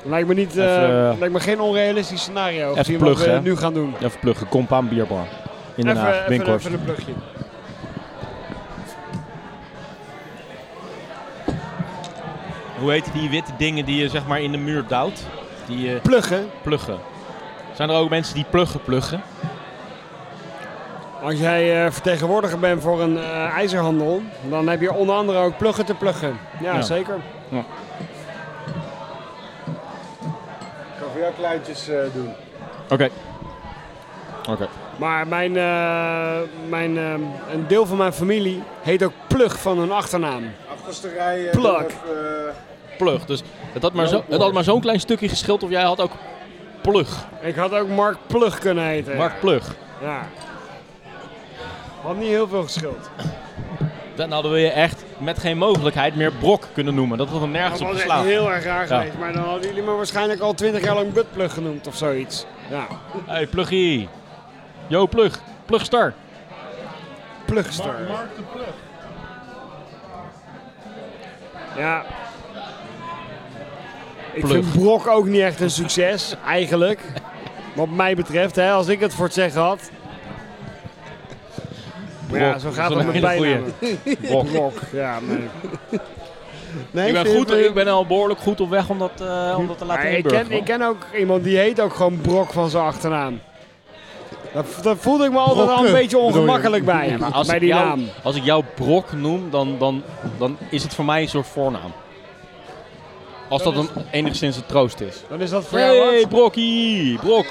S5: Lijkt me, niet, eh,
S1: Even, eh,
S5: lijkt me geen onrealistisch scenario.
S1: even
S5: gezien
S1: pluggen,
S5: wat
S1: hè?
S5: we nu gaan doen.
S1: Even pluggen, kom aan bierbar. In Den
S5: even,
S1: Haag,
S5: even,
S1: Winkhorst.
S5: even een plugje.
S1: Hoe heet die witte dingen die je zeg maar in de muur duwt? Die eh,
S5: Pluggen?
S1: pluggen. Zijn er ook mensen die pluggen pluggen?
S5: Als jij eh, vertegenwoordiger bent voor een eh, ijzerhandel, dan heb je onder andere ook pluggen te pluggen. Ja,
S1: Ja.
S5: zeker.
S2: Ik ga voor jou kleintjes eh, doen.
S1: Oké. Oké.
S5: Maar mijn, eh, mijn, eh, een deel van mijn familie heet ook plug van hun achternaam.
S2: Achterste rij.
S5: Plak. doe eh,
S1: Plug. Dus het had maar zo- het had maar zo'n klein stukje geschild of jij had ook plug.
S5: Ik had ook Mark Plug kunnen heten.
S1: Mark Plug.
S5: Ja. Had niet heel veel geschild.
S1: Dan hadden we je echt met geen mogelijkheid meer brok kunnen noemen. Dat had hem
S5: Dat
S1: nergens op
S5: Nou, was echt
S1: geslagen.
S5: heel erg raar
S1: Ja.
S5: geweest. Maar dan hadden jullie me waarschijnlijk al twintig jaar lang buttplug genoemd of zoiets. Ja,
S1: Hey, pluggie. Yo, plug. Plugstar.
S5: plugster. Ja. Ik
S1: Plug.
S5: vind Brok ook niet echt een succes, eigenlijk. Wat mij betreft, hè, als ik het voor het zeggen had. Maar ja,
S1: Brok,
S5: zo
S1: dat
S5: gaat
S1: is
S5: het
S1: een
S5: met
S1: hele
S5: bijnamen.
S1: Brok.
S5: Brok, ja. Nee.
S3: Nee,
S1: Ik ben,
S3: vind-
S1: goed, ik ben al behoorlijk goed op weg om dat, eh, om dat te laten
S5: Maar ik,
S1: inburgeren.
S5: ken, ik ken ook iemand die heet ook gewoon Brok van zijn achternaam. Daar, daar voelde ik me altijd al een
S3: Brokke,
S5: beetje ongemakkelijk bij.
S1: Maar als,
S5: bij
S1: ik
S5: die
S1: jou,
S5: naam.
S1: als ik jou Brok noem, dan, dan, dan is het voor mij een soort voornaam. Als dat een, enigszins een troost is.
S5: Dan is dat voor jou wat?
S1: Hey, Brokkie! Brok!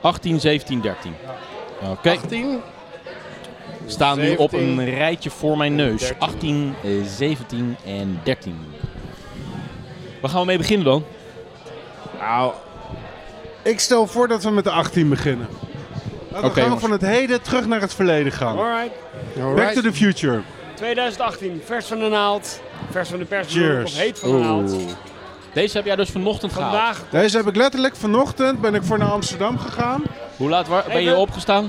S1: 18, 17, 13. Oké,
S3: 18.
S1: staan nu op
S3: 17,
S1: een rijtje voor mijn neus.
S3: 13.
S1: 18, eh, 17 en 13. Waar gaan we mee beginnen dan?
S2: Nou, ik stel voor dat we met de 18 beginnen. Laten we
S1: Oké,
S2: gaan
S1: jongens.
S2: van het heden terug naar het verleden gaan.
S5: Alright.
S2: Back to the future.
S5: 2018, vers van de naald. Vers van de pers
S2: Cheers.
S5: of heet van de naald.
S1: Oh. Deze heb jij dus vanochtend gehaald.
S5: Vandaag
S2: Deze heb ik letterlijk vanochtend ben ik voor naar Amsterdam gegaan.
S1: Hoe laat wa- ben je
S5: Even-
S1: opgestaan?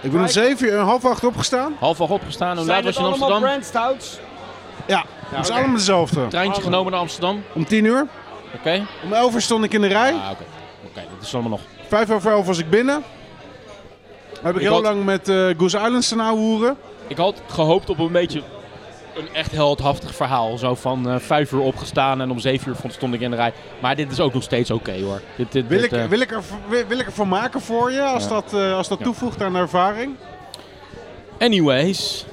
S2: Ik ben om
S5: Kijk.
S2: 7 uur en half acht opgestaan.
S1: Half acht opgestaan. Hoe laat
S5: zijn
S1: was
S5: het
S1: je in
S5: allemaal
S1: Amsterdam?
S5: brand stouts.
S2: Ja, het is allemaal dezelfde.
S1: Treintje genomen naar Amsterdam.
S2: Om 10 uur.
S1: Oké.
S2: Om 11 uur stond ik in de rij.
S1: Ah, oké. Oké, dat is allemaal nog.
S2: Vijf over elf was ik binnen. Heb ik
S1: Ik
S2: heel
S1: had-
S2: lang met eh Goose Island staan ouwehoeren.
S1: Ik had gehoopt op een beetje een echt heldhaftig verhaal. Zo van eh, vijf uur opgestaan en om zeven uur vond- stond ik in de rij. Maar dit is ook nog steeds oké hoor. Dit, dit,
S2: Wil
S1: dit,
S2: ik,
S1: eh,
S2: wil, ik er, wil, wil ik ervan maken voor je als
S1: Ja.
S2: dat, eh, als dat
S1: Ja.
S2: toevoegt aan de ervaring?
S1: Anyways,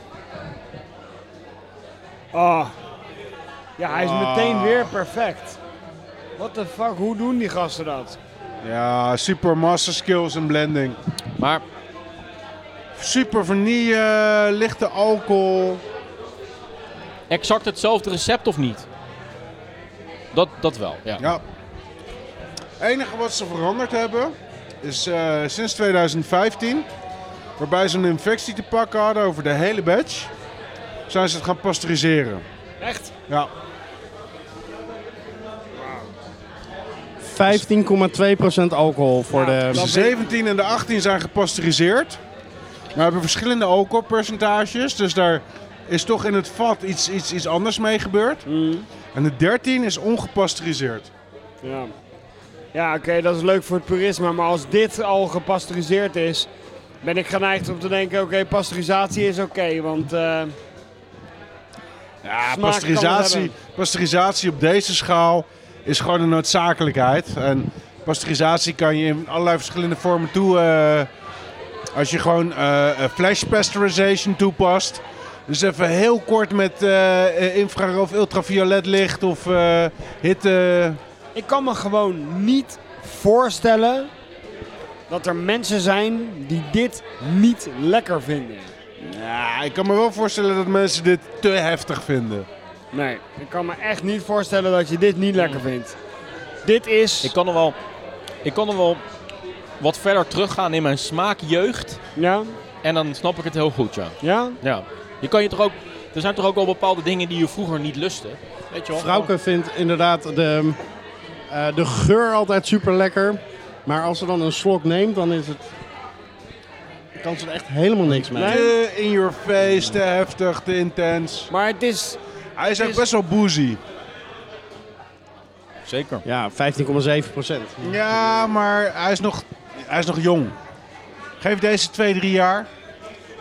S5: Ah. Ja, hij is meteen
S1: Ah.
S5: weer perfect. What the fuck, hoe doen die gasten dat?
S2: Ja, super master skills en blending.
S1: maar
S2: Super vanille, lichte alcohol.
S1: exact hetzelfde recept of niet? Dat, dat wel, ja.
S2: Ja. Het enige wat ze veranderd hebben is eh, sinds 2015, waarbij ze een infectie te pakken hadden over de hele batch, zijn ze het gaan pasteuriseren.
S5: Echt?
S2: Ja.
S3: 15,2% alcohol voor
S5: Ja,
S3: de...
S2: De
S5: dat-
S2: 17 en de 18 zijn gepasteuriseerd, maar hebben verschillende alcoholpercentages, dus daar is toch in het vat iets, iets, iets anders mee gebeurd. En de 13 is ongepasteuriseerd.
S5: Ja. Ja, oké, dat is leuk voor het purisme, maar als dit al gepasteuriseerd is, ben ik geneigd om te denken, oké, pasteurisatie is oké, want eh,
S2: Ja,
S5: Smaak kan
S2: pasteurisatie,
S5: het
S2: pasteurisatie op deze schaal is gewoon een noodzakelijkheid. En pasteurisatie kan je in allerlei verschillende vormen toe. eh, als je gewoon eh, eh, flash pasteurization toepast. Dus even heel kort met eh, eh, infrarood of ultraviolet licht of eh, hitte.
S5: ik kan me gewoon niet voorstellen dat er mensen zijn die dit niet lekker vinden.
S2: Ja, ik kan me wel voorstellen dat mensen dit te heftig vinden.
S5: Nee, ik kan me echt niet voorstellen dat je dit niet lekker vindt. Dit is...
S1: Ik kan er wel, ik kan er wel wat verder teruggaan in mijn smaakjeugd.
S5: Ja?
S1: En dan snap ik het heel goed, ja.
S5: Ja?
S1: ja. Je kan je toch ook, er zijn toch ook wel bepaalde dingen die je vroeger niet lustte. Weet je wel?
S3: Vrouwke vindt inderdaad de, eh, de geur altijd super lekker. Maar als ze dan een slok neemt, dan is het... kan ze er echt helemaal niks mee.
S5: Nee.
S2: Te Eh, in your face, te heftig, te intens.
S5: Maar het is...
S2: Hij is ook best wel boozy.
S1: Zeker.
S3: Ja, 15,7%.
S2: Ja, maar hij is nog, hij is nog jong. Geef deze twee, drie jaar.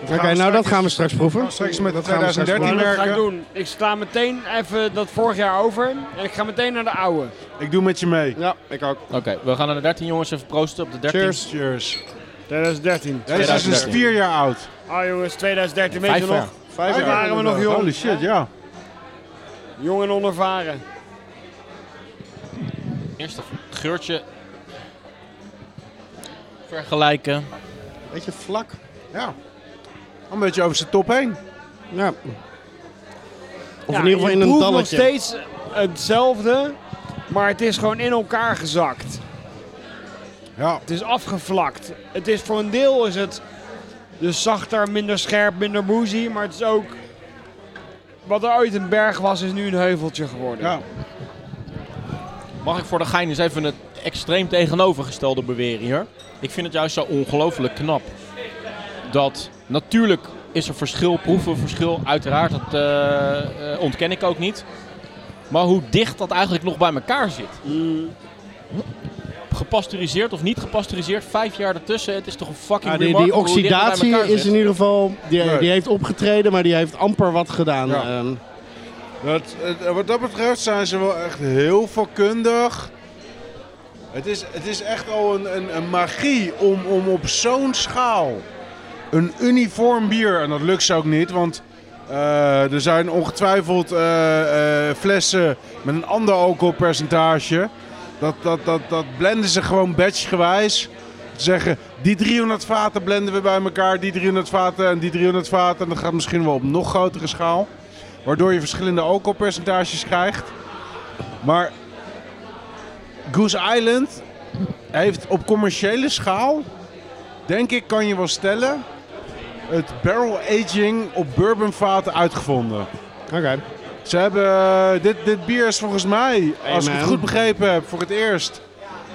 S3: Oké, nou dat gaan we straks proeven.
S2: gaan straks met
S3: Dat gaan we straks
S2: 2013
S5: Maar
S3: proeven.
S5: dat ga ik
S2: merken.
S5: doen. Ik sla meteen even dat vorig jaar over en ik ga meteen naar de oude.
S2: Ik doe met je mee.
S3: Ja, ik ook.
S1: Oké, we gaan naar de 13 jongens even proosten op de 13.
S2: Cheers. Cheers.
S5: 2013.
S2: Deze is dus
S1: 2013.
S2: vier jaar oud.
S5: Ah jongens, 2013, weet je
S1: Vijf
S5: nog?
S1: jaar.
S2: Vijf
S5: jaar. waren we nog jong.
S2: Holy shit, ja.
S5: Jong en onervaren.
S1: Eerst even geurtje vergelijken.
S3: Beetje vlak.
S2: ja. Een beetje over zijn top heen.
S3: Ja. Of in ieder geval in
S5: je
S3: een
S5: proeft
S3: dalletje.
S5: nog steeds hetzelfde, maar het is gewoon in elkaar gezakt.
S2: Ja.
S5: Het is afgevlakt. Het is voor een deel is het dus zachter, minder scherp, minder boozy, maar het is ook... Wat er ooit een berg was, is nu een heuveltje geworden.
S2: ja.
S1: Mag ik voor de gein eens even het extreem tegenovergestelde beweren hier? Ik vind het juist zo ongelooflijk knap. Dat natuurlijk is er verschil, proeven verschil, uiteraard, dat eh, eh, ontken ik ook niet. Maar hoe dicht dat eigenlijk nog bij elkaar zit. gepasteuriseerd of niet gepasteuriseerd, vijf jaar ertussen. Het is toch een fucking
S3: Ja, Ah, die, die
S1: remarkable hoe dicht het bij
S3: oxidatie
S1: elkaar
S3: is
S1: zit.
S3: in ieder geval. Die,
S2: Nee.
S3: die heeft opgetreden, maar die heeft amper wat gedaan.
S2: Ja.
S3: Ehm,
S2: Dat, eh, wat dat betreft zijn ze wel echt heel vakkundig. Het is, het is echt al een, een, een magie om, om op zo'n schaal een uniform bier, en dat lukt ze ook niet, want eh, er zijn ongetwijfeld eh, eh, flessen met een ander alcoholpercentage. Dat, dat, dat, dat blenden ze gewoon batchgewijs. Zeggen, die 300 vaten blenden we bij elkaar, die 300 vaten en die 300 vaten. En dat gaat misschien wel op nog grotere schaal. Waardoor je verschillende alcoholpercentages krijgt. Maar Goose Island heeft op commerciële schaal, denk ik, kan je wel stellen, het barrel aging op bourbonvaten uitgevonden.
S3: Oké.
S2: Ze hebben, eh, dit, dit bier is volgens mij, als ik het
S3: man.
S2: goed begrepen heb, voor het eerst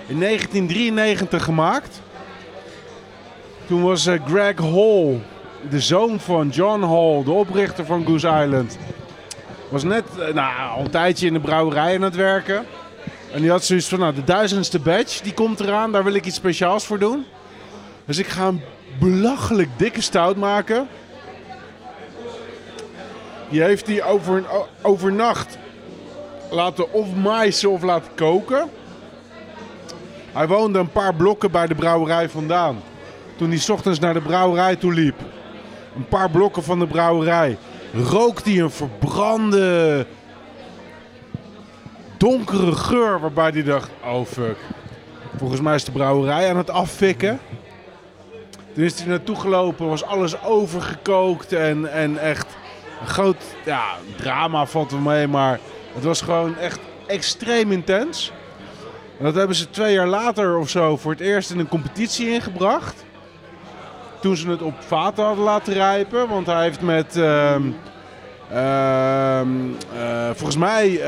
S2: in 1993 gemaakt. Toen was eh, Greg Hall, de zoon van John Hall, de oprichter van Goose Island, was net eh, nou, al een tijdje in de brouwerij aan het werken. En die had zoiets van, nou, de duizendste badge, die komt eraan, daar wil ik iets speciaals voor doen. Dus ik ga een belachelijk dikke stout maken. Die heeft hij over, o- overnacht laten of maaisen of laten koken. Hij woonde een paar blokken bij de brouwerij vandaan. Toen hij 's ochtends naar de brouwerij toe liep, een paar blokken van de brouwerij, rookt hij een verbrande donkere geur waarbij hij dacht, oh fuck, volgens mij is de brouwerij aan het affikken. Toen is hij naartoe gelopen, was alles overgekookt en, en echt een groot ja, drama valt er mee, maar het was gewoon echt extreem intens. En dat hebben ze twee jaar later of zo voor het eerst in een competitie ingebracht. Toen ze het op vaten hadden laten rijpen, want hij heeft met... ehm, ehm, eh, volgens mij eh,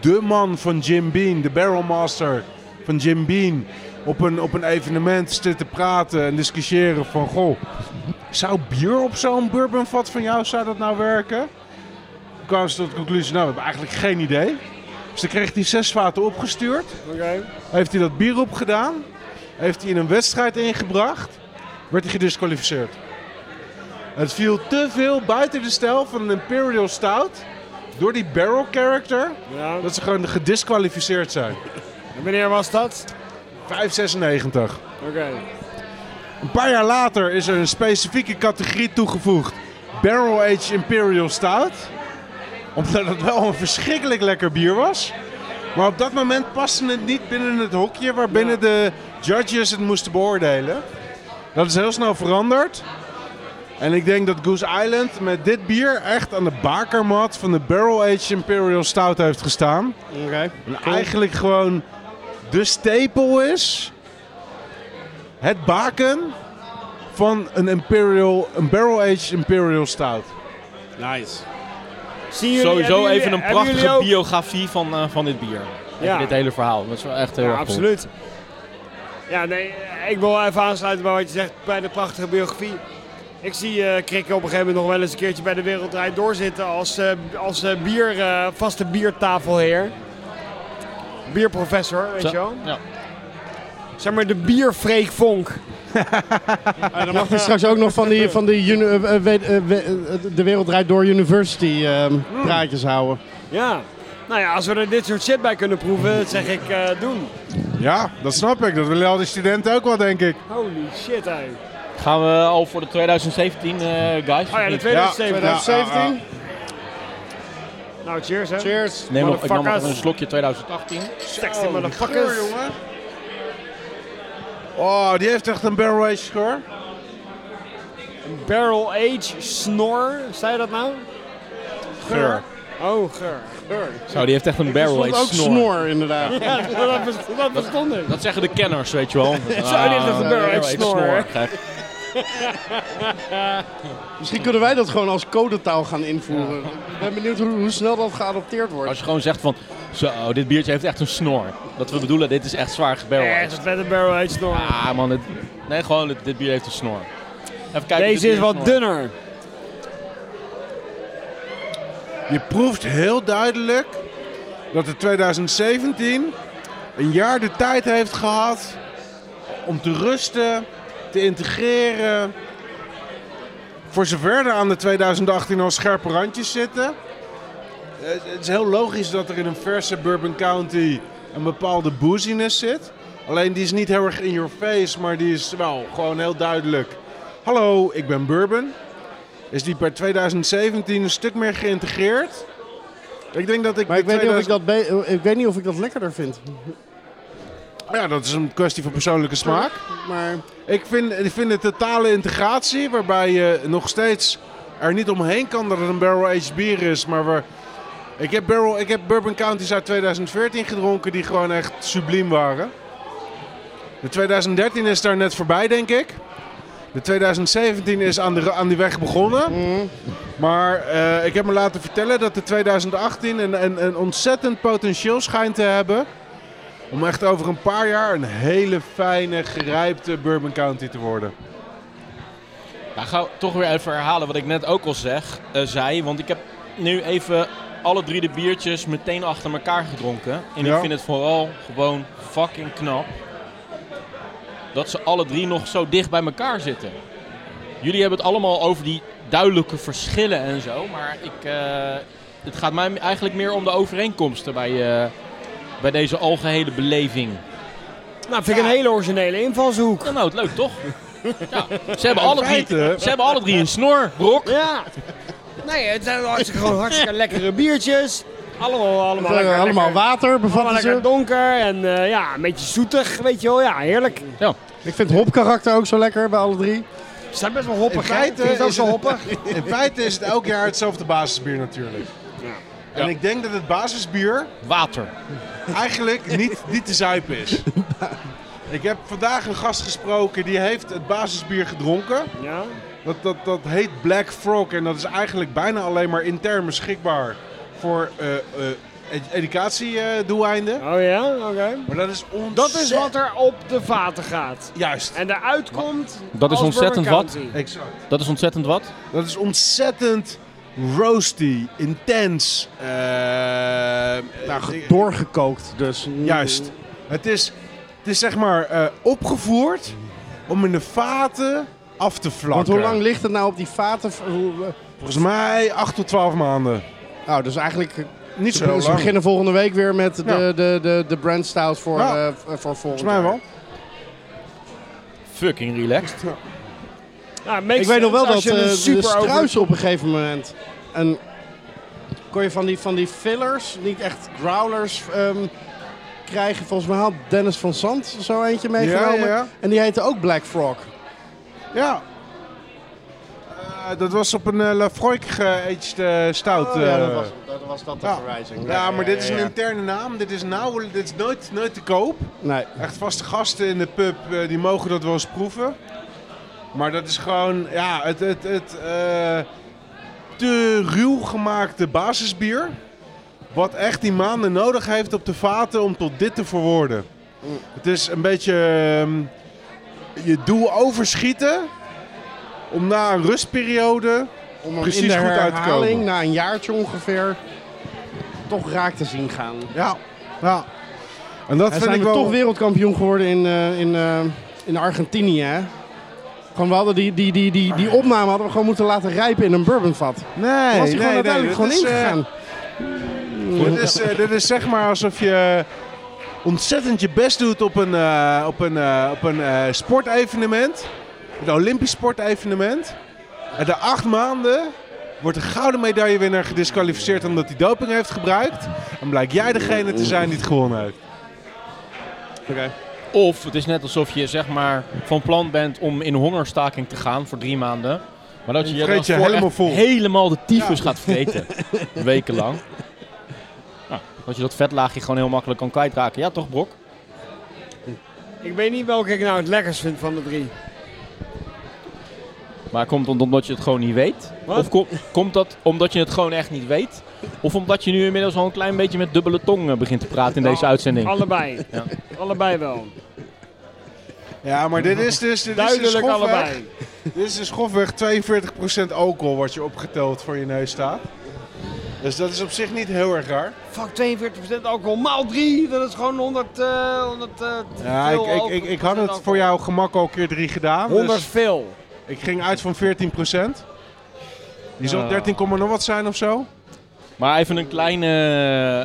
S2: de man van Jim Bean, de barrelmaster van Jim Bean, op een, op een evenement zit te praten en discussiëren van goh, zou bier op zo'n bourbonvat van jou, zou dat nou werken? Toen kwamen ze tot de conclusie, nou, we hebben eigenlijk geen idee. Dus dan kreeg hij zes vaten opgestuurd.
S5: Oké.
S2: Heeft hij dat bier opgedaan? Heeft hij in een wedstrijd ingebracht? Werd hij gedisqualificeerd? Het viel te veel buiten de stijl van een Imperial Stout. Door die barrel character.
S5: Ja.
S2: Dat ze gewoon gedisqualificeerd zijn.
S5: En Wanneer was dat?
S2: 596.
S5: Oké.
S2: Een paar jaar later is er een specifieke categorie toegevoegd. Barrel Age Imperial Stout. Omdat het wel een verschrikkelijk lekker bier was. Maar op dat moment paste het niet binnen het hokje waarbinnen de judges het moesten beoordelen. Dat is heel snel veranderd. En ik denk dat Goose Island met dit bier echt aan de bakermat van de Barrel Age Imperial Stout heeft gestaan.
S3: Oké.
S2: En eigenlijk gewoon de stapel is. Het baken van een, imperial, een barrel aged imperial stout.
S3: Nice.
S5: Zien jullie- hebben
S1: Sowieso
S5: jullie-
S1: even een
S5: hebben jullie
S1: prachtige
S5: ook-
S1: biografie van, eh, van dit bier.
S5: Ja.
S1: Ja. Dit hele verhaal. Dat is wel echt heel
S5: Ja,
S1: erg cool.
S5: absoluut. Ja, nee, ik wil even aansluiten bij wat je zegt bij de prachtige biografie. Ik zie eh Krikke op een gegeven moment nog wel eens een keertje bij de Wereld Draait Door zitten als, eh, als eh, bier, eh, vaste biertafelheer. Bierprofessor, weet
S1: Zo.
S5: je wel.
S1: Ja.
S5: Zeg maar de bierfreek Vonk.
S3: Ah, dan mag je straks ook nog van, die, van die uni- eh, eh, weet- eh, we- eh, de wereld draait door university ehm, praatjes houden.
S5: Ja. Nou ja, als we er dit soort shit bij kunnen proeven, dat zeg ik eh, doen.
S2: Ja, dat snap ik. Dat willen al die studenten ook wel, denk ik.
S5: Holy shit, hey.
S1: Gaan we al voor de 2017, eh, guys?
S5: Oh ja,
S1: of
S5: de
S1: niet?
S5: 2017.
S2: Ja,
S3: 2017?
S2: ja,
S5: Nou, cheers hè.
S3: Cheers.
S1: Neem nog, ik nam nog
S5: Motherfuckers.
S1: even een slokje 2018.
S5: Sexy motherfuckers.
S2: Geur, jongen. Oh, die heeft echt een barrel aged score.
S5: Barrel Age Snor, zei je dat nou?
S2: Geur.
S5: Oh, geur.
S1: Zo, die heeft echt een barrel
S3: Stond ook
S1: aged
S3: snor,
S1: snor.
S3: inderdaad.
S5: Ja, dat, best- dat bestond niet.
S1: Dat zeggen de kenners, weet je wel. Ah, Zo,
S5: die heeft echt een barrel aged snor.
S3: Misschien kunnen wij dat gewoon als codetaal gaan invoeren. Ik ben benieuwd hoe, hoe snel dat geadopteerd
S1: Als
S3: wordt.
S1: je gewoon zegt van, zo, dit biertje heeft echt een snor. Dat we bedoelen, dit is echt zwaar gebarrel
S5: Echt
S1: aged.
S5: een vette Barrel Age Snor.
S1: Ah man, dit, nee gewoon, dit, dit bier heeft een snor. Even kijken. dit
S5: Deze
S1: bier
S5: is wat
S1: snor.
S5: dunner.
S2: Je proeft heel duidelijk dat de 2017 een jaar de tijd heeft gehad om te rusten, te integreren. Voor zover er aan de 2018 al scherpe randjes zitten. Eh, Het is heel logisch dat er in een verse Bourbon County een bepaalde booziness zit. Alleen die is niet heel erg in your face, maar die is wel gewoon heel duidelijk. Hallo, ik ben Bourbon. Is die per 2017 een stuk meer geïntegreerd? Ik denk dat ik.
S3: Maar ik
S2: de
S3: weet, niet of ik,
S2: 2000
S3: dat be- eh, ik weet niet of ik dat lekkerder vind.
S2: Ja, dat is een kwestie van persoonlijke smaak.
S3: Maar
S2: Ik vind, ik vind de totale integratie, waarbij je nog steeds er niet omheen kan dat het een barrel-aged bier is. Maar waar, ik, heb barrel, ik heb Bourbon Counties uit 2014 gedronken die gewoon echt subliem waren. De 2013 is daar net voorbij, denk ik. De 2017 is aan, de, aan die weg begonnen. Maar eh, ik heb me laten vertellen dat de 2018 een, een, een ontzettend potentieel schijnt te hebben. Om echt over een paar jaar een hele fijne, gerijpte Bourbon County te worden.
S1: Nou, ga toch weer even herhalen wat ik net ook al zeg, eh, zei. Want ik heb nu even alle drie de biertjes meteen achter elkaar gedronken. En
S2: Ja.
S1: ik vind het vooral gewoon fucking knap. Dat ze alle drie nog zo dicht bij elkaar zitten. Jullie hebben het allemaal over die duidelijke verschillen en zo. Maar ik, eh, het gaat mij eigenlijk meer om de overeenkomsten bij, eh, bij deze algehele beleving.
S5: Nou, vind ik een hele originele invalshoek.
S1: Ja, nou, het leuk toch? Ja. Ze, hebben alle drie,
S2: feite-
S1: ze hebben alle drie een snor, brok.
S5: Ja. Nee, het zijn hartstikke, gewoon hartstikke lekkere biertjes. Allemaal, allemaal
S3: eh,
S5: lekker.
S3: allemaal
S5: lekker,
S3: water
S5: allemaal
S3: bevatten
S5: lekker
S3: ze.
S5: donker en eh, ja, een beetje zoetig, weet je wel. Ja, heerlijk.
S3: Ik vind hopkarakter ook zo lekker bij alle drie.
S5: Ze zijn best wel hoppig,
S2: In
S5: hè?
S2: feite
S5: Vind je het ook
S2: is
S5: zo
S2: het-
S5: hoppig?
S2: In feite is het elk jaar hetzelfde basisbier natuurlijk. En
S1: Ja.
S2: ik denk dat het basisbier
S1: Water.
S2: eigenlijk niet, niet te zuipen is. Ik heb vandaag een gast gesproken die heeft het basisbier gedronken.
S5: Ja.
S2: Dat, dat, dat heet Black Frog en dat is eigenlijk bijna alleen maar intern beschikbaar voor eh educatiedoeleinden.
S5: Oh ja, oké.
S2: Maar dat is ontzettend...
S5: Dat is wat er op de vaten gaat.
S2: Juist.
S5: En daaruit komt...
S1: Dat is
S5: als
S1: ontzettend
S5: Bourbon
S1: wat.
S5: County.
S2: Exact.
S1: Dat is ontzettend wat.
S2: Dat is ontzettend roasty, intens. eh,
S3: Nou,
S2: eh,
S3: ge- doorgekookt dus.
S2: Juist. Het is, het is zeg maar eh, opgevoerd om in de vaten af te vlakken.
S3: Want hoe lang ligt het nou op die vaten? Hoe- eh,
S2: Volgens mij 8 tot 12 maanden.
S3: Nou, dus eigenlijk
S2: Niet zo
S3: Ze
S2: heel
S3: ze
S2: lang.
S3: beginnen volgende week weer met de,
S2: Ja.
S3: de, de, de brand stout voor,
S2: Ja.
S3: eh, v- voor volgend
S2: Volgens mij wel.
S1: Fucking relaxed.
S5: Nou, makes
S3: Ik weet nog wel
S5: sense
S3: dat
S5: als je een
S3: eh, de
S5: super over-
S3: struis op een gegeven moment... En kon je van die, van die fillers, niet echt growlers, ehm, krijgen. Volgens mij had Dennis van Zand zo eentje meegenomen.
S2: Ja, ja.
S3: En die heette ook Black Frog.
S2: Ja. Eh, dat was op een eh, Lafroig geaged eh, stout.
S3: Oh, ja,
S2: eh.
S3: dat was, dat was dat de
S2: ja.
S3: verwijzing.
S2: Ja, maar dit is
S3: ja,
S2: een
S3: ja.
S2: interne naam. Dit is, nauwel- dit is nooit, nooit te koop.
S3: Nee,
S2: Echt vaste gasten in de pub, eh, die mogen dat wel eens proeven. Maar dat is gewoon, ja, het, het, het eh, te ruw gemaakte basisbier. Wat echt die maanden nodig heeft op de vaten om tot dit te verwoorden. Het is een beetje ehm, je doel overschieten om na een rustperiode
S3: om hem
S2: Precies
S3: in de
S2: goed uit te
S3: herhaling,
S2: komen.
S3: na een jaartje ongeveer, toch raak te zien gaan.
S2: Ja, ja. En dat
S3: Hij
S2: vind
S3: zijn
S2: ik
S3: we
S2: wel...
S3: toch wereldkampioen geworden in, eh, in, eh, in Argentinië, hè? Gewoon, we hadden die, die, die, die, die opname hadden we gewoon moeten laten rijpen in een bourbonvat.
S2: Nee,
S3: Dan was hij
S2: Ah. nee,
S3: gewoon
S2: nee,
S3: uiteindelijk
S2: dit
S3: gewoon
S2: is, eh,
S3: ingegaan.
S2: Dit is, eh, dit is zeg maar alsof je ontzettend je best doet op een, eh, op een, eh, op een eh, sportevenement. Een Olympisch sportevenement. En na acht maanden wordt de gouden medaillewinnaar gedisqualificeerd omdat hij doping heeft gebruikt. En blijkt jij degene te zijn die het gewonnen heeft.
S1: Of het is net alsof je zeg maar van plan bent om in hongerstaking te gaan voor drie maanden. Maar dat je
S2: Je vreet je
S1: daarvoor
S2: helemaal
S1: echt
S2: vol.
S1: helemaal de tyfus gaat vreten. Wekenlang. Nou, dat je dat vetlaagje gewoon heel makkelijk kan kwijtraken. Ja toch Brok?
S5: Ik weet niet welke ik nou het lekkerst vind van de drie.
S1: Maar komt het omdat je het gewoon niet weet?
S5: Wat?
S1: Of kom- komt dat omdat je het gewoon echt niet weet? Of omdat je nu inmiddels al een klein beetje met dubbele tong eh, begint te praten in deze
S5: Nou,
S1: uitzending?
S5: Allebei. Allebei wel.
S2: Ja, maar dit is dus, dit is dus
S5: Duidelijk
S2: grofweg-
S5: allebei.
S2: Dit is dus grofweg 42% alcohol wat je opgeteld voor je neus staat. Dus dat is op zich niet heel erg raar.
S5: Fuck, 42% alcohol, maal 3. Dat is gewoon 100... eh 100 eh,
S2: Ja, ik,
S5: veel
S2: ik, ik,
S5: alcohol-
S2: ik had het voor jouw gemak al keer drie gedaan.
S1: 100
S2: Dus
S1: veel.
S2: ik ging uit van 14 Die zal
S1: Ja.
S2: 13, komma nog wat zijn of zo.
S1: Maar even een, kleine,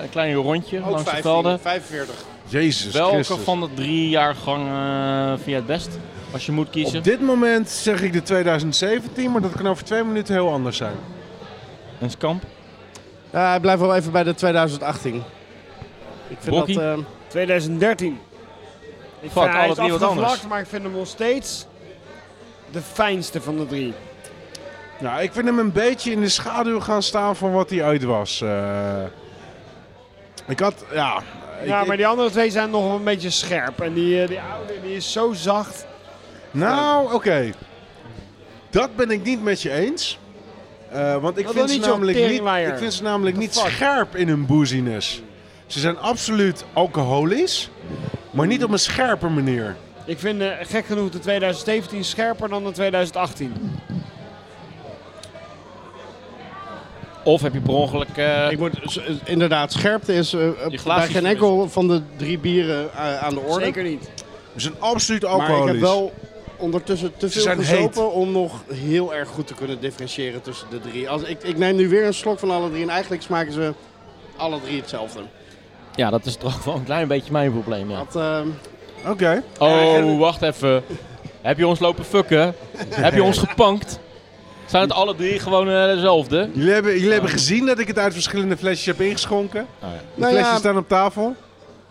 S1: een klein rondje
S3: Ook
S1: langs de
S3: 15,
S1: velden.
S3: 45.
S2: Jezus
S1: Welke
S2: Christus.
S1: van de drie jaargangen eh, vind je het best? Als je moet kiezen.
S2: Op dit moment zeg ik de 2017, maar dat kan over twee minuten heel anders zijn.
S1: Een skamp.
S3: Ja, ik blijf wel even bij de 2018. Ik vind
S1: Brokkie?
S3: dat... eh,
S5: 2013. Ik
S1: Fuck,
S5: vind, hij is
S1: alle drie wat anders.
S5: afgevlakt, maar ik vind hem nog steeds de fijnste van de drie.
S2: Nou, ik vind hem een beetje in de schaduw gaan staan van wat hij ooit was. Eh, ik had, ja... ik-
S5: ja,
S2: ik-
S5: maar die andere twee zijn nog een beetje scherp. En die, eh, die oude die is zo zacht.
S2: Nou, oké. Dat ben ik niet met je eens. Eh, want ik
S5: Dat
S2: vind,
S5: wil
S2: ze
S5: niet, joh,
S2: namelijk niet,
S5: teringleier.
S2: ik vind ze namelijk niet
S5: fuck?
S2: scherp in hun booziness. Ze zijn absoluut alcoholisch, maar niet op een scherpe manier.
S5: Ik vind eh, gek genoeg de 2017 scherper dan de 2018.
S1: Of heb je per ongeluk... eh,
S3: ik moet, s- eh, inderdaad, scherpte is eh, bij
S1: glaasjes
S3: geen enkel van de drie bieren eh, aan de orde.
S5: Zeker niet.
S2: Ze zijn absoluut
S3: Maar
S2: alcoholisch.
S3: ik heb wel ondertussen te veel
S2: zijn
S3: gezopen om nog heel erg goed te kunnen differentiëren tussen de drie. Als, ik, ik neem nu weer een slok van alle drie en eigenlijk smaken ze alle drie hetzelfde.
S1: Ja, dat is toch wel een klein beetje mijn probleem, ja.
S3: Dat, eh,
S2: Oké.
S1: Oh, wacht even. Heb je ons lopen fucken? Heb je ons gepankt? Zijn het alle drie gewoon eh, dezelfde?
S2: Jullie, hebben, jullie hebben gezien dat ik het uit verschillende flesjes heb ingeschonken. De
S3: Nou
S2: flesjes
S3: ja.
S2: staan op tafel.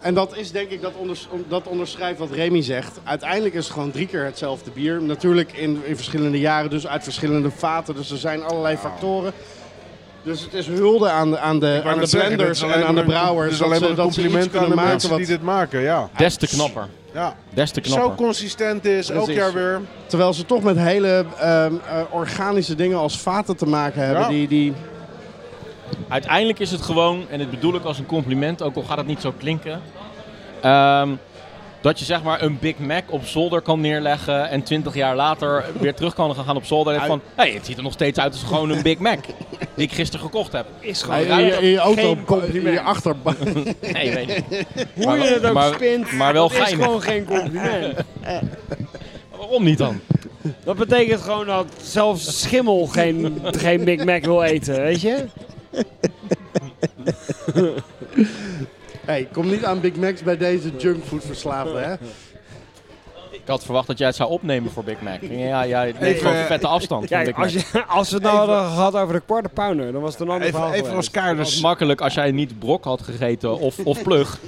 S3: en dat is denk ik, dat, onders, dat onderschrijft wat Remy zegt. Uiteindelijk is het gewoon drie keer hetzelfde bier. Natuurlijk in, in verschillende jaren, dus uit verschillende vaten. Dus er zijn allerlei factoren. Dus het is hulde aan de, aan de,
S2: wou
S3: aan de
S2: net zeggen,
S3: blenders
S2: dit is
S3: en
S2: alleen
S3: aan de
S2: maar een-
S3: brouwers.
S2: dit is alleen
S3: dat
S2: maar
S3: ze,
S2: een
S3: dat ze iets
S2: compliment aan
S3: kunnen
S2: de
S3: maken
S2: mensen
S3: wat...
S2: die dit maken. Ja.
S1: Des te knapper.
S2: ja.
S1: Des te
S2: Zo
S1: knapper.
S2: consistent is, elk
S3: Precies.
S2: jaar weer.
S3: Terwijl ze toch met hele ehm, eh, organische dingen als vaten te maken hebben.
S2: Ja.
S3: Die, die,
S1: Uiteindelijk is het gewoon, en dit bedoel ik als een compliment, ook al gaat het niet zo klinken. ehm, dat je zeg maar een Big Mac op zolder kan neerleggen en 20 jaar later weer terug kan gaan op zolder. En van, hé, hey, het ziet er nog steeds uit als gewoon een Big Mac. Die ik gisteren gekocht heb.
S5: Is
S3: in,
S5: gewoon
S3: je, in je auto,
S5: geen
S3: in je
S5: compliment.
S3: achterbank.
S1: Nee, weet niet.
S5: Hoe je het ook
S1: Maar-
S5: spint,
S1: maar wel
S5: dat is
S1: geinig.
S5: gewoon geen compliment.
S1: Waarom niet dan?
S5: Dat betekent gewoon dat zelfs schimmel geen, geen Big Mac wil eten, weet je?
S3: hey, kom niet aan Big Macs bij deze junkfood verslaafden, hè?
S1: Ik had verwacht dat jij het zou opnemen voor Big Mac. Ja, ja, nee,
S2: Even,
S1: gewoon een
S2: eh,
S1: vette afstand. van Big
S5: Kijk,
S1: Mac.
S5: als, je, als we het nou hadden gehad over de quarter pounder, dan was het een ander
S2: Even,
S5: verhaal
S2: even als
S5: geweest.
S1: Het was
S2: kaarders.
S1: makkelijk als jij niet brok had gegeten of, of plug.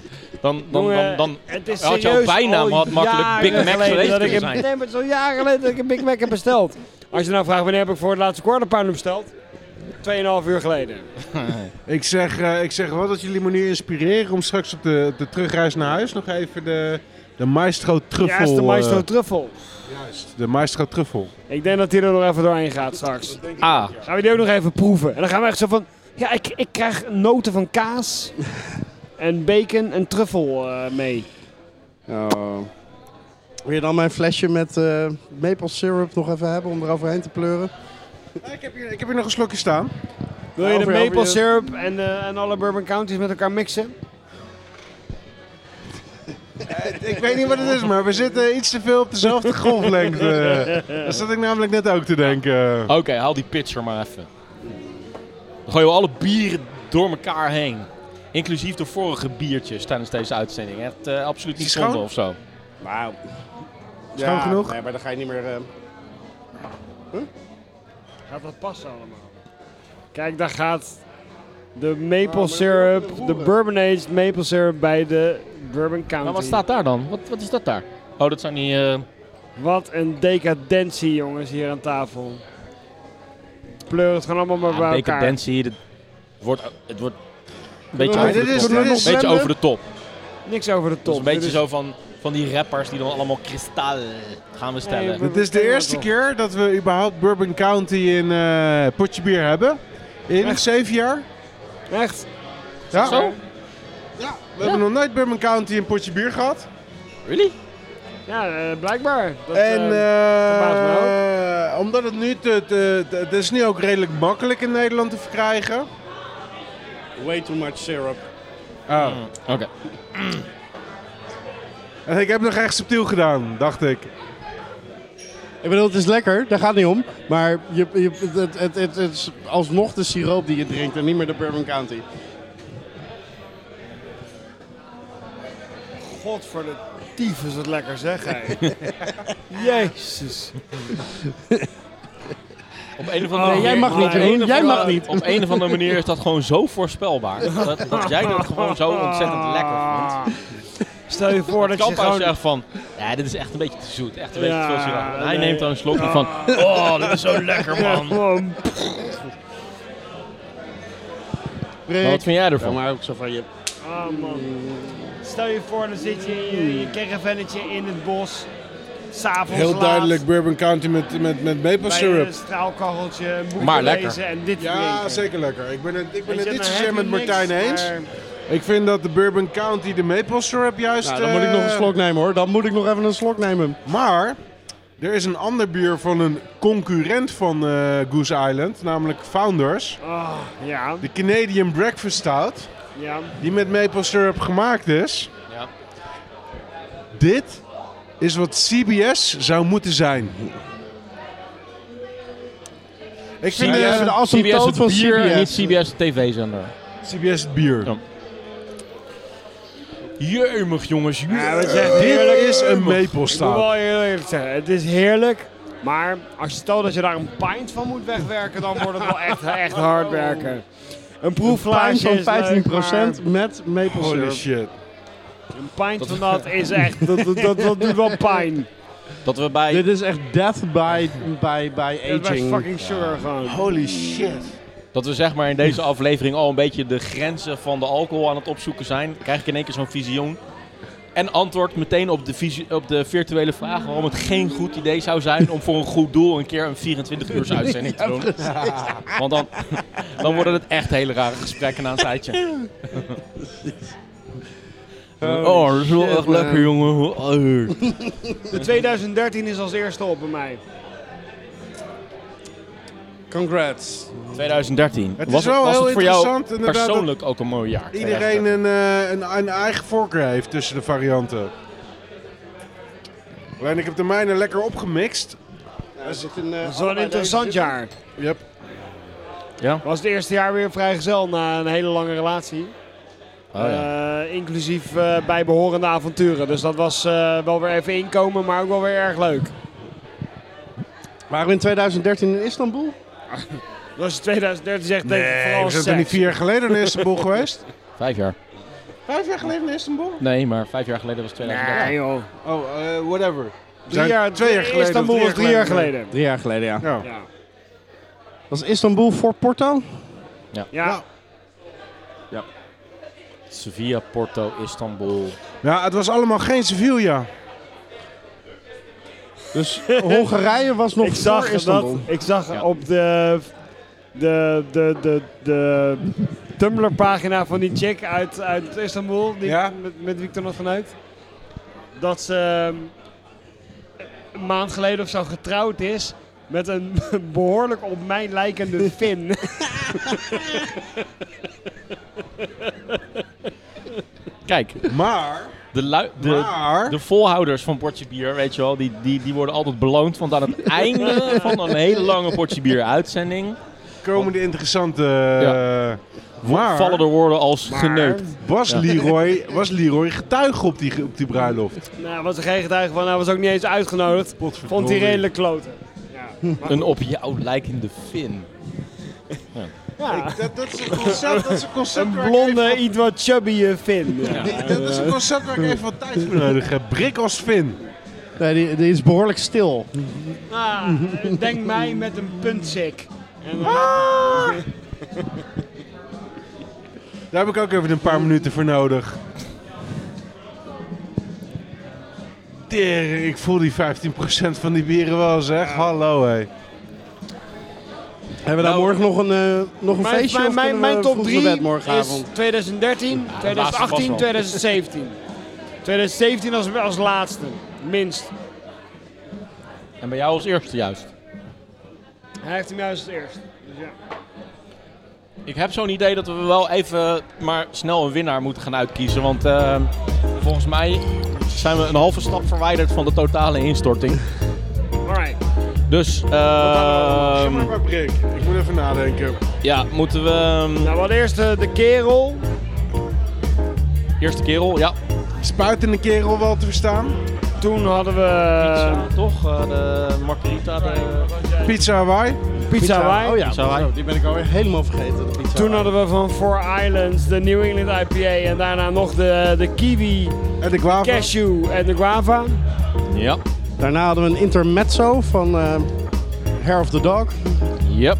S1: Dan, dan, dan,
S5: Jongen,
S1: dan
S5: het is
S1: had je al
S5: serieus
S1: bijnaam
S5: al
S1: had makkelijk Big
S5: jaren
S1: Mac
S5: geleden
S1: geweest
S5: dat ik
S1: kunnen zijn.
S5: heb- Nee, maar het is al jaren geleden dat ik een Big Mac heb besteld. Als je nou vraagt wanneer heb ik voor het laatste quarter pounder besteld? 2,5 uur geleden.
S2: Ik zeg, eh, ik zeg wel dat jullie me nu inspireren om straks op de, op de terugreis naar huis nog even de, de maestro truffel.
S5: Ja, is de maestro
S2: eh,
S5: truffel.
S2: de maestro truffel.
S5: Ik denk dat hij er nog even doorheen gaat straks.
S1: Ah,
S5: Gaan we die ook nog even proeven. En dan gaan we echt zo van... Ja, ik, ik krijg noten van kaas en bacon en truffel eh, mee.
S3: Oh. Wil je dan mijn flesje met eh, maple syrup nog even hebben om eroverheen te pleuren?
S2: ik, heb hier, ik heb hier nog een slokje staan.
S5: Wil je de
S3: Over- over
S5: maple
S3: je-
S5: syrup en, eh, en alle bourbon counties met elkaar mixen?
S2: Ik weet niet wat het is, maar we zitten iets te veel op dezelfde golflengte. Dat zat ik namelijk net ook te denken.
S1: oké, haal die pitcher maar even. Dan gooien we alle bieren door elkaar heen. Inclusief de vorige biertjes tijdens deze uitzending. Echt eh, absoluut niet
S2: Is die
S1: zonde
S2: schoon?
S1: of zo.
S3: Wauw.
S2: Schoon genoeg?
S3: Nee, maar dan ga je niet meer... eh,
S5: Gaat dat passen allemaal? Ah, Kijk, daar gaat de maple syrup, de bourbon aged maple syrup bij de bourbon county.
S1: Maar wat staat daar dan? Wat, wat is dat daar? Oh, dat zijn die... eh,
S5: Wat een decadentie, jongens, hier aan tafel. Pleur het gewoon allemaal maar bij
S1: ja,
S5: elkaar.
S1: decadentie. Het wordt, het wordt een beetje
S2: Maar
S1: over
S2: dit
S1: de
S2: is,
S1: top.
S2: dit is,
S1: Een beetje over de top.
S5: Niks over de
S1: Dat
S5: top.
S1: is een beetje
S5: Dit
S1: zo van, van die rappers die dan allemaal kristal gaan bestellen.
S5: Nee,
S2: dit is de eerste keer dat we überhaupt Bourbon County in eh potje bier hebben. In zeven jaar.
S5: Echt?
S2: Ja,
S1: Zo?
S2: ja we hebben nog nooit Bourbon County in potje bier gehad.
S1: Really?
S5: Ja, eh, blijkbaar. Dat,
S2: En
S5: eh,
S2: eh,
S5: verbaast me
S2: omdat het nu, te, te- te- het is nu ook redelijk makkelijk in Nederland te verkrijgen.
S3: Way too much syrup.
S2: Oh.
S1: Oké.
S2: En ik heb nog echt subtiel gedaan, dacht ik.
S3: Ik bedoel, het is lekker, daar gaat niet om. Maar je, je, het, het, het, het is alsnog de siroop die je drinkt en niet meer de Bourbon County.
S5: God voor de tief is het lekker zeg. hè. Jezus.
S1: Op een of andere
S3: Nee, jij mag
S1: op
S3: niet,
S1: een
S3: Jeroen.
S1: of
S3: Jij
S1: andere-
S3: mag niet.
S1: Op een of andere manier is dat gewoon zo voorspelbaar. Dat, dat jij dat gewoon zo ontzettend lekker vond.
S5: Ah, Stel je voor dat je
S1: Kamp als je
S5: gewoon...
S1: echt van, ja, dit is echt een beetje te zoet. Echt een beetje
S5: Ja,
S1: te veel siroop. En Hij
S5: nee.
S1: neemt dan een slokje van, oh, dit is zo lekker man.
S5: Gewoon
S1: Maar wat
S3: Rick,
S1: vind jij
S3: ja,
S1: ervan?
S3: maar ook zo van je...
S5: Ah man. Stel je voor, dan zit je in je, je caravannetje in het bos. S'avonds
S2: Heel
S5: laat,
S2: duidelijk Bourbon County met, met, met maple
S5: Bij eh,
S2: syrup.
S5: een straalkacheltje, een boekje
S1: Maar lekker.
S5: lezen en dit
S2: Ja,
S5: drinken.
S2: zeker lekker. Ik ben het, ik
S5: Weet
S2: ben het
S5: je,
S2: niet
S5: dan
S2: zozeer
S5: heb je
S2: met Martijn
S5: niks,
S2: eens.
S5: maar-
S2: Ik vind dat de Bourbon County de maple syrup juist...
S3: Nou, dan moet ik nog een
S2: eh,
S3: slok nemen hoor. Dan moet ik nog even een slok nemen.
S2: Maar er is een ander bier van een concurrent van eh, Goose Island, namelijk Founders.
S5: Ah, ja,
S2: De Canadian Breakfast Stout,
S5: ja.
S2: die met maple syrup gemaakt is.
S1: Ja.
S2: Dit is wat CBS zou moeten zijn. Ik vind
S1: CBS
S2: eh,
S3: Even de
S1: CBS
S3: asymptoot
S1: het
S3: van
S1: bier en niet
S3: CBS.
S1: CBS de tv-zender.
S2: CBS het bier.
S1: Ja. Jeumig jongens,
S5: Ja, dat is echt
S2: Dit
S5: heerlijk.
S2: is een
S5: Ik
S2: maple
S5: moet
S2: stout.
S5: wel heel eerlijk zeggen, het is heerlijk. Maar als je stelt dat je daar een pint van moet wegwerken, dan wordt het wel echt, echt hard
S3: Oh.
S5: werken. Een
S3: Pijn
S5: proeflaagje
S3: van
S5: is leuk,
S3: 15%
S5: maar Oh.
S3: met maple
S2: Holy
S3: syrup.
S2: shit.
S5: Een pint van dat is echt, dat, dat, dat, dat doet wel pijn.
S1: Dat we bij...
S3: Dit is echt death by, by, by
S5: Dat is
S3: aging.
S5: fucking sugar gewoon.
S2: Holy shit.
S1: Dat we zeg maar in deze aflevering al een beetje de grenzen van de alcohol aan het opzoeken zijn, krijg ik in één keer zo'n visioen. En antwoord meteen op de, visie- op de virtuele vraag waarom het geen goed idee zou zijn om voor een goed doel een keer een 24 uur uitzending te doen. Want dan, dan worden het echt hele rare gesprekken na een tijdje. Oh, dat is wel echt lekker jongen. Oh.
S5: De 2013 is als eerste op bij mij.
S3: Congrats.
S1: 2013.
S2: Het
S1: was
S2: is wel
S1: was
S2: heel
S1: het voor jou
S2: interessant inderdaad dat
S1: persoonlijk ook een mooi jaar? Oh
S2: iedereen een, eh, een, een eigen voorkeur heeft tussen de varianten. Alleen ik heb de mijne lekker opgemixt.
S3: Er zit een, eh,
S5: Dat is wel een
S3: allebei
S5: interessant
S3: deze-
S5: jaar.
S2: Yep.
S5: Was het eerste jaar weer vrijgezel na een hele lange relatie.
S1: Oh, ja.
S5: Eh, inclusief eh, bijbehorende avonturen. Dus dat was eh, wel weer even inkomen, maar ook wel weer erg leuk.
S3: Waren we in 2013 in Istanbul?
S5: Dus als je 2013 zegt, denk ik
S2: Nee,
S5: vooral
S2: we zijn er niet
S5: seks.
S2: vier jaar geleden in Istanbul geweest.
S1: Vijf jaar.
S2: Vijf jaar geleden in Istanbul?
S1: Nee, maar vijf jaar geleden was 2013.
S5: Nee joh.
S2: Oh, eh, whatever. We
S5: Drie
S2: zijn
S5: jaar,
S2: twee jaar geleden.
S5: Istanbul
S2: of
S5: was drie jaar geleden.
S3: Drie jaar geleden, ja.
S2: Ja.
S5: Ja.
S3: Was Istanbul voor Porto?
S5: Ja.
S1: Sevilla, Porto, Istanbul.
S2: ja, het was allemaal geen Sevilla.
S3: Dus Hongarije was nog
S5: Ik zag
S3: voor
S5: dat-
S3: Istanbul.
S5: Ik zag
S1: Ja.
S5: op de, de, de, de, de Tumblr pagina van die chick uit, uit Istanbul, die,
S2: Ja.
S5: met, met wie ik toen had vanuit, dat ze ehm, een maand geleden of zo getrouwd is met een behoorlijk op mij lijkende Finn.
S1: Kijk,
S2: Maar,
S1: de, lui- de,
S2: maar,
S1: de volhouders van Portje Bier, weet je wel, die, die, die worden altijd beloond. Want aan het einde van een hele lange Portje Bier uitzending
S2: komen de interessante... eh, maar,
S1: vallen er woorden als geneukt.
S2: was, Leroy, was Leroy getuige op die, op die bruiloft?
S5: nou, was er geen getuige van, hij was ook niet eens uitgenodigd. Vond hij redelijk kloten. Ja.
S1: Een op jou lijkende Finn.
S5: Ja.
S2: Dat, dat is een concept, dat is een concept
S5: Een
S2: waar ik
S5: blonde, iets wat chubby eh, Finn. Ja.
S2: even- Dat is een concept waar ik even wat tijd voor nodig heb. eh, Brik als Finn.
S3: Nee, die, die is behoorlijk stil.
S5: Ah, denk mij met een puntsik. En dan-
S2: Ah! Daar heb ik ook even een paar minuten voor nodig. Tering, ik voel die 15% van die bieren wel zeg. Hallo hé.
S3: Hebben we daar morgen nog een, eh, nog
S5: Nou,
S3: een
S5: Mijn,
S3: feestje
S5: mijn,
S3: of
S5: mijn,
S3: kunnen
S5: mijn
S3: we
S5: top
S3: vroeg naar
S5: 3
S3: bed
S5: is
S3: morgenavond?
S5: 2013,
S1: vast
S5: 2018,
S1: wel.
S5: 2017. 2017 als, als laatste, minst.
S1: En bij jou als eerste juist.
S5: Hij heeft hem juist als eerst. Dus ja.
S1: Ik heb zo'n idee dat we wel even maar snel een winnaar moeten gaan uitkiezen. Want eh, volgens mij zijn we een halve stap verwijderd van de totale instorting.
S5: Alright. Nou,
S1: Dus ehm,
S2: maar Brik, ik moet even nadenken.
S1: ja, moeten we... ehm,
S5: Nou, wel eerst eh, de kerel.
S1: eerste kerel, ja.
S2: Spuitende kerel wel te verstaan.
S5: Toen hadden we eh, pizza,
S1: toch? de margarita.
S2: Pizza Hawaii.
S5: Wijn.
S3: Oh ja,
S1: Pizza Hawaii.
S3: zo, die ben ik alweer helemaal vergeten. de pizza
S5: Toen
S3: Hawaii.
S5: hadden we van Four Islands de New England IPA en daarna nog de, de kiwi,
S2: En de guava.
S5: cashew en de guava.
S1: Ja,
S3: Daarna hadden we een intermezzo van eh Hair of the Dog.
S1: yep.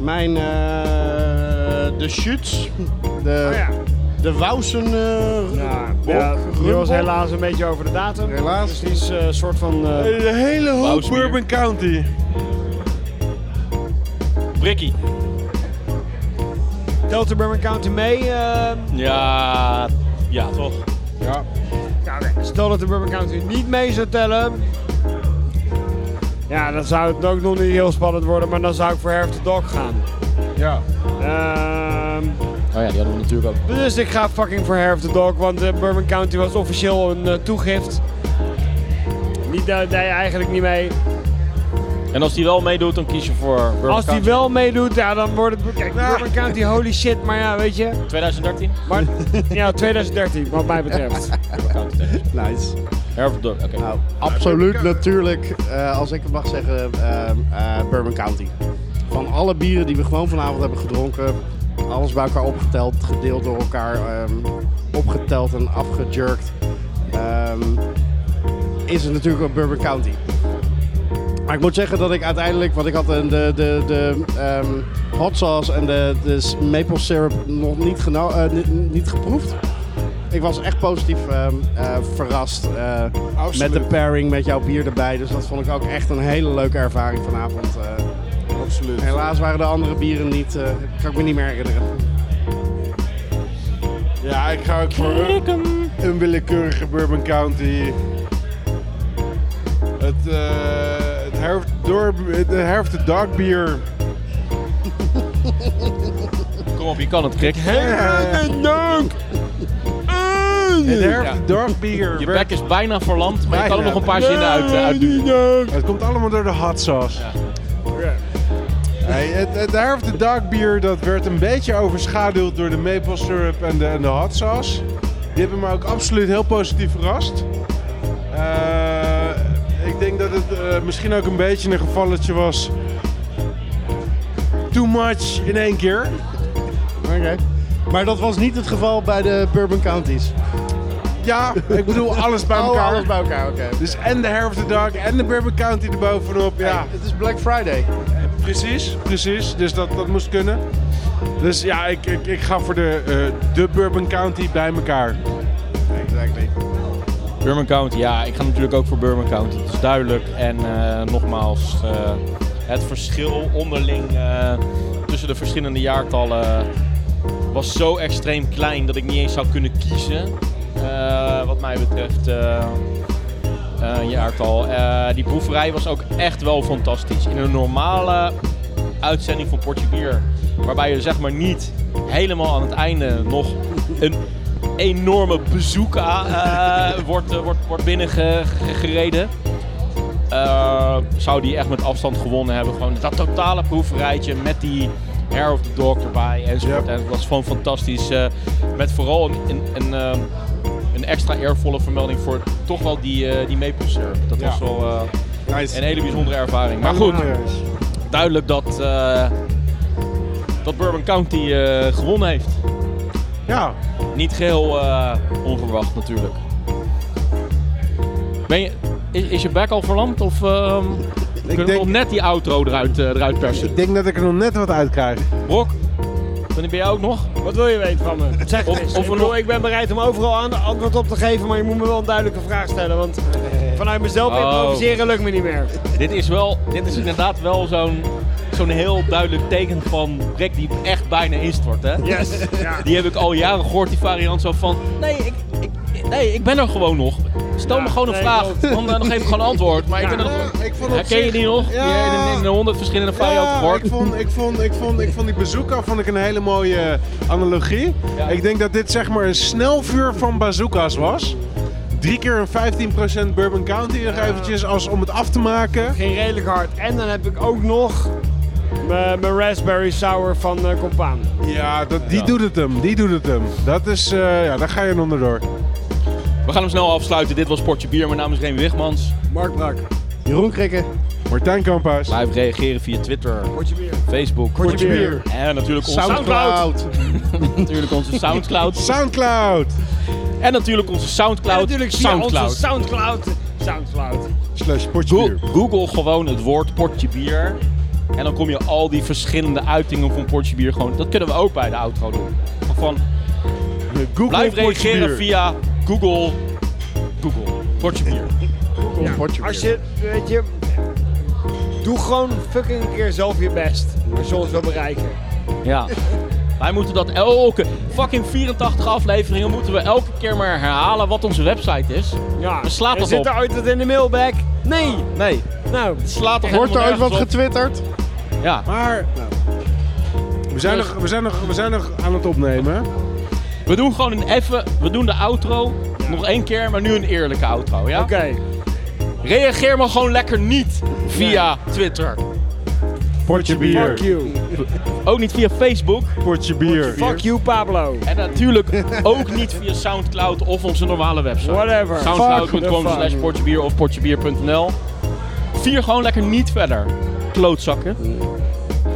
S3: Mijn eh, de Schutz. De,
S5: Oh ja.
S3: de Wousen. eh,
S5: Ja,
S3: Bok,
S5: ja, die was
S3: Rumbok.
S5: helaas een beetje over de datum.
S3: Helaas.
S5: Dus die is eh, een soort van... eh,
S2: De hele hoop
S1: Bouwsbier.
S2: Bourbon County.
S1: Brikkie.
S5: telt de Bourbon County mee? eh,
S1: Ja, ja toch.
S2: Ja.
S5: ja, oké. Stel dat de Bourbon County niet mee zou tellen. Ja, dan zou het ook nog niet heel spannend worden, maar dan zou ik voor Herf the Dog gaan.
S2: Ja.
S5: Ehm,
S1: Oh ja, die hadden we natuurlijk ook.
S5: dus ik ga fucking voor Herf the Dog, want eh, Bourbon County was officieel een eh, toegift. Niet, daar deed je eigenlijk niet mee.
S1: En als die wel meedoet, dan kies je voor Burger
S5: Als die
S1: County.
S5: wel meedoet, ja, dan wordt het... Kijk, Bourbon County, holy shit, maar ja, weet je.
S1: 2013?
S5: Maar, ja, 2013, wat mij betreft.
S1: Burger County. tegen.
S3: Nice.
S1: Herb Dog, oké.
S3: Nou, absoluut natuurlijk, eh, als ik het mag zeggen, eh, eh, Bourbon County. Van alle bieren die we gewoon vanavond hebben gedronken, alles bij elkaar opgeteld, gedeeld door elkaar, ehm, opgeteld en afgejurkt, ehm, is het natuurlijk een Bourbon County. Maar ik moet zeggen dat ik uiteindelijk, want ik had de, de, de, de ehm, hot sauce en de, de s- maple syrup nog niet, geno- eh, ni- niet geproefd. Ik was echt positief ehm, eh, verrast eh, met
S2: Absoluut.
S3: de pairing met jouw bier erbij. Dus dat vond ik ook echt een hele leuke ervaring vanavond. eh.
S2: Absoluut.
S3: helaas waren de andere bieren niet, eh, kan ik me niet meer herinneren.
S2: Ja, ik ga ook voor een, een willekeurige Bourbon County. Het, eh het herf, door, de herf de dark bier.
S1: Kom op, je kan het, Krik.
S2: Het herf
S1: Ja.
S2: de dark bier.
S1: Je
S2: werkt-
S1: bek is bijna verlamd, maar je kan er
S2: Bijna.
S1: nog een paar zinnen uit, eh, uitduwen.
S2: Het komt allemaal door de hot sauce. Hey, het, het herf de dark bier dat werd een beetje overschaduwd door de maple syrup en de, en de hot sauce. Die hebben me ook absoluut heel positief verrast. Eh, ik denk dat het eh, misschien ook een beetje een gevalletje was. Too much in één keer.
S3: Oké. Maar dat was niet het geval bij de Bourbon Counties.
S2: Ja, ik bedoel alles bij
S3: Oh,
S2: elkaar.
S3: alles bij elkaar, oké.
S2: Dus en de Herf de Dark en de Bourbon County erbovenop. Ja,
S3: Hey, Ah, het is Black Friday.
S2: precies, precies. Dus dat, dat moest kunnen. Dus ja, ik, ik, ik ga voor de, eh, de Bourbon County bij elkaar.
S3: Exactly.
S1: Bourbon County, ja, ik ga natuurlijk ook voor Bourbon County. Het is duidelijk. En eh, nogmaals, eh, het verschil onderling eh, tussen de verschillende jaartallen was zo extreem klein dat ik niet eens zou kunnen kiezen. eh, wat mij betreft, eh, eh, jaartal. Eh, die proeverij was ook echt wel fantastisch. In een normale uitzending van Portje Bier, waarbij je zeg maar niet helemaal aan het einde nog een enorme bezoek aan, eh, wordt, eh, wordt, wordt binnengereden. Eh, zou die echt met afstand gewonnen hebben. Gewoon dat totale proeverijtje met die Hair of the Dog erbij enzovoort.
S2: Ja.
S1: En het was gewoon fantastisch. eh, met vooral een, een, een, ehm, een extra eervolle vermelding voor toch wel die, eh die maple syrup. Dat
S2: Ja.
S1: was wel eh,
S2: Nice.
S1: een hele bijzondere ervaring. Maar goed, duidelijk dat, eh, dat Bourbon County eh, gewonnen heeft.
S2: Ja,
S1: Niet geheel eh, onverwacht natuurlijk. Ben je, is, is je bek al verlamd of ehm kunnen
S2: denk-
S1: we nog net die outro eruit, eh, eruit persen?
S2: ik denk dat ik er nog net wat uit krijg.
S1: Brok, ben ik bij jou ook nog?
S5: Wat wil je weten van me? Zeg
S1: Of-
S5: het eens.
S1: of
S5: ik,
S1: we
S5: bedoel,
S1: nog-
S5: ik ben bereid om overal aan antwoord op te geven, maar je moet me wel een duidelijke vraag stellen. Want vanuit mezelf
S1: Oh.
S5: improviseren lukt me niet meer.
S1: Dit is, wel, dit is inderdaad wel zo'n zo'n heel duidelijk teken van Rick die echt bijna instort. Hè?
S5: Yes. ja.
S1: Die heb ik al jaren gehoord, die variant zo van... Nee, ik, ik, nee, ik ben er gewoon nog. Stel me
S5: Ja,
S1: gewoon een
S5: nee,
S1: vraag.
S5: klopt.
S1: Dan eh, nog even gewoon een antwoord. Maar ik
S5: Ja.
S1: ben er nog...
S2: Ik vond op
S1: Herken je
S2: zich-
S1: die nog?
S2: Ja.
S1: Die in- in de honderd verschillende vijanden
S2: Ja,
S1: gehoord.
S2: ik vond, ik, vond, ik, vond, ik vond die bazooka vond ik een hele mooie eh, analogie. Ik denk dat dit zeg maar een snelvuur van bazooka's was. Drie keer een 15% Bourbon County nog eventjes als om het af te maken.
S5: Ging redelijk hard. En dan heb ik ook nog mijn mijn raspberry sour van eh Compaan.
S2: Ja, dat, die doet het hem. Die doet het hem. Dat is, eh, ja, daar ga je onderdoor.
S1: We gaan hem snel afsluiten. Dit was Sportje Bier. Mijn naam is Remy Wigmans.
S3: Mark Brak. Jeroen Krikke.
S2: Martijn Kamphuis.
S1: Blijf reageren via Twitter,
S5: Potje bier.
S1: Facebook.
S5: Potje bier.
S1: En natuurlijk onze,
S3: Soundcloud.
S1: natuurlijk onze Soundcloud.
S2: Soundcloud.
S1: En natuurlijk onze Soundcloud.
S5: En natuurlijk zie je
S1: Soundcloud.
S5: onze Soundcloud. Soundcloud.
S2: Slash potje
S1: Go-
S2: bier.
S1: Google gewoon het woord potje bier. En dan kom je al die verschillende uitingen van potje bier gewoon. Dat kunnen we ook bij de outro doen. Van,
S2: Google
S1: blijf
S2: potje
S1: reageren
S2: bier.
S1: via Google. Google. Potje bier.
S3: Potje bier.
S5: Als je, weet je, doe gewoon fucking een keer zelf je best. Als je ons wil bereiken.
S1: Ja. Wij moeten dat elke fucking 84 afleveringen moeten we elke keer maar herhalen wat onze website is.
S5: Ja.
S1: We slaan
S5: En
S1: dat op.
S5: Zit er ooit wat in de mailbag? Nee.
S1: Nee,
S5: Nou,
S1: slaat toch
S3: Wordt er
S1: helemaal
S3: ooit
S1: nergens
S3: wat
S1: op.
S3: getwitterd?
S1: Ja.
S2: Maar we, zijn nog, we, zijn nog, we zijn nog aan het opnemen.
S1: We doen gewoon een even, we doen de outro nog één keer, maar nu een eerlijke outro, ja?
S5: oké.
S1: Reageer maar gewoon lekker niet via Twitter.
S2: Potje
S5: Fuck
S2: bier.
S5: you.
S1: Ook niet via Facebook.
S2: Potje bier.
S5: Fuck you, Pablo.
S1: En natuurlijk ook niet via Soundcloud of onze normale website.
S5: Whatever.
S1: Soundcloud.com
S5: Fuck the
S1: slash
S5: fuck.
S1: portjebier of portjebier.nl Vier gewoon lekker niet verder. Klootzakken.